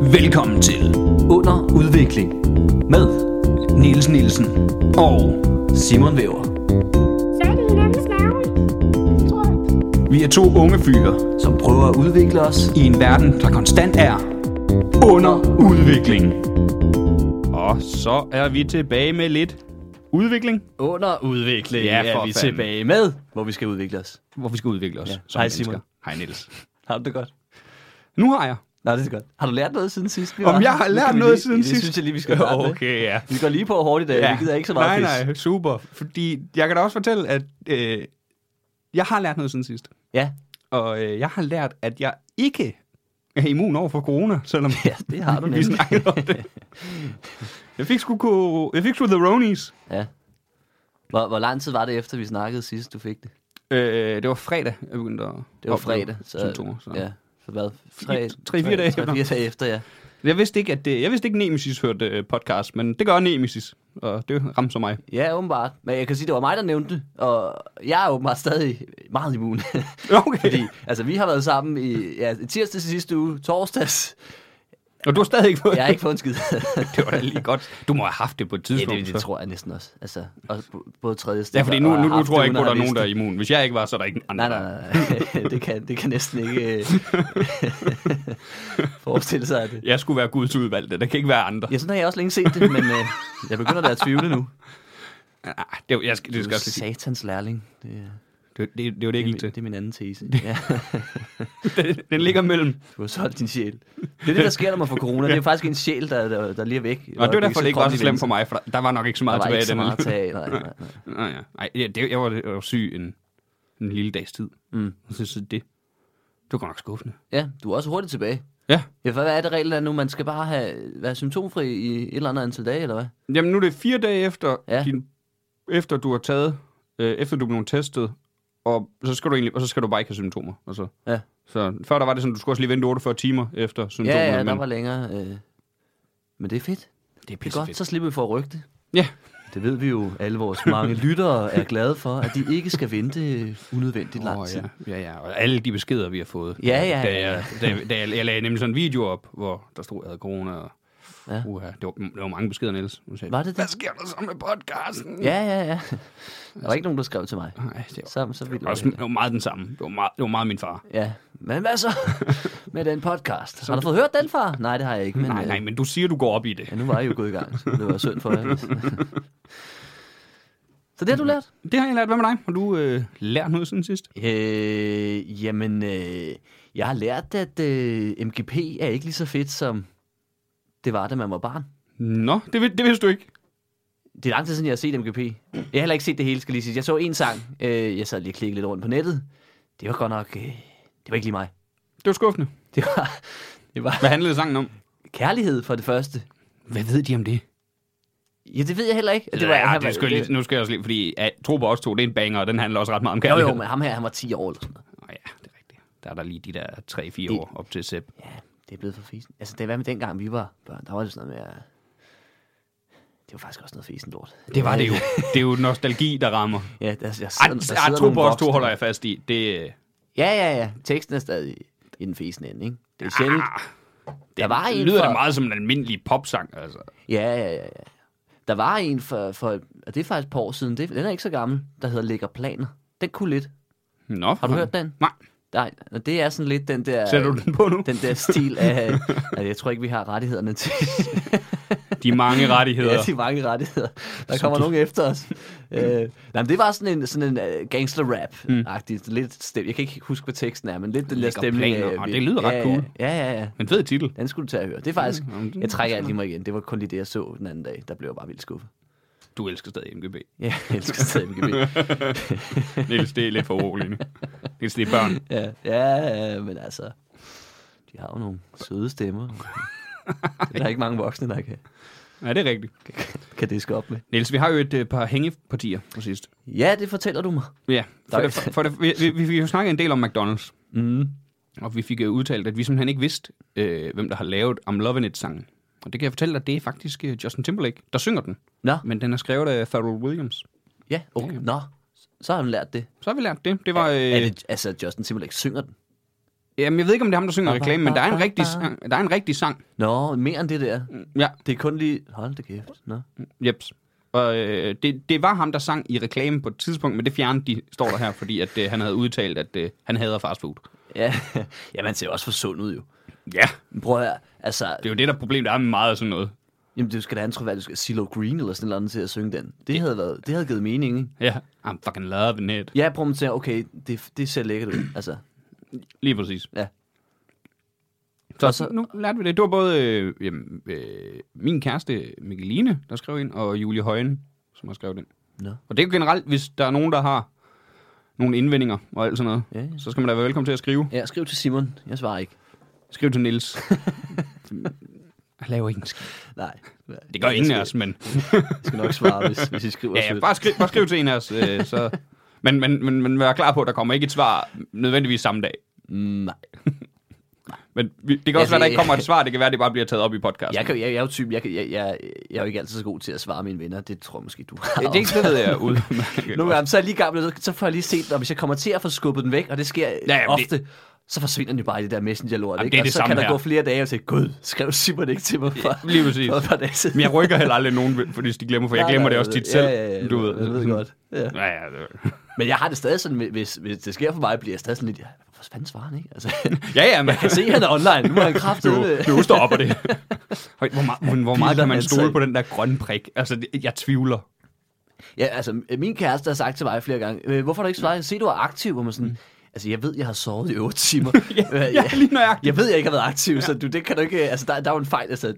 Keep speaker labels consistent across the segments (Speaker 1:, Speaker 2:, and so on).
Speaker 1: Velkommen til Under Udvikling med Niels Nielsen og Simon Væver.
Speaker 2: Så er det hinandens navn. Tror jeg.
Speaker 1: Vi er to unge fyre
Speaker 3: som prøver at udvikle os.
Speaker 1: i en verden, der konstant er under udvikling. Og så er vi tilbage med lidt udvikling,
Speaker 3: Under udvikling
Speaker 1: Ja,
Speaker 3: ja,
Speaker 1: for
Speaker 3: er vi
Speaker 1: fanden.
Speaker 3: tilbage med, hvor vi skal udvikle os.
Speaker 1: hvor vi skal udvikle os.
Speaker 3: Ja.
Speaker 1: som
Speaker 3: Hej, Simon.
Speaker 1: mennesker. Hej Niels.
Speaker 3: Har du det godt?
Speaker 1: Nu har jeg.
Speaker 3: Nej, det er godt. Har du lært noget siden sidst? Vi
Speaker 1: Om
Speaker 3: var her?
Speaker 1: jeg har
Speaker 3: Nu
Speaker 1: lært
Speaker 3: kan vi
Speaker 1: noget
Speaker 3: lige,
Speaker 1: siden
Speaker 3: det
Speaker 1: sidst?
Speaker 3: synes jeg lige, vi skal starte med.
Speaker 1: ja.
Speaker 3: Vi går lige på hårdt i dag. Ja. Vi gider ikke så meget
Speaker 1: nej,
Speaker 3: pis.
Speaker 1: nej, super. Fordi jeg kan da også fortælle, at øh, jeg har lært noget siden sidst.
Speaker 3: Ja.
Speaker 1: Og øh, jeg har lært, at jeg ikke er immun over for corona, selvom
Speaker 3: ja, det har du
Speaker 1: vi
Speaker 3: nemlig.
Speaker 1: snakkede om det. Jeg fik sgu, ko- jeg fik sgu The Ronies.
Speaker 3: Ja. Hvor, hvor lang tid var det efter, vi snakkede sidst, du fik det?
Speaker 1: Øh, det var fredag, jeg begyndte at
Speaker 3: Det var
Speaker 1: opleve
Speaker 3: fredag. Så,
Speaker 1: symptomer. Så. Ja.
Speaker 3: Ja, så hvad? Tre,
Speaker 1: tre, fire dage efter.
Speaker 3: tre, fire dage efter, ja.
Speaker 1: Jeg vidste ikke, at det, jeg vidste ikke Nemesis hørte øh, podcast, men det gør Nemesis, og det ramte så mig.
Speaker 3: Ja, åbenbart. Men jeg kan sige, det var mig, der nævnte det, og jeg er åbenbart stadig meget immun.
Speaker 1: Okay.
Speaker 3: Fordi, altså, vi har været sammen i ja, tirsdags i sidste uge, torsdags.
Speaker 1: Og du har stadig ikke fået
Speaker 3: Jeg har ikke fået en skid.
Speaker 1: det. var da lige godt. Du må have haft det på et
Speaker 3: ja,
Speaker 1: tidspunkt.
Speaker 3: det, det
Speaker 1: så.
Speaker 3: tror jeg næsten også. Altså, også på- både tredje sted.
Speaker 1: Ja, fordi nu, nu, nu tror jeg ikke, at der er nogen, der er immun. Hvis jeg ikke var, så er der ikke andre.
Speaker 3: Nej, nej, nej. det, kan, det kan næsten ikke øh, forestille sig, at det...
Speaker 1: Jeg skulle være Guds udvalgte. Der kan ikke være andre.
Speaker 3: Ja, sådan har jeg også længe set det, men øh, jeg begynder da at tvivle nu.
Speaker 1: Ah, det, er jo- jeg skal, det,
Speaker 3: Du
Speaker 1: skal
Speaker 3: er
Speaker 1: jeg også lige sige.
Speaker 3: satans lærling. Det, er-
Speaker 1: det, det, det, det var det,
Speaker 3: det,
Speaker 1: jeg
Speaker 3: er min-
Speaker 1: gik til.
Speaker 3: det er min anden tese. Ja.
Speaker 1: Den, den ligger mellem.
Speaker 3: Du har solgt din sjæl. Det er det, der sker, når man får corona. Det er faktisk en sjæl, der, der, der lige er væk.
Speaker 1: Og det var derfor, det ikke var så slemt for mig, for der, der var nok ikke så
Speaker 3: Der
Speaker 1: meget
Speaker 3: var
Speaker 1: tilbage
Speaker 3: ikke så
Speaker 1: i den.
Speaker 3: meget at tage af. Nej, nej, nej.
Speaker 1: Nej, ja. Ej, ja, det, jeg, var, jeg var syg en, en lille dags tid.
Speaker 3: Mm.
Speaker 1: Og så, så det, det var godt nok skuffende.
Speaker 3: Ja, du er også hurtigt tilbage.
Speaker 1: Ja,
Speaker 3: Ja, for hvad er det reglen er nu? Man skal bare have, være symptomfri i et eller andet antal dage, eller hvad?
Speaker 1: jamen nu er det fire dage efter, ja.
Speaker 3: Ja.
Speaker 1: din, efter du har taget, øh, efter du er blevet testet, og så skal du egentlig, og så skal du bare ikke have symptomer. Og så.
Speaker 3: Ja.
Speaker 1: Så før der var det sådan, du skulle også lige vente 48 timer efter symptomerne.
Speaker 3: Ja, ja, der
Speaker 1: men-
Speaker 3: var længere. Øh... Men det er fedt.
Speaker 1: Det er
Speaker 3: Det er godt, så slipper vi for at rykke det.
Speaker 1: Ja,
Speaker 3: Det ved vi jo, alle vores mange lyttere er glade for, at de ikke skal vente øh, unødvendigt lang
Speaker 1: Åh,
Speaker 3: tid.
Speaker 1: ja. ja, ja, og alle de beskeder, vi har fået.
Speaker 3: Ja, ja,
Speaker 1: Da
Speaker 3: ja.
Speaker 1: jeg, da, jeg- da jeg, jeg lagde nemlig sådan en video op, hvor der stod, at jeg havde corona, og ja.
Speaker 3: Ja.
Speaker 1: uha, det, var, det var mange beskeder, Niels. Hun sagde,
Speaker 3: Var det det?
Speaker 1: Hvad sker der så med podcasten?
Speaker 3: Ja, ja, ja. Der var ikke nogen, der skrev til mig.
Speaker 1: Nej, det var,
Speaker 3: Så, så vildt.
Speaker 1: det var, også, det var meget den samme. Det var meget, det var meget min far.
Speaker 3: Ja, men hvad så med den podcast? Har du fået hørt den, far? Nej, det har jeg ikke. Men,
Speaker 1: Nej,
Speaker 3: øh,
Speaker 1: nej, men du siger, du går op i det.
Speaker 3: Ja, nu var jeg jo gået i gang, så det var synd for jer. så det har du lært?
Speaker 1: Det har jeg lært. Hvad med dig? Har du øh, lært noget siden sidst?
Speaker 3: Øh, jamen, øh, jeg har lært, at øh, MGP er ikke lige så fedt, som det var, da man var barn.
Speaker 1: Nå, det, vid- det vidste du ikke.
Speaker 3: Det er lang tid siden, jeg har set MGP. Jeg har heller ikke set det hele, skal lige sige. Jeg så en sang. Øh, jeg sad lige og klikkede lidt rundt på nettet. Det var godt nok... Øh, det var ikke lige mig.
Speaker 1: Det var skuffende.
Speaker 3: Det var, det var
Speaker 1: Hvad handlede sangen om?
Speaker 3: kærlighed for det første.
Speaker 1: Hvad ved de om det?
Speaker 3: Ja, det ved jeg heller ikke.
Speaker 1: Det var, ja, det skal jeg lige, nu skal jeg også lige, fordi ja, tro på os to, det er en banger, og den handler også ret meget om
Speaker 3: Jo,
Speaker 1: kærlighed.
Speaker 3: jo, men ham her, han var 10 år eller sådan noget.
Speaker 1: Nå ja, det er rigtigt. Der er der lige de der 3-4
Speaker 3: Det-
Speaker 1: år op til Sepp.
Speaker 3: Ja, det er blevet for fisen. Altså, det var med dengang, vi var børn. Der var det sådan noget med... at- Det var faktisk også noget fisen lort.
Speaker 1: Det var det jo. Det er jo nostalgi, der rammer.
Speaker 3: Ja, der, der, der,
Speaker 1: Ej,
Speaker 3: sidder, der
Speaker 1: ej,
Speaker 3: sidder
Speaker 1: tro
Speaker 3: nogle
Speaker 1: på os to
Speaker 3: voksne.
Speaker 1: holder jeg fast i. Det, øh,
Speaker 3: Ja, ja, ja. Teksten er stadig i den fisen ende, ikke? Det er sjældent.
Speaker 1: ah,
Speaker 3: Der var en
Speaker 1: det lyder
Speaker 3: fra-
Speaker 1: det meget som en almindelig popsang. Altså.
Speaker 3: Ja, ja, ja, ja. Der var en for, for og det er faktisk et par år siden, det, den er ikke så gammel, der hedder Lægger Planer. Den kunne lidt.
Speaker 1: Nå,
Speaker 3: Har du hørt den?
Speaker 1: Nej.
Speaker 3: Nej, og det er sådan lidt den der...
Speaker 1: Sætter du den på nu?
Speaker 3: Den der stil af... altså, jeg tror ikke, vi har rettighederne til
Speaker 1: De mange rettigheder. Mm.
Speaker 3: ja, de mange rettigheder. Der kommer nogen efter os. øh, nej, men det var sådan en, sådan en uh, gangster-rap-agtig. Lidt stem. Jeg kan ikke huske, hvad teksten er, men lidt den der
Speaker 1: Lægger
Speaker 3: stemning.
Speaker 1: Mm. planer.
Speaker 3: af-
Speaker 1: Åh, det lyder
Speaker 3: ja,
Speaker 1: ret
Speaker 3: ja,
Speaker 1: cool. Mm,
Speaker 3: Ja, ja, ja.
Speaker 1: En fed titel.
Speaker 3: Den skulle du tage at høre. Det er faktisk...
Speaker 1: Ja, men det-
Speaker 3: Jeg trækker alt i mig igen. Det var kun lige det, jeg så den anden dag. Der blev jeg bare vildt skuffet.
Speaker 1: Du elsker stadig MGB.
Speaker 3: Ja, jeg elsker stadig MGB.
Speaker 1: Niels, det er lidt for roligt nu. Niels, det er børn.
Speaker 3: Ja, ja, ja, men altså, de har jo nogle søde stemmer. Det er der ikke mange voksne, der kan,
Speaker 1: Ja, det er rigtigt.
Speaker 3: kan diske op med.
Speaker 1: Niels, vi har jo et øh, par hængepartier på sidst.
Speaker 3: Ja, det fortæller du mig.
Speaker 1: Ja, for
Speaker 3: Der-
Speaker 1: det, for, for det, vi, vi, vi, vi har jo snakket en del om McDonald's.
Speaker 3: Mm.
Speaker 1: Og vi fik øh, udtalt, at vi simpelthen ikke vidste, øh, hvem der har lavet I'm Lovin' It-sangen. Og det kan jeg fortælle dig, det er faktisk øh, Justin Timberlake, der synger den.
Speaker 3: Nå,
Speaker 1: Men den er skrevet af Pharrell Williams.
Speaker 3: ja, okay.
Speaker 1: Ja.
Speaker 3: Nå, så har hun lært det.
Speaker 1: Så har vi lært det. Det var... Øh,
Speaker 3: Er det, altså, Justin Timberlake synger den.
Speaker 1: Jamen, jeg ved ikke, om det er ham, der synger reklamen, men der er en rigtig, sang- der er en rigtig sang.
Speaker 3: Nå, mere end det der.
Speaker 1: Ja,
Speaker 3: Det er kun lige... Hold da kæft. Nå.
Speaker 1: jeps. Og øh, det, det var ham, der sang i reklamen på et tidspunkt, men det fjernede de, står der her, fordi at, øh, han havde udtalt, at øh, han hader fast food.
Speaker 3: Ja, ja man ser jo også for sund ud jo.
Speaker 1: Ja,
Speaker 3: Men Prøv at høre, altså...
Speaker 1: det er jo det, der problem, der er med meget af sådan noget.
Speaker 3: Jamen, du skal da have en troværdig... du skal- CeeLo Green eller sådan noget til at synge den. Det, havde, været, det havde givet mening, ikke?
Speaker 1: Ja, I'm fucking loving it.
Speaker 3: Ja, prøv at tænke, okay, det, det ser lækkert ud. Altså,
Speaker 1: Lige præcis.
Speaker 3: Ja.
Speaker 1: Så,
Speaker 3: Og
Speaker 1: så
Speaker 3: så-
Speaker 1: nu lærte vi det. Det var både øh, jamen, øh, min kæreste Mikkeline, der skrev ind, og Julie Højen, som har skrevet ind.
Speaker 3: Nå.
Speaker 1: Og det er jo generelt, hvis der er nogen, der har nogle indvendinger og alt sådan noget,
Speaker 3: Ja, ja.
Speaker 1: så skal man da være velkommen til at skrive.
Speaker 3: Ja, skriv til Simon. Jeg svarer ikke.
Speaker 1: Skriv til Nils. Jeg laver ikke en skid.
Speaker 3: Nej.
Speaker 1: Det gør ingen af os, men...
Speaker 3: Jeg skal nok svare, hvis, hvis I skriver
Speaker 1: Ja, ja,
Speaker 3: sødt.
Speaker 1: bare, skriv, bare skriv til en af os. Øh, så. Men, men, men, men vær klar på, at der kommer ikke et svar nødvendigvis samme dag.
Speaker 3: Mm, Nej.
Speaker 1: Men vi, det kan også
Speaker 3: Altså,
Speaker 1: være, der ikke
Speaker 3: jeg-
Speaker 1: kommer et svar. Det kan være, det bare bliver taget op i podcasten.
Speaker 3: Jeg, kan, jeg, jeg er jo typen, jeg, kan- jeg, jeg, jeg er jo ikke altid så god til at svare mine venner. Det tror jeg måske, du har.
Speaker 1: Ja, det, det ved jeg ud.
Speaker 3: Nogle gange, så er jeg lige i gang med det, så får jeg lige set den, og hvis jeg kommer til at få skubbet den væk, og det sker
Speaker 1: Ja,
Speaker 3: ja,
Speaker 1: jamen,
Speaker 3: ofte, det... så forsvinder den jo bare i det der messenger-lort,
Speaker 1: Jamen,
Speaker 3: ikke?
Speaker 1: det er
Speaker 3: og
Speaker 1: det
Speaker 3: så
Speaker 1: samme
Speaker 3: kan der
Speaker 1: her.
Speaker 3: gå flere dage, og jeg tænker, gud, skrev Simon ikke til mig for,
Speaker 1: lige præcis.
Speaker 3: for et par dage siden.
Speaker 1: Men jeg rykker heller aldrig nogen, fordi de glemmer, for jeg
Speaker 3: Nej,
Speaker 1: glemmer
Speaker 3: nej,
Speaker 1: det
Speaker 3: jeg
Speaker 1: også
Speaker 3: ved-
Speaker 1: tit selv.
Speaker 3: Ja, ja, ja,
Speaker 1: du
Speaker 3: jeg
Speaker 1: ved.
Speaker 3: Jeg ved godt. Ja.
Speaker 1: Ja, ja, det,
Speaker 3: Men jeg har det stadig sådan, hvis, hvis det sker for mig, bliver jeg stadig sådan lidt, ja, hvor fanden svarer han ikke? Altså,
Speaker 1: ja, ja, man
Speaker 3: jeg kan se, at han er online, nu er han kraftet.
Speaker 1: Du, du står op af det. Høj, Hvor meget, men hvor meget
Speaker 3: Bilder
Speaker 1: kan man
Speaker 3: han
Speaker 1: stole
Speaker 3: sig.
Speaker 1: på den der grønne prik? Altså, det- jeg tvivler.
Speaker 3: Ja, altså, min kæreste har sagt til mig flere gange, "Øh, hvorfor har du ikke svaret? Se, du er aktiv, hvor man sådan, altså, jeg ved, jeg har sovet i 8 timer.
Speaker 1: Mm. Ja,
Speaker 3: Øh,
Speaker 1: ja, lige nøjagtigt.
Speaker 3: Jeg ved, jeg ikke har været aktiv, så du, det kan du ikke, altså, der, der er jo en fejl, altså,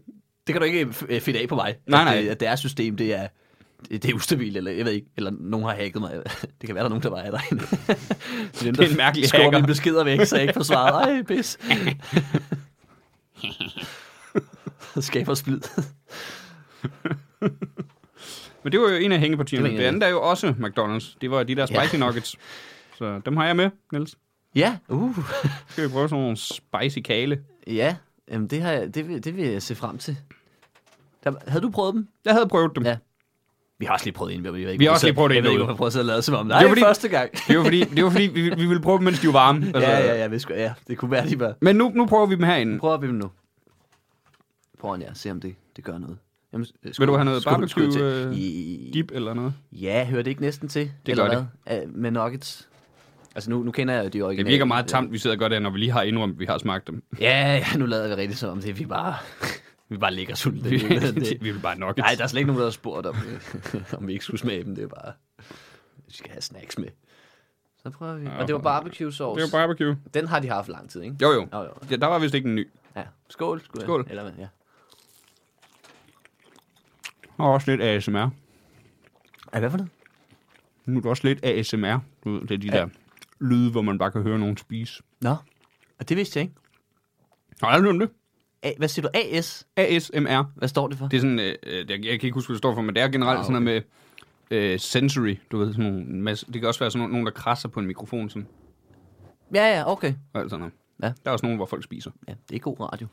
Speaker 3: det kan du ikke øh, finde af på mig.
Speaker 1: Nej,
Speaker 3: At,
Speaker 1: nej.
Speaker 3: øh, At deres system, det er, det er ustabilt, eller jeg ved ikke, eller nogen har hacket mig. Det kan være, der er nogen, der bare er derinde. det er, dem,
Speaker 1: Det er en
Speaker 3: der
Speaker 1: mærkelig
Speaker 3: skubber
Speaker 1: hacker.
Speaker 3: mine beskeder væk, så jeg ikke får svaret. Ej, pis. Skaber splid.
Speaker 1: Men det var jo en af hængepartierne.
Speaker 3: Det var en
Speaker 1: Det
Speaker 3: af
Speaker 1: andet er jo også McDonald's. Det var de der
Speaker 3: Ja.
Speaker 1: spicy nuggets. Så dem har jeg med, Niels.
Speaker 3: ja, uh.
Speaker 1: Skal vi prøve sådan nogle spicy kale?
Speaker 3: Ja, jamen det, har jeg, det, vil, det vil jeg se frem til. Der, havde du prøvet dem?
Speaker 1: Jeg havde prøvet dem.
Speaker 3: Ja. Vi har også lige prøvet en, men jeg ved ikke,
Speaker 1: Vi har
Speaker 3: hvorfor
Speaker 1: også
Speaker 3: jeg-
Speaker 1: lige prøvet en
Speaker 3: Jeg ved ikke,
Speaker 1: derude.
Speaker 3: hvorfor jeg prøvede at sidde og lade som om. Nej,
Speaker 1: var
Speaker 3: det
Speaker 1: fordi-
Speaker 3: fordi... første gang.
Speaker 1: Det var fordi, det var fordi vi, vi ville prøve dem, mens de var varme. Altså,
Speaker 3: Ja, ja, ja, vi skulle, ja. Det kunne være, de var...
Speaker 1: Men nu, nu prøver vi dem herinde.
Speaker 3: Prøv at dem nu. Prøv at ja, se om det, det gør noget. Jamen, øh, skål-
Speaker 1: Vil du have noget
Speaker 3: skål- skål til.
Speaker 1: barbecue, øh,
Speaker 3: I-
Speaker 1: Dip eller noget.
Speaker 3: Ja, hører det ikke næsten til? Det
Speaker 1: gør det.
Speaker 3: det. Med nuggets. Altså, nu, nu kender jeg jo de
Speaker 1: Det
Speaker 3: originale.
Speaker 1: virker meget tamt, vi sidder godt der, når vi lige har indrømt, at vi har smagt dem.
Speaker 3: Ja, ja, nu lader vi rigtig som om det. Vi bare, vi bare ligger sultne.
Speaker 1: Vi,
Speaker 3: Det-
Speaker 1: vi vil bare nok.
Speaker 3: Nej, der er slet ikke nogen, der har spurgt, om, om vi ikke skulle smage dem. Det er bare, vi skal have snacks med. Så prøver vi. Og det var barbecue sauce.
Speaker 1: Det er jo barbecue.
Speaker 3: Den har de haft lang tid, ikke?
Speaker 1: Jo, jo.
Speaker 3: Jo, jo.
Speaker 1: Ja, der var vist ikke en ny.
Speaker 3: Ja. Skål. Skål.
Speaker 1: Skål.
Speaker 3: Eller, hvad, ja.
Speaker 1: Og også lidt ASMR.
Speaker 3: Ja, hvad for noget?
Speaker 1: Nu er der også lidt ASMR. Du ved, det er de ja. der lyde, hvor man bare kan høre nogen spise.
Speaker 3: Nå. Og det vidste jeg ikke.
Speaker 1: Har du aldrig hørt om det?
Speaker 3: A- hvad siger du? AS?
Speaker 1: ASMR.
Speaker 3: Hvad står det for?
Speaker 1: Det er sådan, øh, øh, jeg, jeg kan ikke huske, hvad det står for, men det er generelt ah,
Speaker 3: Ah,
Speaker 1: okay. sådan noget med øh, sensory. Du ved, sådan nogle, en masse, det kan også være sådan nogle- nogen, der krasser på en mikrofon. Sådan,
Speaker 3: Ja, ja, okay.
Speaker 1: og alt sådan noget.
Speaker 3: Ja.
Speaker 1: Der er også nogen, hvor folk spiser.
Speaker 3: Ja, det er god radio.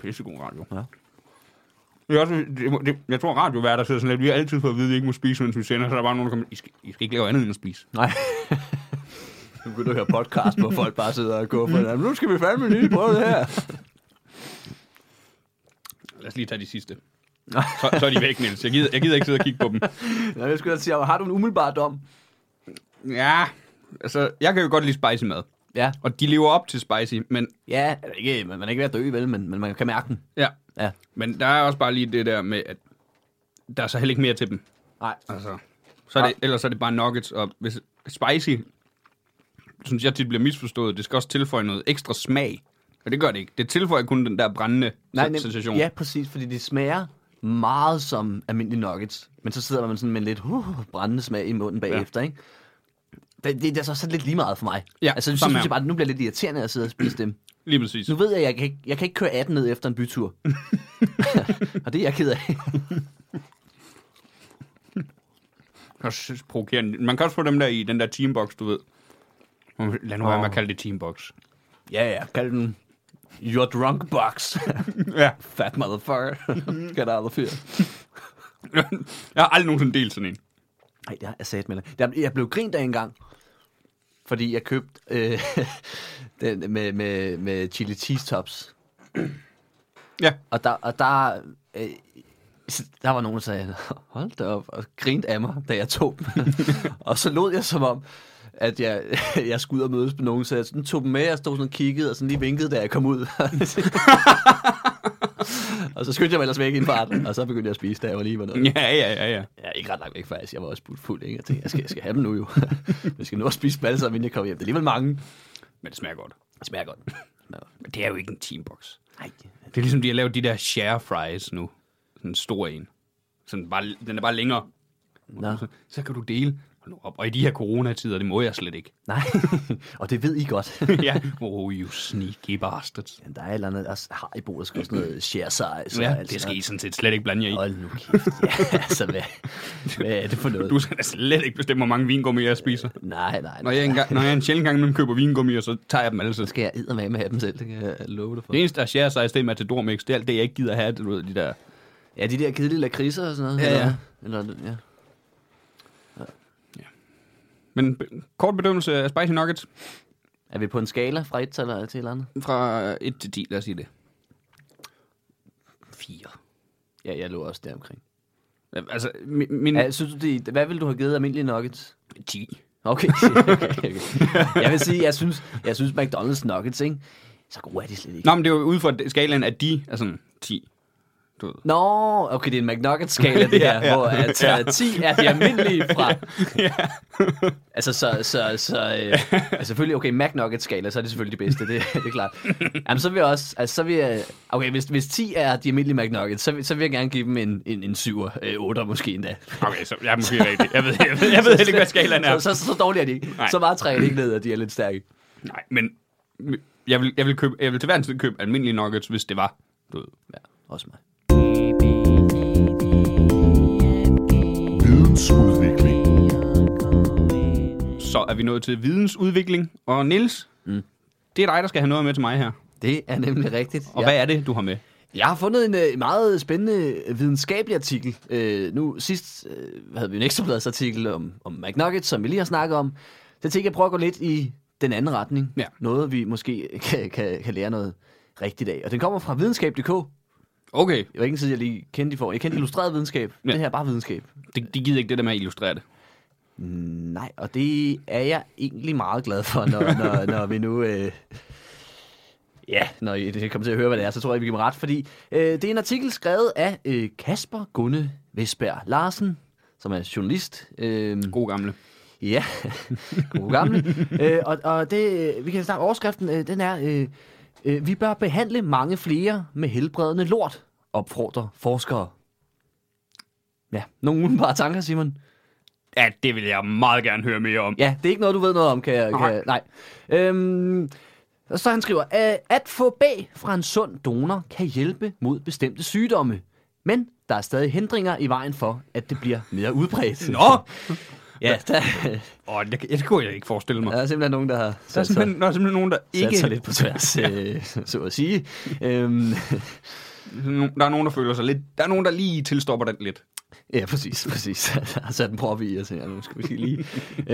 Speaker 1: Pissegod radio.
Speaker 3: Ja.
Speaker 1: Det er også, det, må- det, jeg tror, radioværter sidder sådan lidt, vi har altid fået at vide, at vi ikke må spise, mens vi sender, så er der bare nogen, der kommer, I skal, I skal ikke lave andet end at spise.
Speaker 3: Nej. nu kan du høre podcast, hvor folk bare sidder og går på hinanden. Nu skal vi fandme lige prøve det her.
Speaker 1: Lad os lige tage de sidste. Så, så er de væk, Niels. Jeg gider, jeg gider ikke sidde og kigge på dem.
Speaker 3: Nå, jeg skulle da sige, har du en umiddelbar dom?
Speaker 1: Ja, altså, jeg kan jo godt lide spicy mad.
Speaker 3: Ja.
Speaker 1: Og de lever op til spicy, men,
Speaker 3: Ja, eller ikke, man, man er ikke ved at dø, vel, men, men man kan mærke den.
Speaker 1: ja,
Speaker 3: Ja.
Speaker 1: men der er også bare lige det der med, at der er så heller ikke mere til dem.
Speaker 3: Nej.
Speaker 1: Altså, så er det, ellers er det bare nuggets, og hvis spicy, synes jeg tit bliver misforstået, det skal også tilføje noget ekstra smag. Og det gør det ikke. Det tilføjer kun den der brændende
Speaker 3: Nej,
Speaker 1: sen-
Speaker 3: nem-
Speaker 1: sensation.
Speaker 3: Ja, præcis, fordi de smager meget som almindelige nuggets, men så sidder man sådan med en lidt uh, brændende smag i munden bagefter, ikke? Det, det, det er så sådan lidt lige meget for mig.
Speaker 1: Ja,
Speaker 3: altså,
Speaker 1: samme
Speaker 3: så synes
Speaker 1: her.
Speaker 3: jeg bare, at nu bliver det lidt irriterende at sidde og spise dem.
Speaker 1: Lige præcis.
Speaker 3: Nu ved jeg, at jeg kan ikke, jeg kan ikke køre 18 ned efter en bytur. og det er jeg ked af.
Speaker 1: Det er også provokerende. Man kan også få dem der i den der teambox, du ved. Lad nu være med at kalde det teambox.
Speaker 3: ja, ja, kald den Your drunk box.
Speaker 1: Ja.
Speaker 3: Fat motherfucker. Get out of here.
Speaker 1: jeg har aldrig nogensinde delt sådan en.
Speaker 3: Nej, det har jeg sat med dig. Jeg blev grint af en gang, Fordi jeg købte øh, den med, med, med chili cheese tops.
Speaker 1: Ja.
Speaker 3: Og der, og der, øh, så der var nogen, der sagde, hold da op, og grinte af mig, da jeg tog dem. og så lod jeg som om, at jeg, jeg skulle ud og mødes med nogen, så jeg sådan tog dem med, og stod sådan og kiggede, og sådan lige vinkede, da jeg kom ud. og så skyndte jeg mig ellers væk i en fart, og så begyndte jeg at spise, da jeg var lige var noget.
Speaker 1: Ja, ja, ja, ja.
Speaker 3: Ja, ikke ret langt væk faktisk. Jeg var også fuldt fuld, ikke? Jeg tænkte, jeg skal, jeg skal have dem nu jo. jeg skal nu også spise dem alle sammen, inden jeg kommer hjem. Det er alligevel mange.
Speaker 1: Men det smager godt.
Speaker 3: Det smager godt.
Speaker 1: Men det er jo ikke en teambox.
Speaker 3: Nej.
Speaker 1: Det er ligesom, de har lavet de der share fries nu. Sådan en stor en. Sådan bare, den er bare længere.
Speaker 3: Nå,
Speaker 1: Så kan du dele. Hold nu op. Og i de her coronatider, det må jeg slet ikke.
Speaker 3: nej. og det ved I godt.
Speaker 1: ja. Oh, you sneaky bastards.
Speaker 3: Men der er et eller andet, også har i bordet skal sådan noget share size.
Speaker 1: Ja, det skal I sådan set slet ikke blande jer i.
Speaker 3: Hold nu kæft. Ja, altså, hvad, hvad er det for noget?
Speaker 1: Du skal da slet ikke bestemme, hvor mange vingummi jeg spiser.
Speaker 3: Nej, nej.
Speaker 1: Når
Speaker 3: nej.
Speaker 1: jeg, engang, når jeg en sjældent gang imellem køber vingummi, så tager jeg dem alle
Speaker 3: Så skal jeg eddermame have dem selv, det kan jeg love dig for.
Speaker 1: Det eneste, der share sig, det er Matador Mix. Det er alt det, jeg ikke gider have, du ved, de der...
Speaker 3: Ja, de der kedelige lakridser og sådan noget.
Speaker 1: Ja, ja.
Speaker 3: Eller, eller, ja.
Speaker 1: Men be- kort bedømmelse af Spicy Nuggets
Speaker 3: Er vi på en skala fra et til, til et eller andet?
Speaker 1: fra 1 til 10, lad os sige det. 4.
Speaker 3: Ja, jeg lå også deromkring.
Speaker 1: Altså, min, min
Speaker 3: Ja, synes du, det, hvad ville du have givet almindelige nuggets?
Speaker 1: 10.
Speaker 3: Okay. okay, okay, okay. Jeg vil sige, jeg synes, jeg synes McDonald's nuggets, ikke? Så gode er de slet ikke.
Speaker 1: Nå, men det er jo ud fra skalaen, at de er sådan 10. Du ved.
Speaker 3: Nå, okay, det er en McNuggets-skala, det
Speaker 1: Ja,
Speaker 3: her,
Speaker 1: ja.
Speaker 3: hvor at,
Speaker 1: Ja.
Speaker 3: ja. 10 er de almindelige fra. altså, så, så, så øh, altså, selvfølgelig, okay, McNuggets-skala, så er det selvfølgelig det bedste, det, det er klart. Jamen, så vil jeg også, altså, så vil jeg, okay, hvis, hvis 10 er de almindelige McNuggets, så, vil- så vil jeg gerne give dem en, en, en 7'er, øh, 8'er måske endda.
Speaker 1: Okay, så jeg er måske rigtig. Jeg ved, jeg ved, jeg ved heller ikke, hvad skalaen er.
Speaker 3: Så, så, så dårlige er de ikke.
Speaker 1: Nej.
Speaker 3: Så meget træer de ikke ned, at de er lidt stærke.
Speaker 1: Nej, men jeg vil, jeg vil, købe, jeg vil til hver en tid købe almindelige nuggets, hvis det var. Du ved.
Speaker 3: Ja, også mig.
Speaker 4: Vidensudvikling.
Speaker 1: Så er vi nået til vidensudvikling. Og Nils, mm. det er dig, der skal have noget med til mig her.
Speaker 3: Det er nemlig rigtigt.
Speaker 1: Og ja. hvad er det, du har med?
Speaker 3: Jeg har fundet en øh, meget spændende videnskabelig artikel. Øh, nu sidst øh, havde vi en ekstrabladsartikel om, om McNuggets, som vi lige har snakket om. Så tænkte jeg, prøve at gå lidt i den anden retning.
Speaker 1: Ja.
Speaker 3: Noget, vi måske kan, kan, kan lære noget rigtigt af. Og den kommer fra videnskab.dk. Jeg
Speaker 1: Okay,
Speaker 3: var ikke en side, jeg lige kendte i for. Jeg kendte illustreret videnskab.
Speaker 1: Ja.
Speaker 3: Ja. Det her er bare videnskab.
Speaker 1: de, de gider ikke det der med at illustrere det.
Speaker 3: Nej, og det er jeg egentlig meget glad for, når, når, når vi nu... Øh, ja, når I det kommer til at høre, hvad det er, så tror jeg, vi giver mig ret, fordi øh, det er en artikel skrevet af øh, Kasper Gunne Vesberg Larsen, som er journalist. Øh,
Speaker 1: God gamle.
Speaker 3: ja, god gamle. øh, og og det, øh, vi kan snakke overskriften, øh, den er, øh, øh, vi bør behandle mange flere med helbredende lort, opfordrer forskere. Ja, nogle udenbare tanker, Simon.
Speaker 1: Ja, det vil jeg meget gerne høre mere om.
Speaker 3: Ja, det er ikke noget, du ved noget om, kan jeg...
Speaker 1: Nej.
Speaker 3: Kan, jeg- nej. Øhm, og så han skriver, "Øh, at få B fra en sund donor kan hjælpe mod bestemte sygdomme. Men der er stadig hindringer i vejen for, at det bliver mere udbredt.
Speaker 1: Nå!
Speaker 3: Ja, der,
Speaker 1: Åh, det, det kunne jeg ikke forestille mig.
Speaker 3: der er simpelthen nogen, der har
Speaker 1: Der er,
Speaker 3: sat sig,
Speaker 1: simpelthen, der er simpelthen nogen, der
Speaker 3: sat sig
Speaker 1: ikke...
Speaker 3: lidt på tværs, øh, så at sige. Øhm,
Speaker 1: Der er nogen, der føler sig lidt... Der er nogen, der lige tilstopper den lidt.
Speaker 3: Ja, præcis, præcis. Jeg har sat en prop i, og tænker, nu skal vi lige- lige...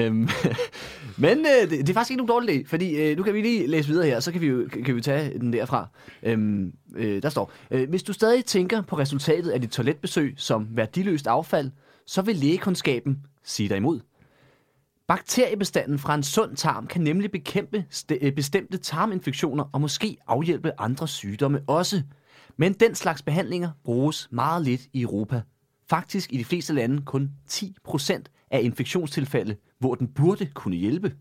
Speaker 3: øhm, men øh, det, det er faktisk ikke nogen dårlig idé, fordi øh, nu kan vi lige læse videre her, så kan vi, jo- kan vi tage den derfra. Øhm, øh, der står, øh, hvis du stadig tænker på resultatet af dit toiletbesøg som værdiløst affald, så vil lægekundskaben sige dig imod. Bakteriebestanden fra en sund tarm kan nemlig bekæmpe ste- øh, bestemte tarminfektioner og måske afhjælpe andre sygdomme også. Men den slags behandlinger bruges meget lidt i Europa. Faktisk i de fleste lande kun 10% af infektionstilfælde, hvor den burde kunne hjælpe.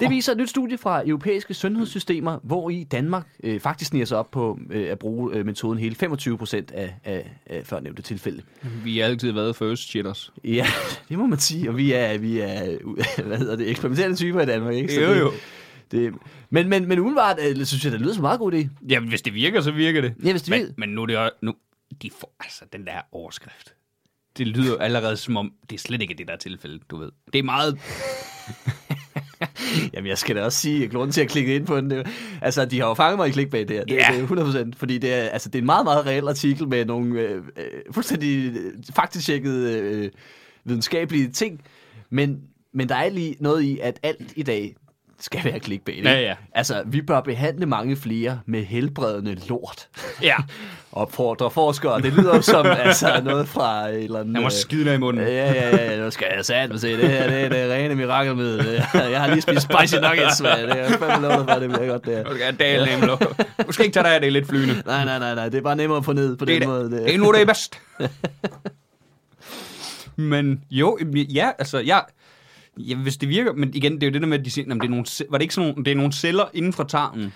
Speaker 3: Det viser et nyt studie fra europæiske sundhedssystemer, hvor i Danmark øh, faktisk sniger sig op på øh, at bruge øh, metoden hele 25% af, af, af førnævnte tilfælde.
Speaker 1: Vi har altid været first shitters.
Speaker 3: Ja, det må man sige. Og vi er, vi er u- hvad hedder det, eksperimenterende typer i Danmark, ikke?
Speaker 1: Jo,
Speaker 3: det,
Speaker 1: jo.
Speaker 3: Det, men, men, men umiddelbart øh, synes jeg, det lyder som en meget god idé.
Speaker 1: Jamen, hvis det virker, så virker det.
Speaker 3: Ja, hvis det
Speaker 1: men,
Speaker 3: virker.
Speaker 1: Men nu er det jo- nu, de får, altså, den der overskrift. Det lyder jo allerede som om, det er slet ikke det der er tilfælde, du ved. Det er meget...
Speaker 3: Jamen, jeg skal da også sige, at grunden til at klikke ind på den, det, er jo- altså, de har jo fanget mig i klikbag der. Det,
Speaker 1: Ja.
Speaker 3: det er 100%, fordi det er, altså, det er en meget, meget reel artikel med nogle øh, øh, fuldstændig øh, faktisk tjekkede øh, videnskabelige ting. Men Men der er lige noget i, at alt i dag skal være clickbait. ikke?
Speaker 1: Ja, ja.
Speaker 3: Altså, vi bør behandle mange flere med helbredende lort.
Speaker 1: Ja.
Speaker 3: Opfordrer forskere. Det lyder jo som altså, noget fra et eller andet...
Speaker 1: Han var
Speaker 3: øh,
Speaker 1: skide dig i munden.
Speaker 3: Ja, ja, ja, ja, nu skal jeg satme se. Det her det er det rene mirakelmiddel. Jeg har lige spist spicy nuggets, man. Det er fandme lov, for, det bliver godt, det her.
Speaker 1: Nu skal jeg dale nemlig. Du skal ikke tage dig af det er lidt flyende.
Speaker 3: Nej, nej, nej, nej. Det er bare nemmere at få ned på
Speaker 1: Det er,
Speaker 3: den
Speaker 1: det,
Speaker 3: måde.
Speaker 1: det er nu, det er bedst. men jo, ja, altså, jeg... Ja, hvis det virker, men igen, det er jo det der med, at de siger, "Nå, men det er nogle, ce- var det ikke sådan nogle, det er nogle celler inden fra tarmen?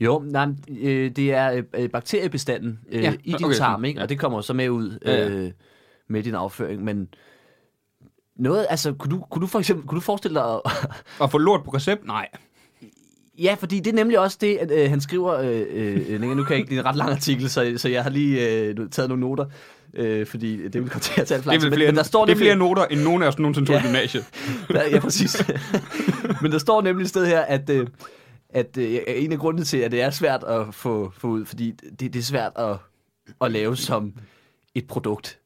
Speaker 3: Jo, nej, men, øh, det er øh, øh, bakteriebestanden øh,
Speaker 1: Ja,
Speaker 3: ja, i din
Speaker 1: okay,
Speaker 3: okay, tarm,
Speaker 1: sådan,
Speaker 3: ikke?
Speaker 1: ja.
Speaker 3: og det kommer jo så med ud øh,
Speaker 1: Ja,
Speaker 3: med din afføring. Men noget, altså, kunne du, kunne du for eksempel kunne du forestille dig... at-
Speaker 1: Og få lort på recept? Nej.
Speaker 3: ja, fordi det er nemlig også det, at øh, han skriver... Øh, øh, Inger, nu kan jeg ikke... Det er en ret lang artikel, så, så jeg har lige øh, nu- taget nogle noter, øh, fordi det vil komme til at tage alt for lang
Speaker 1: Det er,
Speaker 3: tid.
Speaker 1: vel
Speaker 3: altså, Men-
Speaker 1: flere,
Speaker 3: men der står
Speaker 1: det er
Speaker 3: nemlig,
Speaker 1: flere noter, end nogen af os nogensinde tog ja. i
Speaker 3: Ja.
Speaker 1: gymnasiet.
Speaker 3: Der, ja, præcis. Men der står nemlig et sted her, at, øh, at øh, en af grundene til, at det er svært at få, få ud, fordi det, det er svært at, at lave som et produkt.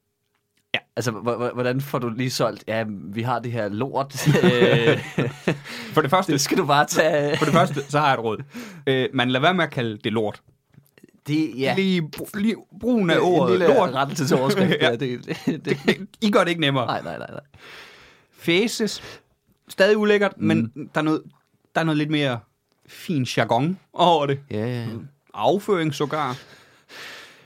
Speaker 1: Ja.
Speaker 3: Altså, h- h- hvordan får du lige solgt, ja, vi har det her lort, øh,
Speaker 1: For det første,
Speaker 3: det skal du bare tage.
Speaker 1: for det første så har jeg et råd. Øh, man lader være med at kalde det lort.
Speaker 3: Det, ja,
Speaker 1: Ja. Lige, br- lige brugen af ordet
Speaker 3: en lille
Speaker 1: lort.
Speaker 3: rettelse til overskrift.
Speaker 1: Ja.
Speaker 3: ja. det, det, det.
Speaker 1: I gør det ikke nemmere.
Speaker 3: Nej, nej, nej, nej.
Speaker 1: Fæses. Stadig ulækkert, mm. men der er, noget, der er noget lidt mere fin jargon over det.
Speaker 3: Ja, ja.
Speaker 1: Afføring sågar.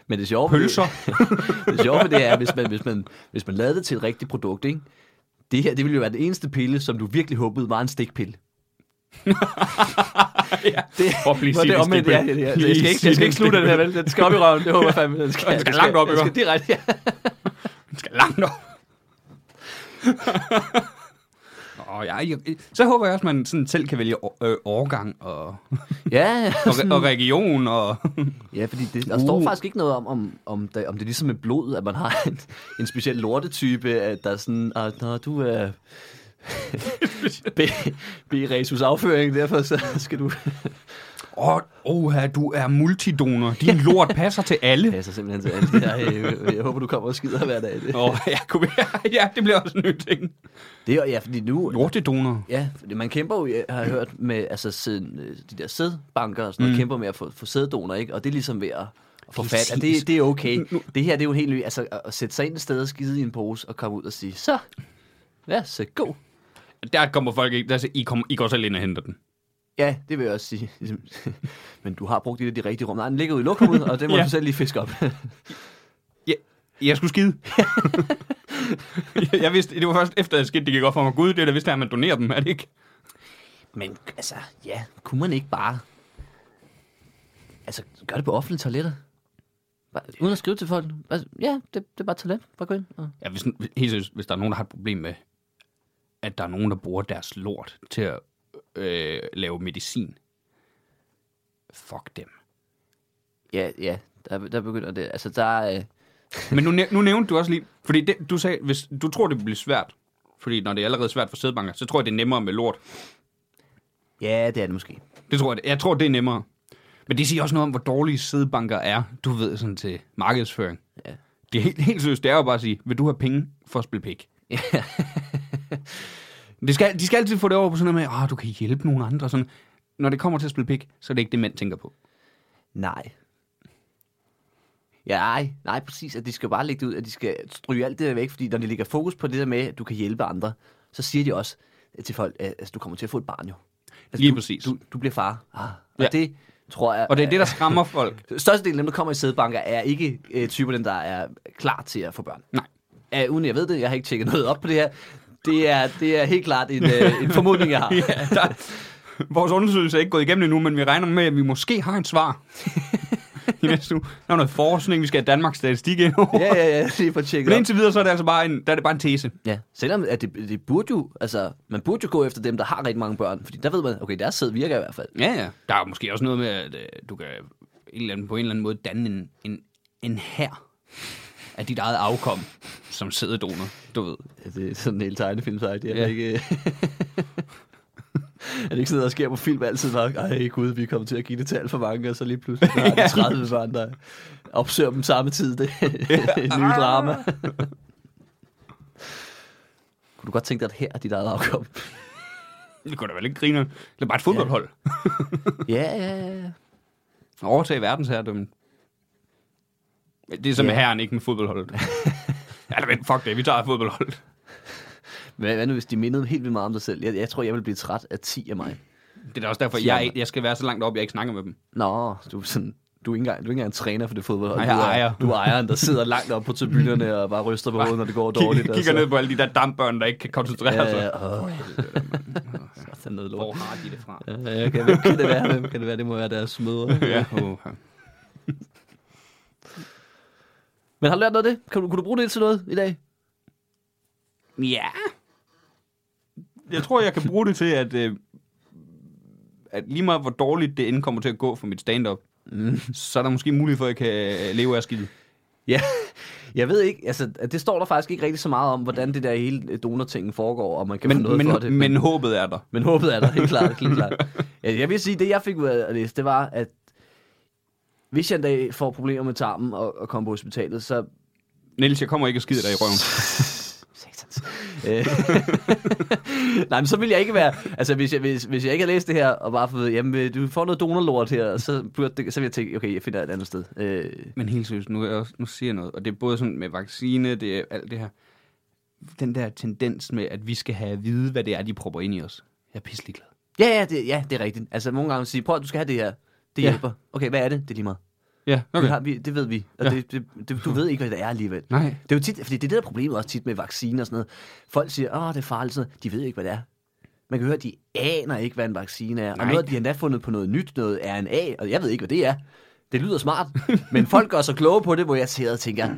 Speaker 3: Men det sjove, ved-
Speaker 1: Pølser.
Speaker 3: Det sjove ved det er, hvis man, hvis, man, hvis man lavede det til et rigtigt produkt, ikke? det her det ville jo være den eneste pille, som du virkelig håbede var en stikpille.
Speaker 1: ja.
Speaker 3: Det,
Speaker 1: Prøv at blive
Speaker 3: Hvor det
Speaker 1: sige
Speaker 3: er
Speaker 1: det
Speaker 3: omvendt, ja, ja,
Speaker 1: stikpille.
Speaker 3: ja. Jeg skal ikke, jeg skal
Speaker 1: Sige
Speaker 3: ikke slutte den
Speaker 1: stikpille.
Speaker 3: her, vel? Den skal op i røven, det håber jeg fandme. Den skal,
Speaker 1: Den skal langt op i
Speaker 3: den
Speaker 1: røven.
Speaker 3: skal direkte, ja.
Speaker 1: Den skal langt op. Nå, ja, jeg, så håber jeg også, at man sådan selv kan vælge år, øh, årgang og, og,
Speaker 3: Ja, ja.
Speaker 1: re- og region. Og,
Speaker 3: ja fordi det, der står
Speaker 1: Uh.
Speaker 3: faktisk ikke noget om, om, om, det, om det er ligesom med blod, at man har en, en speciel lortetype, at der er sådan, at når du er... B, B resus afføring, derfor så skal du...
Speaker 1: og oha, du er multidonor. Din lort passer til alle.
Speaker 3: Ja, så simpelthen til alt det her. Jeg, jeg håber, du kommer og skider hver dag. Det.
Speaker 1: Åh, ja, kunne vi- ja, det bliver også en ny ting.
Speaker 3: Det er ja, fordi nu...
Speaker 1: Lortedonor.
Speaker 3: Ja, fordi man kæmper jo, jeg har hørt, med altså, siden, øh, de der sædbanker og sådan
Speaker 1: Mm.
Speaker 3: noget, kæmper med at få, få sæddonor, ikke? Og det er ligesom ved at at få fat, at
Speaker 1: Præcis.
Speaker 3: det, det er okay. Det her, det er jo helt ny, altså at, at sætte sig ind et sted og skide i en pose og komme ud og sige, så, ja, så god.
Speaker 1: Der kommer folk ikke. Der, siger, I, kom, I går selv ind og henter den.
Speaker 3: Ja, det vil jeg også sige. Ligesom, Men du har brugt det i de rigtige rum. Nej, den ligger ude i lokummet, og det må
Speaker 1: Ja.
Speaker 3: ja. du selv lige fiske op.
Speaker 1: Ja, jeg skulle skide. jeg vidste, det var først efter, at skidte, det gik op for mig. Gud, det er da vist, at man donerer dem, er det ikke?
Speaker 3: Men altså, ja, kunne man ikke bare... Altså, gør det på offentlige toiletter? Bare, uden at skrive til folk. Altså, ja, det, det er bare et toilet. Bare gå ind. Og...
Speaker 1: Ja, hvis, helt seriøst, hvis der er nogen, der har et problem med, at der er nogen, der bruger deres lort til at øh, lave medicin. Fuck dem.
Speaker 3: Ja, ja, der, der begynder det. Altså, der øh,
Speaker 1: Men nu, næ- nu nævnte du også lige, fordi det, du sagde, hvis du tror, det bliver svært, fordi når det er allerede svært for sædbanker, så tror jeg, det er nemmere med lort.
Speaker 3: Ja, det er det måske.
Speaker 1: Det tror jeg, det- jeg tror, det er nemmere. Men det siger også noget om, hvor dårlige sædbanker er, du ved, sådan til markedsføring.
Speaker 3: Ja.
Speaker 1: Det er helt, helt seriøst, det er jo bare at sige, vil du have penge for at spille pik?
Speaker 3: Ja.
Speaker 1: det skal, de skal altid få det over på sådan noget med, at du kan hjælpe nogle andre. Sådan, når det kommer til at spille pik, så er det ikke det, mænd tænker på.
Speaker 3: Nej. Ja, nej, nej, præcis, at de skal bare lægge det ud, at de skal stryge alt det der væk, fordi når de lægger fokus på det der med, at du kan hjælpe andre, så siger de også til folk, at altså, du kommer til at få et barn jo. Altså,
Speaker 1: Lige
Speaker 3: du,
Speaker 1: præcis.
Speaker 3: Du, du bliver far. Ah, og
Speaker 1: Ja.
Speaker 3: ja. det tror jeg... øh,
Speaker 1: Og det er det, der skræmmer folk.
Speaker 3: Størstedelen af dem, der kommer i sædebanker, er ikke øh, typer, dem, der er klar til at få børn.
Speaker 1: Nej.
Speaker 3: Uh, uden jeg ved det, jeg har ikke tjekket noget op på det her. Det er, det er helt klart en, øh, en formodning, jeg har.
Speaker 1: ja, der, vores undersøgelse er ikke gået igennem endnu, men vi regner med, at vi måske har en svar. I næste uge. Der er noget forskning, vi skal have Danmarks statistik ind over.
Speaker 3: ja, ja, ja, lige for at tjekke
Speaker 1: Men
Speaker 3: det op.
Speaker 1: indtil videre, så er det altså bare en, der er det bare en tese.
Speaker 3: Ja, selvom at det, det burde jo, altså, man burde jo gå efter dem, der har rigtig mange børn, fordi der ved man, okay, deres sæd virker i hvert fald.
Speaker 1: Ja, ja. Der er måske også noget med, at øh, du kan en eller anden, på en eller anden måde danne en, en, en her af dit eget afkom som sædedonor, du ved.
Speaker 3: Ja, det er sådan en hel tegnefilm, så det
Speaker 1: Ja.
Speaker 3: er ikke... er det ikke sådan noget, der sker på film altid? Bare, Ej gud, vi kommer til at give det til alt for mange, og så lige pludselig har de 30 børn, der opsøger Ah. dem samme tid. Det er et nyt drama. Kunne du godt tænke dig, at her er dit eget afkom?
Speaker 1: Det kunne da vel ikke grine. Det er bare et fodboldhold.
Speaker 3: ja, ja, ja.
Speaker 1: Ja. Overtage verdensherredømmen. Det er som
Speaker 3: Ja.
Speaker 1: med herren, ikke med fodboldholdet. Eller vent, fuck det, vi tager fodboldholdet.
Speaker 3: Hvad, hvad nu, hvis de mindede helt vildt meget om dig selv? Jeg, jeg tror, jeg vil blive træt af 10 af mig.
Speaker 1: Det er da også derfor,
Speaker 3: Siger
Speaker 1: jeg,
Speaker 3: man.
Speaker 1: jeg skal være så langt op, jeg ikke snakker med dem.
Speaker 3: Nå, du er sådan... Du er, ikke engang, du er ikke engang træner for det fodbold.
Speaker 1: Nej, jeg
Speaker 3: du er,
Speaker 1: ejer.
Speaker 3: Du er ejeren, der sidder langt op på tribunerne og bare ryster på hovedet, når det går dårligt.
Speaker 1: Kigger, kigger
Speaker 3: altså.
Speaker 1: ned Altså. på alle de der dampbørn, der ikke kan koncentrere
Speaker 3: Ja,
Speaker 1: sig.
Speaker 3: ja, åh. Sådan noget
Speaker 1: Hvor
Speaker 3: lort.
Speaker 1: har de det fra?
Speaker 3: Ja, ja, kan, hvem kan det være? Hvem kan det være? Det må være deres mødre.
Speaker 1: Ja, uh,
Speaker 3: Men har du lært noget af det? Kan du, kunne du bruge det til noget i dag?
Speaker 1: Ja. Jeg tror, jeg kan bruge det til, at, øh, at lige meget hvor dårligt det end kommer til at gå for mit stand-up, mm. så er der måske mulighed for, at jeg kan øh, leve af skide.
Speaker 3: Ja, jeg ved ikke. Altså, det står der faktisk ikke rigtig så meget om, hvordan det der hele donortingen foregår, og man kan få
Speaker 1: Men,
Speaker 3: noget
Speaker 1: men,
Speaker 3: for det.
Speaker 1: men, men håbet er der.
Speaker 3: Men håbet er der, helt klart. Helt klart. Ja, Jeg vil sige, det jeg fik ud af at læse, det var, at hvis jeg en dag får problemer med tarmen og, og kommer på hospitalet, så...
Speaker 1: Niels, jeg kommer ikke og skide dig i røven.
Speaker 3: Satans. Øh, Nej, men så ville jeg ikke være... Altså, hvis jeg, hvis, hvis jeg ikke havde læst det her, og bare fået, jamen, øh, du får noget donorlort her, så, burde det, så ville jeg tænke, okay, jeg finder et andet sted. Øh,
Speaker 1: Men helt seriøst, nu, er jeg også, nu siger jeg noget, og det er både sådan med vaccine, det er alt det her. Den der tendens med, at vi skal have at vide, hvad det er, de propper ind i os. Jeg er pisselig glad.
Speaker 3: ja, ja det, ja, det er rigtigt. Altså, nogle gange sige, prøv at du skal have det her. Det
Speaker 1: Ja.
Speaker 3: hjælper. Okay, hvad er det? Det er lige meget.
Speaker 1: Ja,
Speaker 3: Okay.
Speaker 1: okay.
Speaker 3: Vi har, vi, det ved vi. Og
Speaker 1: Ja.
Speaker 3: ja. det, det, det, du ved ikke, hvad det er alligevel.
Speaker 1: Nej.
Speaker 3: Det er jo tit, fordi det er det, der er problemet også tit med vacciner og sådan noget. Folk siger, åh, det er farligt. Sådan noget. De ved ikke, hvad det er. Man kan høre, at de aner ikke, hvad en vaccine er. Nej.
Speaker 1: Nej.
Speaker 3: Og noget, de har endda fundet på noget nyt, noget RNA, og jeg ved ikke, hvad det er. Det lyder smart, men folk gør sig kloge på det, hvor jeg sidder og tænker,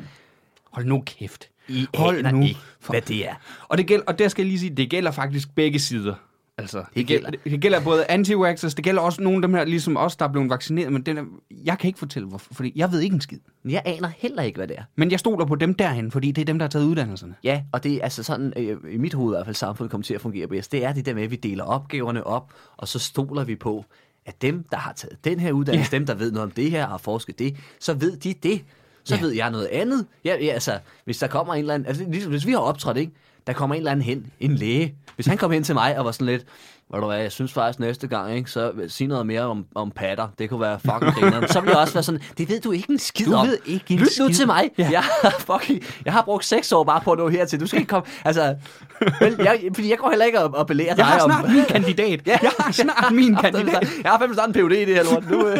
Speaker 1: Hold nu kæft.
Speaker 3: I
Speaker 1: Hold
Speaker 3: aner
Speaker 1: nu
Speaker 3: ikke,
Speaker 1: for-
Speaker 3: hvad det er.
Speaker 1: Og, det gælder, og der skal jeg lige sige, det gælder faktisk begge sider. Altså, det, det, gælder.
Speaker 3: gælder.
Speaker 1: det gælder både anti vaxxers det gælder også nogle af dem her, ligesom os, der er blevet vaccineret, men den er, jeg kan ikke fortælle hvorfor, fordi jeg ved ikke en skid.
Speaker 3: Men Jeg aner heller ikke, hvad det er.
Speaker 1: Men jeg stoler på dem derhen, fordi det er dem, der har taget uddannelserne.
Speaker 3: Ja, og det er altså sådan, øh, i mit hoved i hvert fald, samfundet kommer til at fungere bedst. Det er det der med, at vi deler opgaverne op, og så stoler vi på, at dem, der har taget den her uddannelse, ja. dem, der ved noget om det her, og har forsket det, så ved de det. Så
Speaker 1: Ja.
Speaker 3: ja. ved jeg noget andet. Ja, ja, altså, hvis der kommer en eller anden, altså, ligesom hvis vi har optrådt, ikke? Der kommer en eller anden hen, en læge. Hvis han kom hen til mig og var sådan lidt, ved du hvad, jeg synes faktisk næste gang, ikke, så sig noget mere om, om patter. Det kunne være fucking grineren. Så ville jeg også være sådan, det ved du ikke en skid
Speaker 1: Du
Speaker 3: om.
Speaker 1: ved ikke en
Speaker 3: Lyt nu
Speaker 1: skid."
Speaker 3: til mig.
Speaker 1: Ja.
Speaker 3: Ja. Jeg, har fucking, jeg har brugt seks år bare på at nå hertil. Du skal ikke komme... Altså, vel, jeg, fordi Altså, jeg går heller ikke og, og belærer dig
Speaker 1: Jeg har
Speaker 3: om...
Speaker 1: snart min kandidat. Jeg har snart min kandidat.
Speaker 3: Jeg har fandme snart en PhD i det her lort. Nu, øh.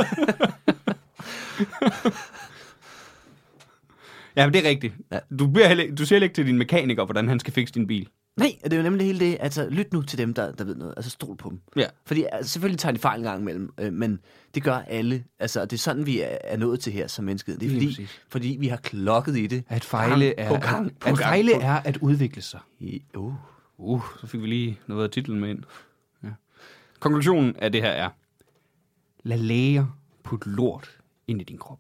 Speaker 1: Ja, men det er rigtigt.
Speaker 3: Ja.
Speaker 1: Du, bliver heller, ikke- du siger heller ikke til din mekaniker, hvordan han skal fikse din bil.
Speaker 3: Nej, det er jo nemlig hele det. Altså, lyt nu til dem, der, der ved noget. Altså, stol på dem.
Speaker 1: Ja.
Speaker 3: Fordi altså, selvfølgelig tager de fejl en gang imellem, øh, men det gør alle. Altså, og det er sådan, vi er, er nået til her som menneskehed. Det er
Speaker 1: Lige
Speaker 3: fordi,
Speaker 1: præcis.
Speaker 3: fordi vi har klokket i det.
Speaker 1: At fejle
Speaker 3: gang
Speaker 1: er,
Speaker 3: på gang på
Speaker 1: at,
Speaker 3: gang
Speaker 1: fejle
Speaker 3: på-
Speaker 1: er at udvikle sig.
Speaker 3: I- Uh.
Speaker 1: Uh, så fik vi lige noget af titlen med ind. Ja. Konklusionen af det her er, lad læger putte lort ind i din krop.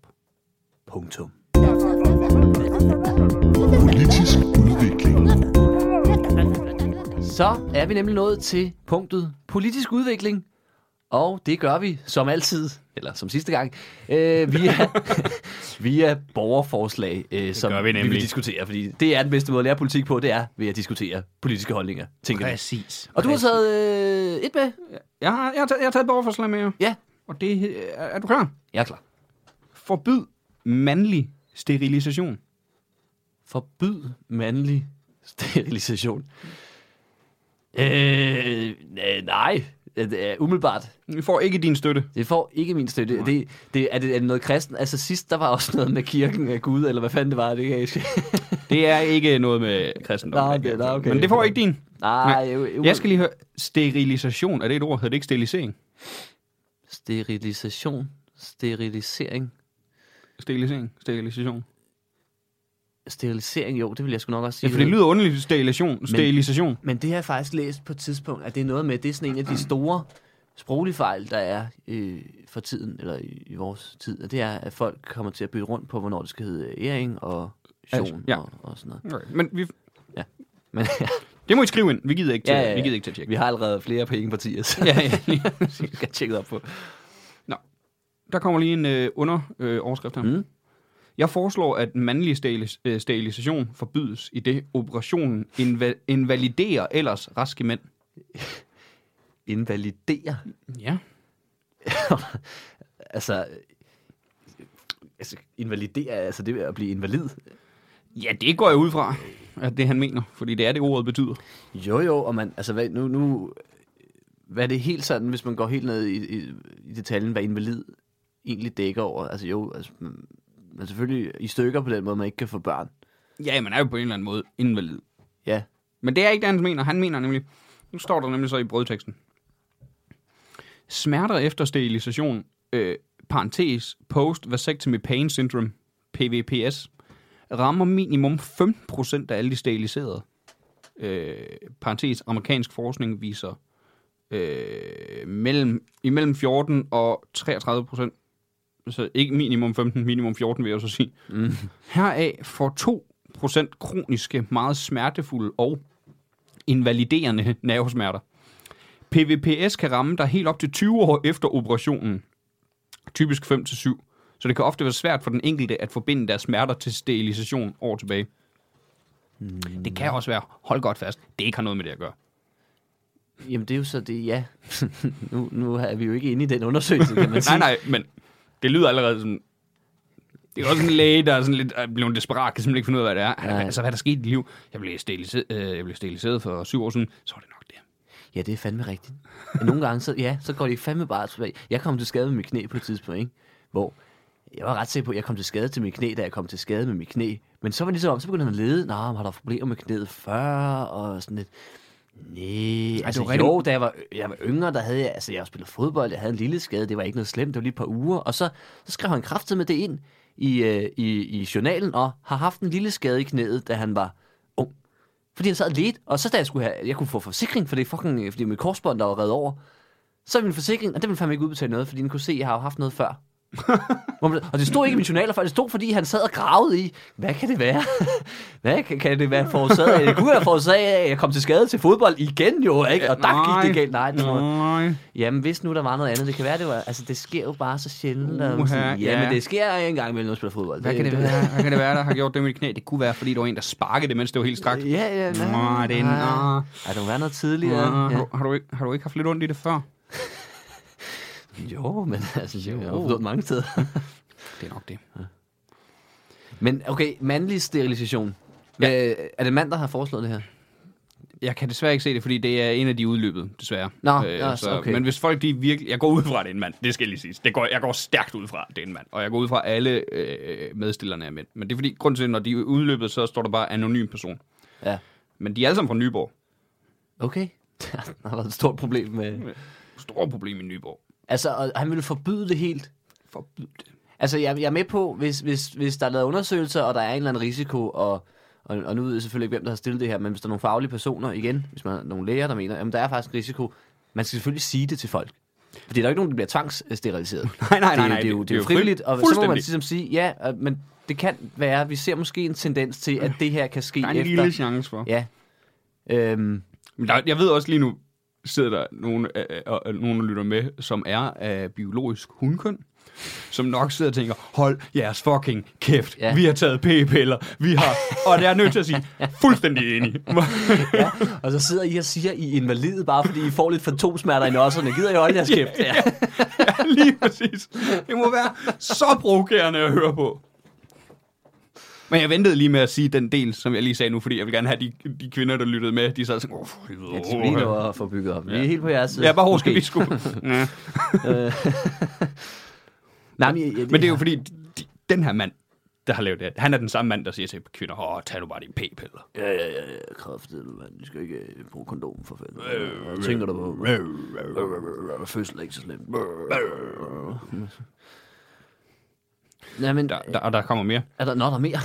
Speaker 3: Punktum.
Speaker 4: Politisk udvikling.
Speaker 3: Så er vi nemlig nået til punktet politisk udvikling, og det gør vi som altid, eller som sidste gang, øh, via, via borgerforslag, øh,
Speaker 1: gør
Speaker 3: som
Speaker 1: vi nemlig.
Speaker 3: vil diskutere, fordi det er den bedste måde at lære politik på, det er ved at diskutere politiske holdninger, tænker jeg.
Speaker 1: Præcis.
Speaker 3: Og du har taget øh, et med?
Speaker 1: Jeg har, jeg har, taget, jeg har taget et borgerforslag med jer.
Speaker 3: Ja,
Speaker 1: Og det øh, er, er du klar?
Speaker 3: jeg er klar.
Speaker 1: Forbyd mandlig sterilisation.
Speaker 3: Forbyd mandlig sterilisation. Øh, øh, nej, øh, umiddelbart.
Speaker 1: Vi får ikke din støtte.
Speaker 3: Det får ikke min støtte. Det, det, er, det, er det noget kristen? Altså sidst, der var også noget med kirken af Gud, eller hvad fanden det var, det kan jeg ikke.
Speaker 1: Det er ikke noget med kristendom.
Speaker 3: Nå, okay, nå, okay.
Speaker 1: Men det får ikke din.
Speaker 3: Nej, jo, jo.
Speaker 1: Jeg skal lige høre. Sterilisation, er det et ord? Hedder det ikke sterilisering?
Speaker 3: Sterilisation. Sterilisering.
Speaker 1: Sterilisering? Sterilisation?
Speaker 3: Sterilisering, jo, det vil jeg sgu nok også
Speaker 1: Ja,
Speaker 3: sige.
Speaker 1: for det lyder underligt. Sterilisation. Sterilisation.
Speaker 3: Men det har jeg faktisk læst på et tidspunkt, at det er noget med, det er sådan en af de store sproglige fejl, der er øh, for tiden, eller i, i vores tid, og det er, at folk kommer til at bytte rundt på, hvornår det skal hedde æring og sjon
Speaker 1: Ja.
Speaker 3: og, og sådan noget.
Speaker 1: Okay. Men vi,
Speaker 3: Men
Speaker 1: det må I skrive ind. Vi gider ikke til,
Speaker 3: Ja, ja, ja.
Speaker 1: Vi gider ikke til at tjekke.
Speaker 3: vi har allerede flere på ingen partier, så
Speaker 1: Ja, ja, lige
Speaker 3: vi skal tjekke op på.
Speaker 1: Der kommer lige en øh, under øh, overskrift her.
Speaker 3: Mm.
Speaker 1: Jeg foreslår, at mandlig steril- øh, sterilisation forbydes, i det operationen inva- invaliderer ellers raske mænd.
Speaker 3: Invalidere.
Speaker 1: Ja.
Speaker 3: altså, øh, altså, invalidere, altså det er at blive invalid.
Speaker 1: Ja, det går jeg ud fra, at det han mener, fordi det er det, ordet betyder.
Speaker 3: Jo, jo, og man, altså hvad, nu, nu, hvad er det helt sådan, hvis man går helt ned i, i, i detaljen, hvad invalid egentlig dækker over? Altså jo, altså, man man er selvfølgelig i stykker på den måde, man ikke kan få børn.
Speaker 1: Ja, man er jo på en eller anden måde invalid.
Speaker 3: Ja,
Speaker 1: Men det er ikke det, han mener. Han mener nemlig, nu står der nemlig så i brødteksten. Smerter efter sterilisation, øh, parentes, post vasectomy pain syndrome, PVPS, rammer minimum 15% af alle de steriliserede. Øh, parentes, amerikansk forskning viser øh, mellem, imellem 14 og 33 procent. Så ikke minimum 15, minimum 14 vil jeg så sige. Mm. Heraf får 2 procent kroniske, meget smertefulde og invaliderende nervesmerter. PVPS kan ramme dig helt op til 20 år efter operationen, typisk 5-7, så det kan ofte være svært for den enkelte at forbinde deres smerter til sterilisation år tilbage.
Speaker 3: Hmm.
Speaker 1: Mm. Det kan også være, hold godt fast, det ikke har noget med det at gøre.
Speaker 3: jamen det er jo så det, ja. nu, nu er vi jo ikke inde i den undersøgelse, kan man sige.
Speaker 1: Nej, nej, men det lyder allerede sådan... Det er også en læge, der er sådan lidt er blevet desperat, kan simpelthen ikke finde ud af, hvad det er. Han,
Speaker 3: Nej.
Speaker 1: altså, hvad er der skete i dit liv? Jeg blev, steriliseret, øh, jeg blev steriliseret for syv år siden, så er det nok det.
Speaker 3: Ja, det er fandme rigtigt. Nogle gange, så, ja, så går det fandme bare tilbage. Jeg kom til skade med mit knæ på et tidspunkt, ikke? hvor jeg var ret sikker på, at jeg kom til skade til mit knæ, da jeg kom til skade med mit knæ. Men så var det ligesom om, så begyndte han at lede. Nå, men har der problemer med knæet før? Og sådan lidt. Nej, altså
Speaker 1: det var
Speaker 3: jo, da jeg var, jeg var yngre, der havde jeg, altså jeg har spillet fodbold, jeg havde en lille skade, det var ikke noget slemt, det var lige et par uger, og så, så skrev han kraftet med det ind i, øh, i, i journalen, og har haft en lille skade i knæet, da han var ung. Fordi han sad lidt, og så da jeg skulle have, jeg kunne få forsikring, for det er fucking, øh, fordi mit korsbånd, der var reddet over, så min forsikring, og den ville fandme ikke udbetale noget, fordi den kunne se, at jeg har jo haft noget før. Hvor man- og det stod ikke i mine journaler før, det stod, fordi han sad og gravede i, hvad kan det være? hvad kan, kan det være forårsaget af? Det kunne være forårsaget af, at jeg kom til skade til fodbold igen jo, ikke? Og der gik det galt. Nej, det var,
Speaker 1: Nej.
Speaker 3: jamen hvis nu der var noget andet, det kan være, det var, altså det sker jo bare så sjældent. og
Speaker 1: Uha,
Speaker 3: sådan,
Speaker 1: ja.
Speaker 3: Jamen det sker en gang imellem, når jeg spiller fodbold.
Speaker 1: Hvad kan Øh, det være, hvad kan det være der har gjort det med dit knæ? Det kunne være, fordi du var en, der sparkede det, mens det var helt strakt.
Speaker 3: Ja, ja,
Speaker 1: Nå,
Speaker 3: nej.
Speaker 1: det er- nå.
Speaker 3: Ej, der må være noget
Speaker 1: Ja,
Speaker 3: tidligere.
Speaker 1: har,
Speaker 3: Ja.
Speaker 1: du, har, du ikke, har du ikke haft lidt ondt i det før?
Speaker 3: Jo, men altså, jo. jeg har jo mange steder.
Speaker 1: Det er nok det.
Speaker 3: Men okay, mandlig sterilisation. Ja. Øh, er det mand, der har foreslået det her?
Speaker 1: Jeg kan desværre ikke se det, fordi det er en af de udløbet, desværre. Øh,
Speaker 3: Nå, ja, okay.
Speaker 1: Men hvis folk de virkelig... Jeg går ud fra, at det er en mand. Det skal lige siges. Det går, jeg går stærkt ud fra, at det er en mand. Og jeg går ud fra, at alle øh, medstillerne er mænd. Men det er fordi, grund til, når de er udløbet, så står der bare anonym person.
Speaker 3: Ja.
Speaker 1: Men de er alle sammen fra Nyborg.
Speaker 3: Okay. der har været et stort problem med...
Speaker 1: Stort problem i Nyborg.
Speaker 3: Altså, og han ville forbyde det helt.
Speaker 1: Forbyd det.
Speaker 3: Altså, jeg, jeg er med på, hvis, hvis, hvis der er lavet undersøgelser, og der er en eller anden risiko, og, og, og nu ved jeg selvfølgelig ikke, hvem der har stillet det her, men hvis der er nogle faglige personer, igen, hvis man er nogle læger, der mener, jamen der er faktisk en risiko, man skal selvfølgelig sige det til folk. Fordi der er jo ikke nogen, der bliver tvangssteriliseret.
Speaker 1: Nej, nej, nej,
Speaker 3: Det, er
Speaker 1: nej,
Speaker 3: jo- det, er jo, det er jo
Speaker 1: fri-
Speaker 3: frivilligt, og så må man
Speaker 1: fuldstændig.
Speaker 3: ligesom sige, ja, øh, men det kan være, vi ser måske en tendens til, at det her kan ske
Speaker 1: Øh. Der er en
Speaker 3: efter.
Speaker 1: lille chance for.
Speaker 3: Ja. Øhm,
Speaker 1: Men der, jeg ved også lige nu, sidder der nogen, øh, øh, og øh, nogen der lytter med, som er af biologisk hundkøn, som nok sidder og tænker, hold jeres fucking kæft,
Speaker 3: Ja.
Speaker 1: ja. vi har taget p-piller, vi har... Og det er jeg nødt til at sige, fuldstændig enig.
Speaker 3: ja. Og så sidder I og siger, I er invalide, bare fordi I får lidt fantomsmerter i nosserne. Gider I holde jeres kæft? Ja.
Speaker 1: ja, lige præcis. Det må være så provokerende at høre på. Men jeg ventede lige med at sige den del, som jeg lige sagde nu, fordi jeg vil gerne have de, de kvinder, der lyttede med, de sad sådan, åh, for helvede,
Speaker 3: Ja, de skal lige
Speaker 1: åh,
Speaker 3: nå at få bygget op. Vi er helt på jeres side.
Speaker 1: ja, bare hvor skal
Speaker 3: Måske.
Speaker 1: vi skulle. Ja.
Speaker 3: Øh. Nej, men, ja,
Speaker 1: Men det er jo fordi, de, den her mand, der har lavet det her, han er den samme mand, der siger til kvinder, åh, tag nu bare dine p-piller.
Speaker 3: Ja, ja, ja, ja. Kræftet, man. Du skal ikke øh, bruge kondom for fanden.
Speaker 1: Øh,
Speaker 3: Hvad tænker du på? Øh, Fødsel er ikke så slemt. Øh,
Speaker 1: Øh,
Speaker 3: Nej, men...
Speaker 1: Der, der, og der kommer mere.
Speaker 3: Er der, nå, der er mere?